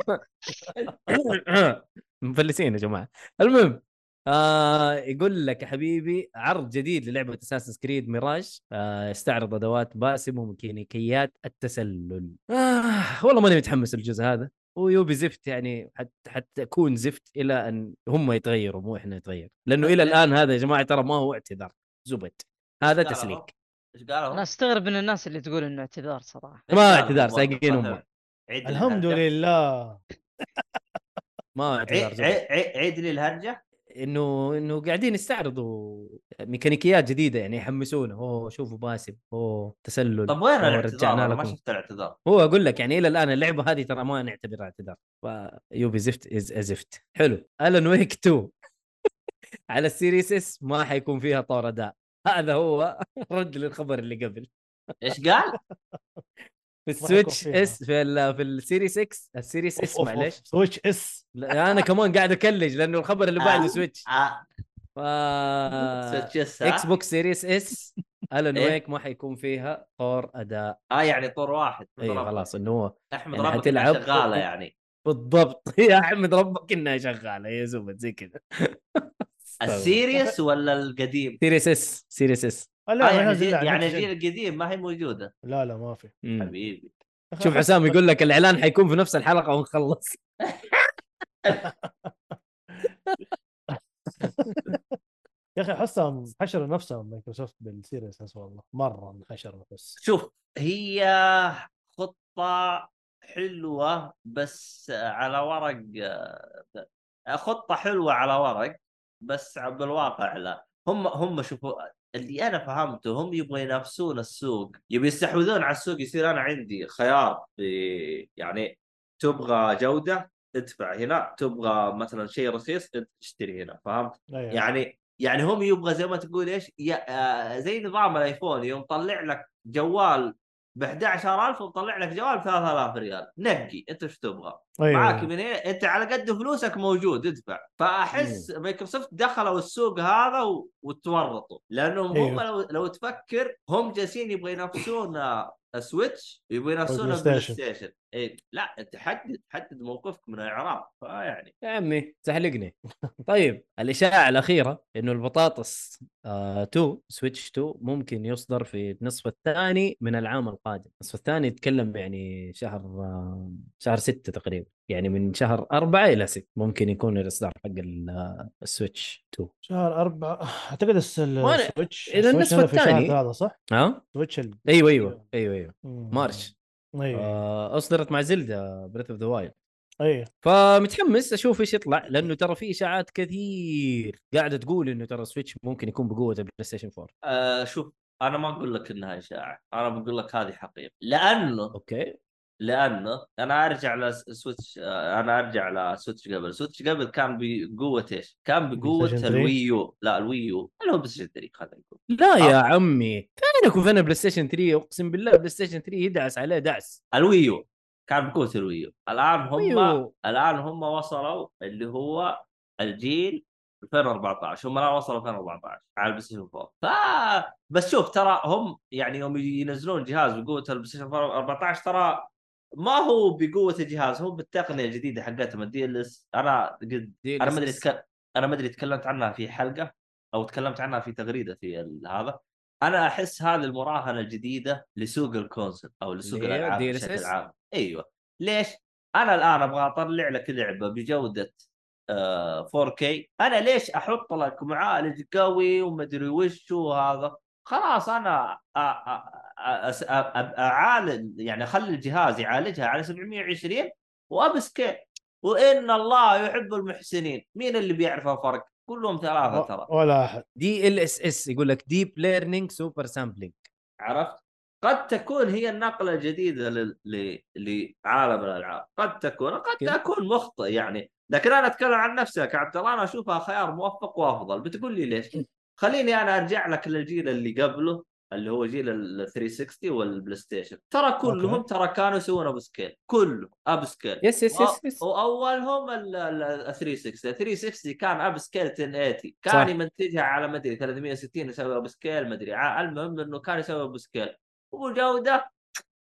Speaker 2: *coughs* مفلسين يا جماعه المهم آه يقول لك يا حبيبي عرض جديد للعبه اساس كريد ميراج آه يستعرض ادوات باسم وميكانيكيات التسلل آه والله ماني متحمس الجزء هذا ويوبي زفت يعني حتى حتكون زفت الى ان هم يتغيروا مو احنا نتغير لانه الى الان هذا يا جماعه ترى ما هو اعتذار زبد هذا
Speaker 1: قالوا؟
Speaker 2: تسليك
Speaker 1: ايش قالوا؟
Speaker 4: انا استغرب من الناس اللي تقول انه اعتذار صراحه
Speaker 2: ما
Speaker 1: قالوا؟
Speaker 2: اعتذار، سايقين هم.
Speaker 1: عيد لي
Speaker 3: الحمد
Speaker 1: الهرجة.
Speaker 3: لله
Speaker 2: ما هو اعتذار
Speaker 1: عي-
Speaker 2: زبد.
Speaker 1: عي- عي- عيد لي الهرجه
Speaker 2: انه انه قاعدين يستعرضوا ميكانيكيات جديده يعني يحمسونا اوه شوفوا باسم اوه تسلل
Speaker 1: طب وين
Speaker 2: أوه،
Speaker 1: الاعتذار؟
Speaker 2: رجعنا
Speaker 1: أنا ما
Speaker 2: لكم
Speaker 1: شفت الاعتذار
Speaker 2: هو اقول لك يعني الى الان اللعبه هذه ترى ما نعتبرها اعتذار فيوبي زفت از ازفت حلو الن ويك 2 *laughs* على السيريس اس ما حيكون فيها طور اداء هذا هو *laughs* رد للخبر اللي قبل
Speaker 1: ايش قال؟
Speaker 2: في
Speaker 3: ما حيكون
Speaker 2: السويتش
Speaker 3: فيها.
Speaker 2: اس في ال في السيريس اكس السيريس اس معليش
Speaker 3: سويتش اس
Speaker 2: لا، انا كمان قاعد اكلج لانه الخبر اللي بعده
Speaker 1: آه.
Speaker 2: سويتش
Speaker 1: آه،
Speaker 3: *laughs*
Speaker 2: ف آه،
Speaker 1: سويتشس، ها؟
Speaker 2: اكس بوكس
Speaker 1: *laughs*
Speaker 2: سيريس اس الن
Speaker 1: إيه.
Speaker 2: ويك ما حيكون فيها طور اداء
Speaker 1: اه يعني طور واحد
Speaker 2: اي
Speaker 1: ربك.
Speaker 2: إيه، خلاص انه هو
Speaker 1: احمد
Speaker 2: يعني
Speaker 1: ربك
Speaker 2: حتلعب طيب.
Speaker 1: انها شغاله
Speaker 2: خطة.
Speaker 1: يعني
Speaker 2: بالضبط *laughs* يا احمد ربك انها شغاله يا زبد زي
Speaker 1: *laughs*
Speaker 2: كذا
Speaker 1: السيريس ولا القديم؟
Speaker 2: سيريس اس سيريس اس
Speaker 3: آه،
Speaker 1: آه
Speaker 3: لا ما
Speaker 1: يعني
Speaker 3: ينزل
Speaker 1: جيل
Speaker 3: على
Speaker 1: يعني
Speaker 3: نفس
Speaker 1: الجيل
Speaker 3: الجيل.
Speaker 1: القديم ما هي موجوده
Speaker 3: لا لا ما في
Speaker 1: حبيبي
Speaker 2: شوف حسام يقول لك الاعلان حيكون في نفس الحلقه ونخلص
Speaker 3: يا اخي احسها حشروا نفسهم مايكروسوفت بالسيريس اس والله مره انحشروا بس
Speaker 1: شوف هي خطه حلوه بس على ورق خطه حلوه على ورق بس بالواقع لا هم هم شوفوا اللي انا فهمته هم يبغوا ينافسون السوق يبغوا يستحوذون على السوق يصير انا عندي خيار في يعني تبغى جوده ادفع هنا تبغى مثلا شيء رخيص اشتري هنا فهمت
Speaker 3: أيوة.
Speaker 1: يعني يعني هم يبغى زي ما تقول ايش يا آه، زي نظام الايفون يوم طلع لك جوال ب 11000 ومطلع لك جوال ب 3000 ريال نقي انت ايش تبغى
Speaker 3: أيوة.
Speaker 1: معاك من هنا انت على قد فلوسك موجود ادفع فاحس مايكروسوفت دخلوا السوق هذا و... وتورطوا لانهم هم
Speaker 3: ايوه.
Speaker 1: لو... لو تفكر هم جالسين يبغوا ينافسون آه، سويتش يبغوا ينافسون بلاي
Speaker 3: والبلايستيشن.
Speaker 1: ستيشن إيه. لا انت حدد حدد موقفك من الاعراب فيعني
Speaker 2: يا عمي تحلقني طيب الاشاعه الاخيره انه البطاطس آه 2 سويتش 2 ممكن يصدر في النصف الثاني من العام القادم النصف الثاني يتكلم يعني شهر آه شهر 6 تقريبا يعني من شهر 4 الى 6 ممكن يكون الاصدار حق ال- آه، السويتش 2
Speaker 3: شهر أربعة أعتقد الس-
Speaker 2: وأنا-
Speaker 3: السويتش
Speaker 2: إلى النصف
Speaker 3: السويتش هذا في شهر
Speaker 2: الثاني.
Speaker 3: ثلاثة صح؟
Speaker 2: ها
Speaker 3: سويتش ال...
Speaker 2: ايوه ايوه
Speaker 3: أيوة.
Speaker 2: ايوه ايوه
Speaker 3: مم.
Speaker 2: مارش
Speaker 3: ايوه
Speaker 2: آه اصدرت مع زلدا بريث اوف ذا وايلد
Speaker 3: ايوه
Speaker 2: فمتحمس اشوف ايش يطلع لانه ترى في اشاعات كثير قاعده تقول انه ترى سويتش ممكن يكون بقوه البلاي ستيشن 4
Speaker 1: آه شوف انا ما اقول لك انها اشاعه انا بقول لك هذه حقيقه لانه
Speaker 2: اوكي
Speaker 1: لانه انا ارجع لسويتش انا ارجع لسويتش قبل سويتش قبل كان بقوه ايش؟ كان بقوه
Speaker 3: PlayStation 3.
Speaker 1: الويو لا الويو اللي هو بس 3 خلينا نقول
Speaker 2: لا يا
Speaker 1: آه.
Speaker 2: عمي فينك وفين بلاي ستيشن 3 اقسم بالله بلاي ستيشن 3 يدعس عليه دعس
Speaker 1: الويو كان بقوه الويو الان هم
Speaker 2: أيوه.
Speaker 1: الان هم وصلوا اللي هو الجيل 2014 هم الان وصلوا 2014 على البلاي ستيشن 4 ف بس شوف ترى هم يعني يوم ينزلون جهاز بقوه البلاي ستيشن 14 ترى ما هو بقوه الجهاز هو بالتقنيه الجديده حقتهم الدي ال اس انا قد انا ما ادري تك... انا ما ادري تكلمت عنها في حلقه او تكلمت عنها في تغريده في ال- هذا انا احس هذه المراهنه الجديده لسوق الكونسل او لسوق
Speaker 2: اللي هي
Speaker 1: الالعاب
Speaker 2: DLSS.
Speaker 1: بشكل عام ايوه ليش؟ انا الان ابغى اطلع لك لعبه بجوده آه، 4K انا ليش احط لك معالج قوي ومدري وش وهذا خلاص انا أ- أ- أ- أس- أ- أ- اعالج يعني اخلي الجهاز يعالجها على 720 وابسكيل وان الله يحب المحسنين مين اللي بيعرف الفرق كلهم ثلاثه ترى
Speaker 3: و- ولا احد
Speaker 2: دي ال اس اس يقول لك ديب ليرنينج سوبر سامبلينج
Speaker 1: عرفت قد تكون هي النقله الجديده لل- ل... لعالم الالعاب قد تكون قد
Speaker 2: كده.
Speaker 1: اكون مخطئ يعني لكن انا اتكلم عن نفسي كعبد الله انا اشوفها خيار موفق وافضل بتقول لي ليش خليني انا ارجع لك للجيل اللي قبله اللي هو جيل ال 360 والبلاي ستيشن ترى كلهم ترى كانوا يسوون ابو سكيل كله اب سكيل
Speaker 2: يس يس يس, يس.
Speaker 1: واولهم ال ال- ال 360 360 كان اب سكيل 1080 كان
Speaker 2: صح.
Speaker 1: يمنتجها على مدري 360 يسوي اب سكيل مدري ع- المهم انه كان يسوي اب سكيل وجوده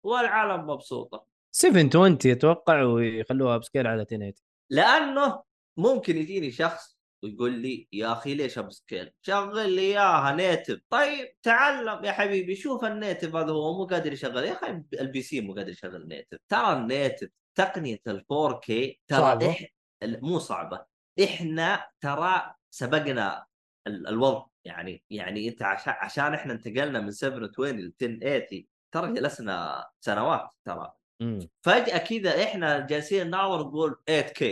Speaker 1: والعالم مبسوطه
Speaker 2: 720 اتوقع ويخلوها بسكيل على 1080
Speaker 1: لانه ممكن يجيني شخص ويقول لي يا اخي ليش اب سكيل؟ شغل لي اياها نيتف، طيب تعلم يا حبيبي شوف النيتف هذا هو مو قادر يشغل، يا اخي البي سي مو قادر يشغل نيتف، ترى النيتف تقنيه ال 4K ترى
Speaker 3: صعبة.
Speaker 1: إح... ال- مو صعبه، احنا ترى سبقنا ال... الوضع يعني يعني انت عشان عشان احنا انتقلنا من 720 ل 1080 ترى جلسنا سنوات ترى
Speaker 2: امم
Speaker 1: فجأة كذا احنا جالسين نناظر نقول 8K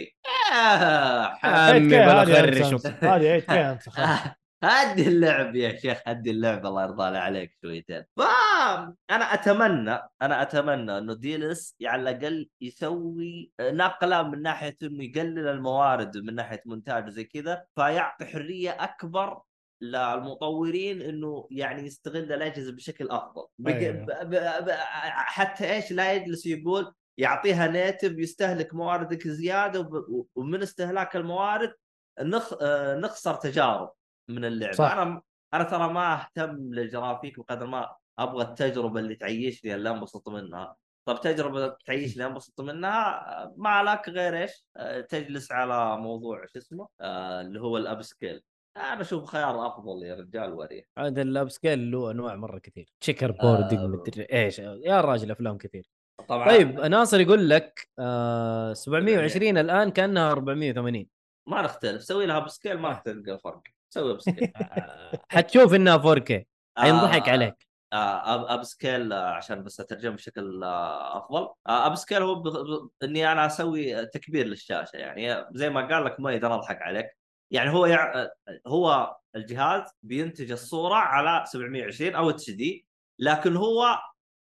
Speaker 2: آه.
Speaker 1: آه
Speaker 2: عمي
Speaker 3: 8K
Speaker 2: بلا
Speaker 3: هذه
Speaker 2: خري
Speaker 3: أنسى.
Speaker 2: شوف.
Speaker 3: هذه 8K أنسى
Speaker 2: *laughs*
Speaker 3: خلاص.
Speaker 1: هدي اللعب يا شيخ هدي اللعب الله يرضى عليك شويتين فأنا أتمنى أنا أتمنى أنه ديلس على الأقل يسوي نقلة من ناحية أنه يقلل الموارد من ناحية مونتاج زي كذا فيعطي حرية أكبر للمطورين انه يعني يستغل الاجهزه بشكل افضل بق...
Speaker 3: أيوة.
Speaker 1: ب... ب... ب... حتى ايش لا يجلس يقول يعطيها نيتف يستهلك مواردك زياده وب- ومن استهلاك الموارد نخ... آه، نخسر تجارب من اللعبه
Speaker 3: صح.
Speaker 1: انا انا ترى ما اهتم للجرافيك بقدر ما ابغى التجربه اللي تعيشني اللي انبسط منها طب تجربه تعيشني انبسط منها آه، ما لك غير ايش آه، تجلس على موضوع شو اسمه آه، اللي هو الاب سكيل انا اشوف خيار افضل يا رجال وريه
Speaker 2: هذا الاب سكيل له انواع مره كثير تشيكر بوردنج
Speaker 1: آه.
Speaker 2: مدري ايش يا راجل افلام كثير
Speaker 1: طبعا
Speaker 2: طيب ناصر يقول لك آه 720 الان كانها 480
Speaker 1: ما نختلف سوي لها بسكيل ما راح تلقى فرق سوي بسكيل
Speaker 2: آه، حتشوف انها
Speaker 1: *laughs* آه.
Speaker 2: 4K *laughs* حينضحك عليك
Speaker 1: اب سكيل آه، عشان بس اترجم بشكل آه، افضل اب سكيل هو ب- ب- اني انا اسوي تكبير للشاشه يعني زي ما قال لك مؤيد انا اضحك عليك يعني هو يع... هو الجهاز بينتج الصوره على 720 او اتش دي لكن هو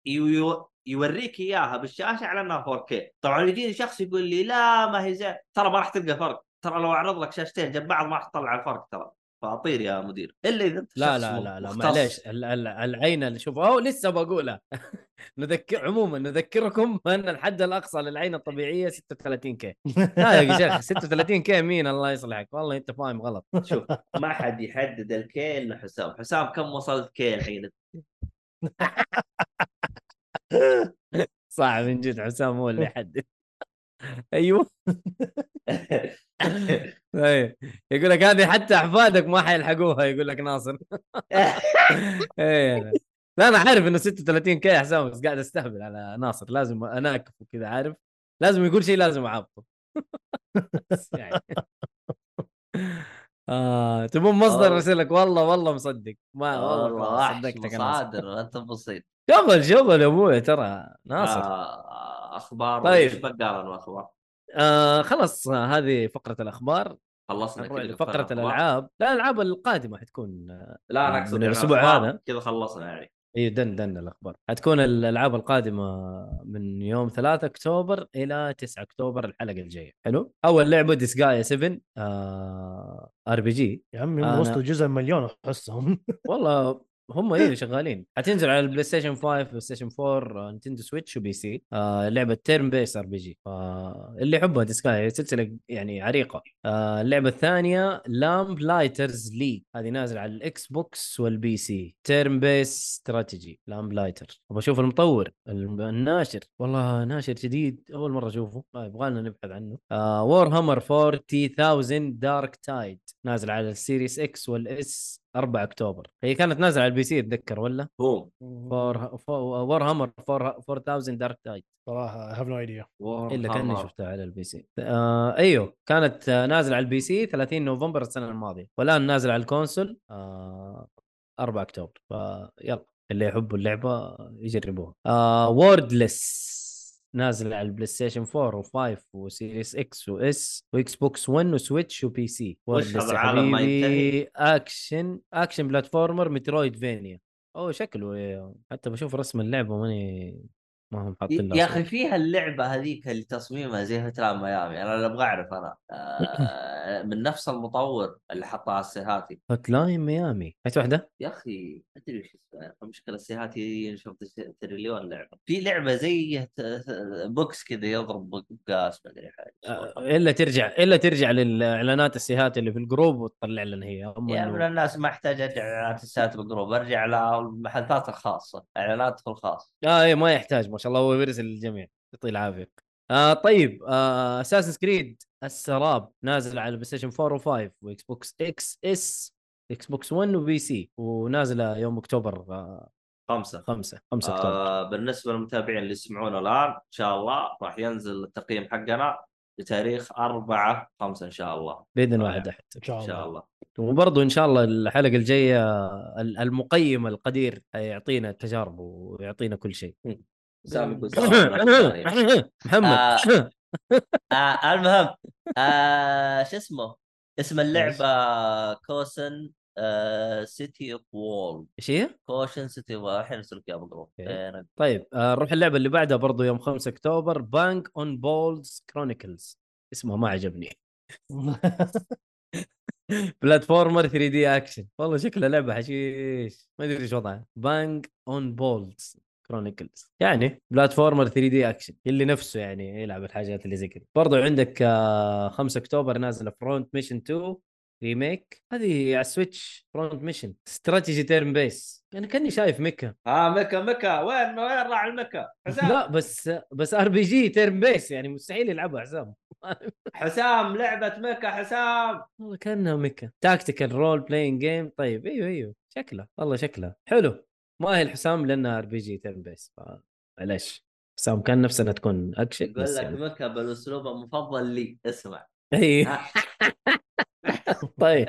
Speaker 1: يو... يوريك اياها بالشاشه على انها 4K طبعا يجيني شخص يقول لي لا ما هي زي ترى ما راح تلقى فرق ترى لو اعرض لك شاشتين جنب بعض ما راح تطلع الفرق ترى فاطير يا مدير الا اذا انت
Speaker 2: لا
Speaker 1: شخص
Speaker 2: لا لا لا
Speaker 1: مختص.
Speaker 2: معليش ال- ال- العين اللي شوف او لسه بقولها *laughs* نذكر عموما نذكركم ان الحد الاقصى للعين الطبيعيه 36 كي لا يا شيخ 36 كي مين الله يصلحك والله انت فاهم غلط
Speaker 1: شوف ما حد يحدد الكي الا حسام حسام كم وصلت كي *laughs* الحين
Speaker 2: صح من جد حسام هو اللي يحدد *laughs* ايوه ايه يقول لك هذه حتى احفادك ما حيلحقوها يقول لك ناصر
Speaker 1: *laughs*
Speaker 2: ايه أنا- لا انا عارف انه 36 كي حسام بس قاعد استهبل على ناصر لازم اناكفه كذا عارف لازم يقول شيء لازم اعبطه *laughs* بس يعني *laughs* آه تبون مصدر
Speaker 1: والله.
Speaker 2: ارسل لك والله والله مصدق ما
Speaker 1: آه، والله
Speaker 2: والله
Speaker 1: وحش
Speaker 2: صدقتك يا ناصر
Speaker 1: مصادر انت بسيط
Speaker 2: شغل شغل يا ابوي ترى ناصر
Speaker 1: آه، اخبار
Speaker 2: طيب.
Speaker 1: طيب بقالا واخبار
Speaker 2: آه خلاص آه، هذه فقرة الأخبار
Speaker 1: خلصنا
Speaker 2: نروح
Speaker 1: كذا
Speaker 2: لفقرة
Speaker 1: أخبار.
Speaker 2: الألعاب لا الألعاب القادمة حتكون آه،
Speaker 1: لا انا
Speaker 2: من
Speaker 1: اقصد
Speaker 2: الأسبوع
Speaker 1: الأخبار
Speaker 2: هذا.
Speaker 1: كذا خلصنا يعني
Speaker 2: أي إيه، دن دن الأخبار حتكون الألعاب القادمة من يوم 3 أكتوبر إلى 9 أكتوبر الحلقة الجاية حلو أول لعبة ديسجايا 7 آه ار بي جي
Speaker 3: يا عمي
Speaker 2: أنا-
Speaker 3: هم وصلوا جزء مليون احسهم
Speaker 2: والله هم ايه شغالين حتنزل على البلاي ستيشن 5 بلاي ستيشن 4 آه، نينتندو سويتش وبي سي آه لعبه تيرن بيس ار بي جي آه اللي يحبها ديسكاي سلسله يعني عريقه آه اللعبه الثانيه لامب لايترز ليج هذه نازله على الاكس بوكس والبي سي تيرن بيس استراتيجي لامب لايتر ابغى اشوف المطور الم- الناشر والله ناشر جديد اول مره اشوفه آه، يبغى لنا نبحث عنه آه وور هامر 40000 دارك تايد نازل على السيريس اكس والاس 4 اكتوبر هي كانت نازله على البي سي اتذكر ولا
Speaker 1: بوم
Speaker 2: وور هامر 4000 دارك تايد
Speaker 3: صراحه هاف نو ايديا
Speaker 2: الا كاني شفتها على البي سي آه ايوه كانت آه، نازله على البي سي 30 نوفمبر السنه الماضيه والان نازله على الكونسول آه 4 اكتوبر فيلا اللي يحبوا اللعبه يجربوها آه ووردلس نازل على البلاي ستيشن 4 و5 وسيريس اكس واس واكس بوكس 1 وسويتش وبي سي
Speaker 1: وش
Speaker 2: ووردلس
Speaker 1: هذا
Speaker 2: يا
Speaker 1: العالم ما
Speaker 2: حبيبي اكشن اكشن بلاتفورمر مترويد فينيا او شكله إيه، حتى بشوف رسم اللعبه ماني ما هم حاطين لها
Speaker 1: يا
Speaker 2: صورة.
Speaker 1: اخي فيها اللعبه هذيك اللي تصميمها زي هتلان ميامي انا اللي ابغى اعرف *laughs* انا آه، من نفس المطور اللي حطها السيهاتي
Speaker 2: هوت لاين ميامي هات واحده
Speaker 1: يا اخي ادري وش اسمها المشكله السيهاتي نشرت تريليون لعبه في لعبه زي هت- بوكس كذا يضرب بقاس ما ادري حاجه
Speaker 2: آه، الا ترجع الا ترجع للاعلانات السيهات اللي في الجروب وتطلع لنا هي أما
Speaker 1: يا
Speaker 2: إنه-
Speaker 1: من الناس ما احتاج ارجع اعلانات السات بالجروب ارجع للمحادثات الخاصه اعلانات الخاصه
Speaker 2: اه اي ما يحتاج ما شاء الله هو بيرسل للجميع يعطيه العافيه آه طيب آه اساسن كريد السراب نازل على البلاي ستيشن 4 و5 واكس بوكس اكس اس اكس بوكس 1 وبي سي ونازله يوم اكتوبر آه
Speaker 1: خمسه
Speaker 2: 5 5 اكتوبر
Speaker 1: آه بالنسبه للمتابعين اللي يسمعونا الان ان شاء الله راح ينزل التقييم حقنا بتاريخ 4 5 ان شاء الله
Speaker 2: باذن
Speaker 1: آه،
Speaker 2: واحد احد
Speaker 3: ان شاء
Speaker 1: ان شاء
Speaker 3: الله
Speaker 1: الله
Speaker 2: وبرضه ان شاء الله الحلقه الجايه ال- المقيم القدير يعطينا التجارب ويعطينا كل شيء
Speaker 1: سامي يقول
Speaker 2: *coughs*
Speaker 1: سلام *laughs* عليكم الثانية.
Speaker 2: محمد
Speaker 1: آه المهم آه شو اسمه اسم اللعبه كوسن آه سيتي وول
Speaker 2: ايش هي؟
Speaker 1: كوشن سيتي وول الحين ارسلك اياها بالجروب
Speaker 2: أوكي.
Speaker 1: إيه، أنا-
Speaker 2: طيب آه، نروح اللعبه اللي بعدها برضو يوم 5 اكتوبر بانك اون بولز كرونيكلز اسمها ما عجبني *laughs* بلاتفورمر 3 دي اكشن والله شكلها لعبه حشيش ما ادري ايش وضعها بانك اون بولز كرونيكلز يعني بلاتفورمر 3 دي اكشن اللي نفسه يعني يلعب الحاجات اللي زي كذا برضو عندك آه، 5 اكتوبر نازله فرونت ميشن 2 ريميك هذه على السويتش فرونت ميشن استراتيجي تيرن بيس انا كاني يعني شايف ميكا
Speaker 1: ها مكا مكا وين وين راح المكا حسام
Speaker 2: لا بس بس ار بي جي تيرن بيس يعني مستحيل يلعبها حسام
Speaker 1: حسام لعبه مكا حسام
Speaker 2: والله كانها مكة تاكتيكال رول بلاين جيم طيب ايوه ايوه شكلها والله شكلها حلو ما هي الحسام لانها ار بي جي تيرن بيس ف- معليش حسام كان نفسنا تكون اكشن
Speaker 1: يقول
Speaker 2: بس
Speaker 1: لك
Speaker 2: *laughs* يعني.
Speaker 1: مكا بالاسلوب المفضل لي اسمع *laughs*
Speaker 2: اي
Speaker 1: ها.
Speaker 2: *laughs* طيب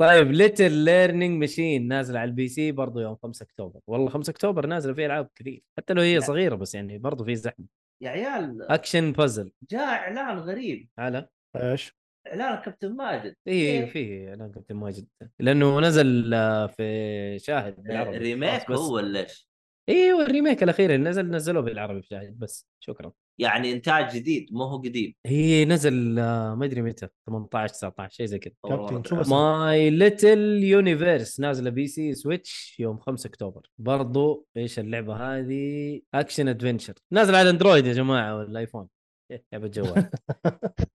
Speaker 2: طيب ليتل ليرنينج ماشين نازله على البي سي برضه يوم 5 اكتوبر والله 5 اكتوبر نازله فيه العاب كثير حتى لو هي صغيره بس يعني برضه في زحمه
Speaker 1: يا عيال
Speaker 2: اكشن بازل
Speaker 1: جاء اعلان غريب
Speaker 2: على
Speaker 3: ايش؟
Speaker 1: اعلان كابتن ماجد
Speaker 2: اي في اعلان كابتن ماجد لانه نزل آه، في شاهد بالعربي
Speaker 1: ريميك
Speaker 2: خلاص إيه، بس.
Speaker 1: هو ولا ايش؟
Speaker 2: ايوه الريميك الاخير اللي نزل نزلوه بالعربي في شاهد بس شكرا
Speaker 1: يعني انتاج جديد مو هو قديم
Speaker 2: هي نزل آه، ما ادري متى 18 19 شيء زي كذا
Speaker 1: أول مرة
Speaker 3: كابتن، شو
Speaker 1: أتابع.
Speaker 3: بس-
Speaker 2: ماي ليتل يونيفيرس نازله بي سي سويتش يوم 5 اكتوبر برضو ايش اللعبه هذه اكشن ادفنشر نازله على الاندرويد يا جماعه *laughs* والايفون إيه، لعبه جوال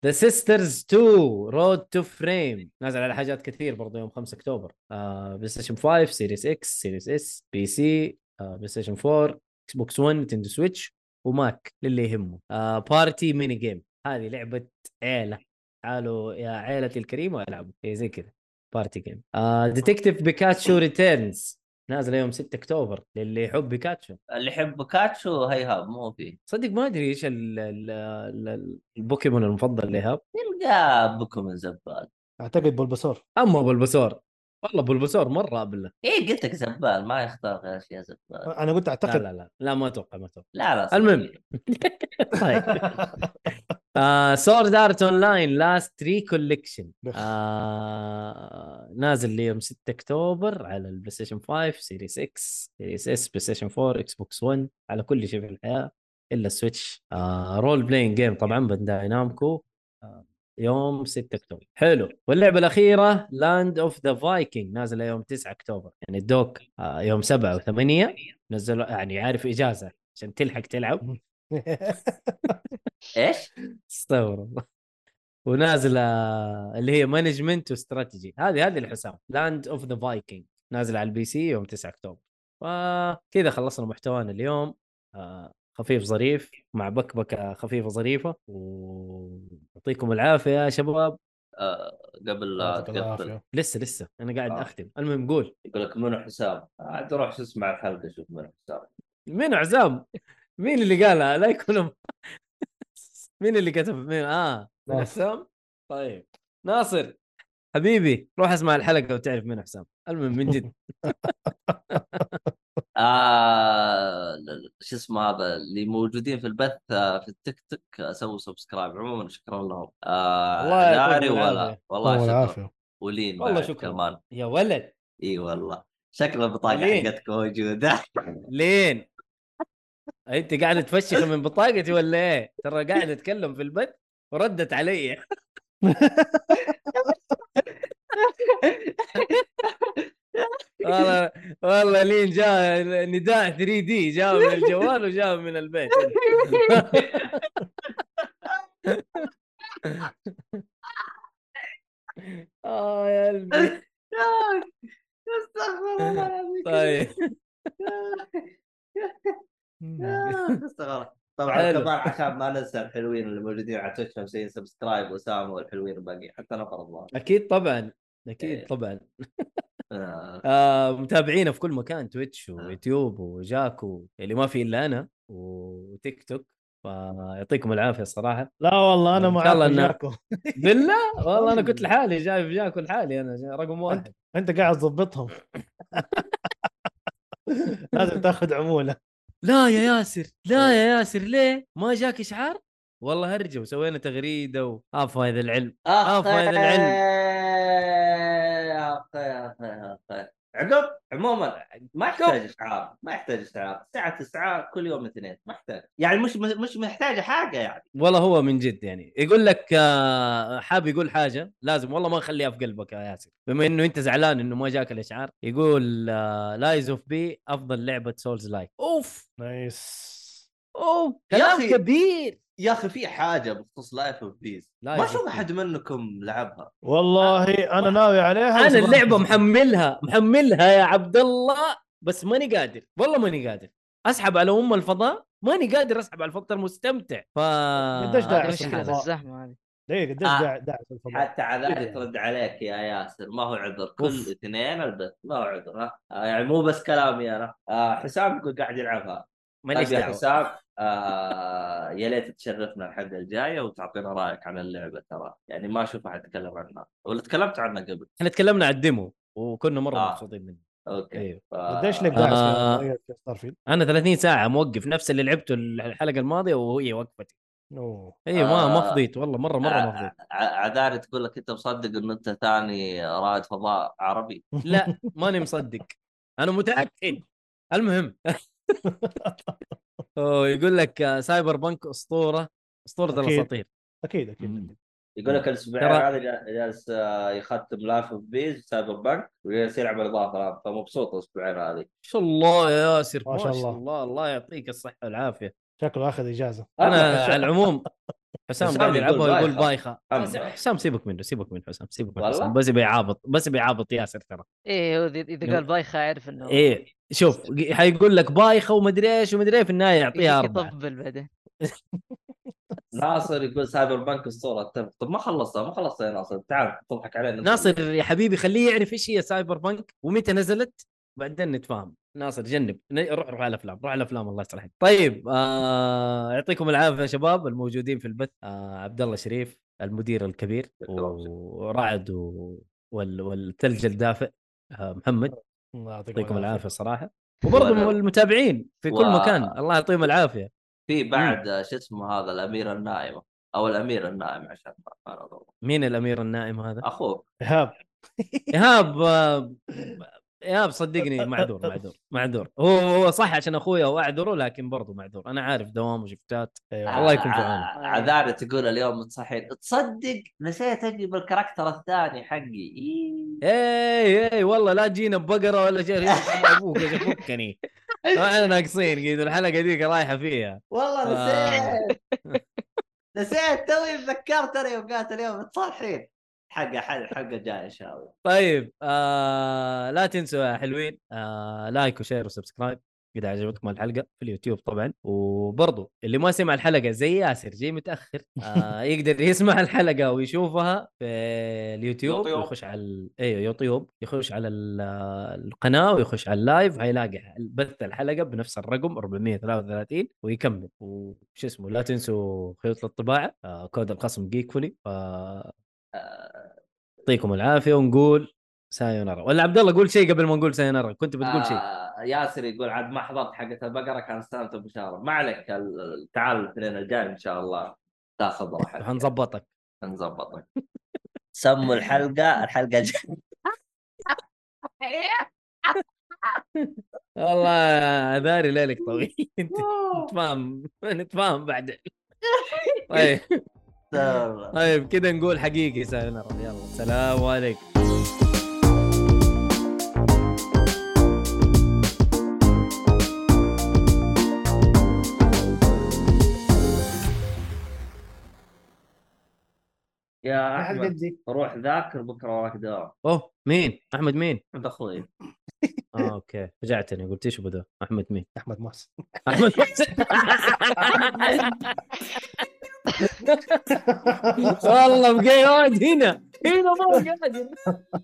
Speaker 2: ذا سيسترز 2 رود تو فريم نازل على حاجات كثير برضو يوم 5 اكتوبر آه بلاي ستيشن 5 سيريس اكس سيريس اس بي سي آه بلاي ستيشن 4 اكس بوكس 1 نتندو سويتش وماك للي يهمه آه بارتي ميني جيم هذه لعبه عيله تعالوا يا عيلتي الكريمه العبوا هي إيه زي كذا بارتي جيم آه ديتكتيف بيكاتشو ريتيرنز نازله يوم 6 اكتوبر للي يحب بيكاتشو
Speaker 1: اللي يحب كاتشو هيهاب مو فيه
Speaker 2: صدق ما ادري ايش ال- ال- ال- ال- البوكيمون المفضل لايهاب
Speaker 1: يلقى بكم من زبال
Speaker 3: اعتقد بولبسور
Speaker 2: اما بلبسور والله بلبسور مره ابله
Speaker 1: ايه قلت لك زبال ما يختار غير اشياء زبال
Speaker 3: انا قلت
Speaker 2: لا
Speaker 3: اعتقد
Speaker 2: لا لا لا ما اتوقع ما اتوقع
Speaker 1: لا لا صدق.
Speaker 2: المهم. *laughs* طيب آه، سورد ارت اون لاين لاست تري كوليكشن
Speaker 3: بخ.
Speaker 2: آه، نازل ليوم 6 اكتوبر على البلاي ستيشن 5 سيريس اكس سيريس اس بلاي ستيشن 4 اكس بوكس 1 على كل شيء في الحياه الا السويتش آه رول بلاين جيم طبعا بانداي نامكو آه يوم 6 اكتوبر حلو واللعبه الاخيره لاند اوف ذا فايكنج نازله يوم 9 اكتوبر يعني الدوك آه يوم 7 و8 نزلوا يعني عارف اجازه عشان تلحق تلعب
Speaker 1: ايش؟
Speaker 2: استغرب ونازله اللي هي مانجمنت واستراتيجي هذه هذه الحسام لاند اوف ذا فايكنج نازل على البي سي يوم 9 اكتوبر وكذا خلصنا محتوانا اليوم آه، خفيف ظريف مع بكبكه خفيفه ظريفه ويعطيكم العافيه يا شباب
Speaker 1: آه قبل لا
Speaker 2: طيب.
Speaker 3: *laughs* يعطيك
Speaker 2: آه.
Speaker 1: تقفل
Speaker 3: العافية.
Speaker 2: لسه لسه انا قاعد
Speaker 1: آه.
Speaker 2: اختم المهم قول
Speaker 1: يقول لك منو حسام؟ عاد روح شو اسمع الحلقه شوف منو حسام
Speaker 2: مين عزام مين اللي قالها لا يكون مين اللي كتب مين اه من
Speaker 3: ناصر.
Speaker 2: حسام طيب ناصر حبيبي روح اسمع الحلقه وتعرف مين حسام المهم من جد
Speaker 1: آه ل- ل- شو اسمه هذا اللي موجودين في البث آه، في التيك توك آه، سووا سبسكرايب عموما شكرا لهم آه
Speaker 2: الله يعطيكم
Speaker 1: داري ولا
Speaker 2: العافية.
Speaker 3: الله
Speaker 1: والله شكرا
Speaker 3: العافيه
Speaker 1: ولين
Speaker 2: والله
Speaker 1: بعد
Speaker 2: شكرا.
Speaker 1: كمان
Speaker 2: يا ولد
Speaker 1: اي والله شكل البطاقه
Speaker 2: ولين.
Speaker 1: حقتك موجوده
Speaker 2: *laughs* لين انت قاعد تفشخ من بطاقتي ولا ايه ترى قاعد اتكلم في البث وردت علي والله والله لين جاء نداء 3 دي جاء من الجوال وجاء من البيت *laughs* اه يا
Speaker 1: *laughs*
Speaker 2: قلبي
Speaker 1: استغفر الله العظيم
Speaker 2: طيب
Speaker 1: آه، *laughs* استغفر طبعا
Speaker 2: حلو.
Speaker 1: كمان عشان ما ننسى الحلوين اللي موجودين على تويتش 50 سبسكرايب واسامه والحلوين الباقيين حتى نفر الله
Speaker 2: اكيد طبعا اكيد
Speaker 1: إيه.
Speaker 2: طبعا
Speaker 1: آه،
Speaker 2: آه متابعينا في كل مكان تويتش ويوتيوب وجاكو اللي ما في الا انا وتيك توك فيعطيكم العافيه صراحه
Speaker 3: لا والله انا
Speaker 2: إن شاء الله
Speaker 3: معاك
Speaker 2: إنه-
Speaker 3: جاكو
Speaker 2: بالله *laughs* طيب. والله انا كنت لحالي جاي في جاكو لحالي انا جاي رقم واحد
Speaker 3: انت قاعد تظبطهم *laughs* لازم تاخذ عموله
Speaker 2: لا يا ياسر لا يا ياسر ليه ما جاك اشعار إيه. والله هرجه وسوينا تغريده و... آف هذا العلم آف هذا العلم.
Speaker 1: أخي، أخي، أخي. عقب عموما ما يحتاج اشعار ما يحتاج اشعار الساعه 9 كل يوم اثنين ما يحتاج يعني مش مش محتاجه حاجه يعني
Speaker 2: والله هو من جد يعني يقول لك آه، حاب يقول حاجه لازم والله ما نخليها في قلبك يا ياسر بما انه انت زعلان انه ما جاك الاشعار يقول آه، لايز اوف بي افضل لعبه سولز لايك اوف
Speaker 3: نايس
Speaker 2: اوف
Speaker 1: يا
Speaker 2: كلام
Speaker 1: أخي.
Speaker 2: كبير
Speaker 1: يا اخي في حاجه بخصوص لايف اوف بيز
Speaker 2: Life
Speaker 1: ما
Speaker 2: of
Speaker 1: اشوف
Speaker 2: Peace.
Speaker 1: احد منكم لعبها
Speaker 3: والله انا ناوي عليها بس
Speaker 2: انا
Speaker 3: ما
Speaker 2: اللعبه
Speaker 3: أحب.
Speaker 2: محملها محملها يا عبد الله بس ماني قادر والله ماني قادر اسحب على ام الفضاء ماني قادر اسحب على الفضاء المستمتع ف
Speaker 3: قديش داعي
Speaker 2: هذا
Speaker 3: أصلاً
Speaker 2: مش
Speaker 3: الفضاء؟
Speaker 2: حالة.
Speaker 4: الزحمه هذه
Speaker 3: ليه قديش
Speaker 1: آه.
Speaker 3: داعي داعي في الفضاء
Speaker 1: حتى على
Speaker 2: كده
Speaker 1: ذلك
Speaker 2: يعني.
Speaker 1: رد عليك يا ياسر ما هو عذر كل
Speaker 2: أوف.
Speaker 1: اثنين البث ما هو عذر ها آه، يعني مو بس كلامي انا آه، حسام يقول قاعد يلعبها
Speaker 2: ماليش
Speaker 1: طيب يا
Speaker 2: دعوه
Speaker 1: حسام آه يا ليت تشرفنا الحلقه الجايه وتعطينا رايك عن اللعبه ترى يعني ما اشوف احد تكلم عنها ولا تكلمت عنها قبل
Speaker 2: احنا تكلمنا على الديمو وكنا مره
Speaker 1: آه.
Speaker 2: مبسوطين منه
Speaker 1: اوكي
Speaker 2: ايوه
Speaker 1: ف...
Speaker 3: قديش لك
Speaker 2: آه.
Speaker 3: داعي في ستار فيلد
Speaker 2: انا 30 ساعه موقف نفس اللي لعبته الحلقه الماضيه وهي وقفتي
Speaker 3: اوه
Speaker 2: ايوه ما ما
Speaker 1: آه.
Speaker 2: فضيت والله مره مره ما
Speaker 1: آه.
Speaker 2: فضيت
Speaker 1: ع- عذاري تقول لك انت مصدق ان انت ثاني رائد فضاء عربي
Speaker 2: لا *laughs* ماني مصدق انا متاكد المهم *laughs* أوه يقول لك آه، سايبر بنك اسطوره اسطوره
Speaker 3: *laughs* أكيد.
Speaker 2: الاساطير
Speaker 3: اكيد اكيد
Speaker 2: مم.
Speaker 1: يقول لك الاسبوعين
Speaker 2: ترى-
Speaker 1: هذا جا- جالس آه، يختم لايف اوف بيز سايبر بانك وجالس يلعب الاضافه الآن، فمبسوط الاسبوعين هذه
Speaker 2: ما شاء الله يا ياسر
Speaker 3: ما شاء الله.
Speaker 2: الله الله يعطيك الصحه والعافيه
Speaker 3: شكله اخذ اجازه
Speaker 2: انا على العموم حسام
Speaker 1: حسام
Speaker 2: قاعد
Speaker 1: يقول
Speaker 2: يلعبها ويقول
Speaker 1: بايخة.
Speaker 2: بايخه
Speaker 1: أما.
Speaker 2: حسام سيبك منه سيبك منه حسام سيبك منه
Speaker 1: والله؟
Speaker 2: حسام بس بيعابط بس بيعابط ياسر ترى
Speaker 4: إيه،
Speaker 6: ايه هو إذا-
Speaker 2: إيه.
Speaker 6: اذا قال بايخه اعرف انه
Speaker 2: ايه شوف حيقول لك بايخه ومدري ايش ومدري ايه في النهايه
Speaker 4: إيه،
Speaker 2: يعطيها اربعه
Speaker 6: يطبل بعدين
Speaker 1: ناصر يقول سايبر بانك الصوره اتفق طب ما خلصتها ما خلصتها يا ناصر تعال تضحك علينا
Speaker 2: ناصر يا حبيبي خليه يعرف ايش هي سايبر بنك ومتى نزلت بعدين نتفاهم ناصر جنب ن- روح روح على الافلام روح على الافلام الله يصلحك طيب آه يعطيكم العافيه يا شباب الموجودين في البث آه عبد الله شريف المدير الكبير ورعد و... وال... والثلج الدافئ آه محمد
Speaker 3: الله
Speaker 2: يعطيكم العافيه صراحه
Speaker 1: وأنا-
Speaker 2: وبرضه المتابعين في كل
Speaker 1: و-
Speaker 2: مكان الله يعطيهم العافيه
Speaker 1: في بعد آه، شو اسمه هذا الاميره النائمه او الامير النائم عشان ما- ما نضرب.
Speaker 2: مين الامير النائم هذا؟
Speaker 1: اخوك
Speaker 3: ايهاب
Speaker 2: ايهاب آه، ايهاب صدقني معذور معذور معذور هو هو صح عشان اخويا واعذره لكن برضه معذور انا عارف دوام وشفتات
Speaker 3: ايوه
Speaker 2: *laughs* الله يكون في
Speaker 1: ع-
Speaker 2: عونك.
Speaker 1: ع- عذاري تقول اليوم متصحين تصدق نسيت اجيب الكاركتر الثاني حقي إيه.
Speaker 2: اي اي إيه، والله لا تجينا ببقره ولا شيء ابوك يا شيخ فكني ما احنا ناقصين قيد الحلقه ذيك رايحه فيها
Speaker 1: والله
Speaker 2: آه. *laughs*
Speaker 1: نسيت نسيت توي تذكرت انا يوم قالت اليوم متصحين حلقه حلقه حلقه جايه ان شاء الله
Speaker 2: طيب آه لا تنسوا يا حلوين آه لايك وشير وسبسكرايب اذا عجبتكم الحلقه في اليوتيوب طبعا وبرضو اللي ما سمع الحلقه زي ياسر جاي متاخر آه يقدر يسمع الحلقه ويشوفها في اليوتيوب
Speaker 1: يوتيوب.
Speaker 2: يخش على ال- ايوه يوتيوب يخش على ال- آه، القناه ويخش على اللايف هيلاقي بث الحلقه بنفس الرقم 433 ويكمل وش اسمه لا تنسوا خيوط الطباعه آه كود الخصم جيكفولي آه يعطيكم العافيه ونقول سايونارا ولا عبد الله قول شيء قبل ما نقول سايونارا كنت بتقول شيء
Speaker 1: آه، ياسر يقول عاد ما حضرت حقه البقره كان استلمت بشاره ما عليك ال- ال- تعال الاثنين الجاي ان شاء الله تاخذ راحتك
Speaker 2: حنظبطك
Speaker 1: نظبطك سموا الحلقه الحلقه جايه
Speaker 5: إيه.
Speaker 2: والله عذاري ليلك طويل *laughs* نتفاهم *laughs* نتفاهم بعد طيب طيب كذا نقول حقيقي سايونارا يلا سلام عليكم
Speaker 1: يا
Speaker 3: الحلقه
Speaker 1: احمد
Speaker 3: دي
Speaker 1: روح ذاكر بكره وراك دوام
Speaker 2: اوه مين احمد مين
Speaker 1: عند اخوي
Speaker 2: آه، اوكي فجعتني قلت ايش بدا احمد مين
Speaker 3: احمد محسن
Speaker 2: احمد
Speaker 4: إيه،
Speaker 2: والله بقى يقعد هنا هنا ما هو قادر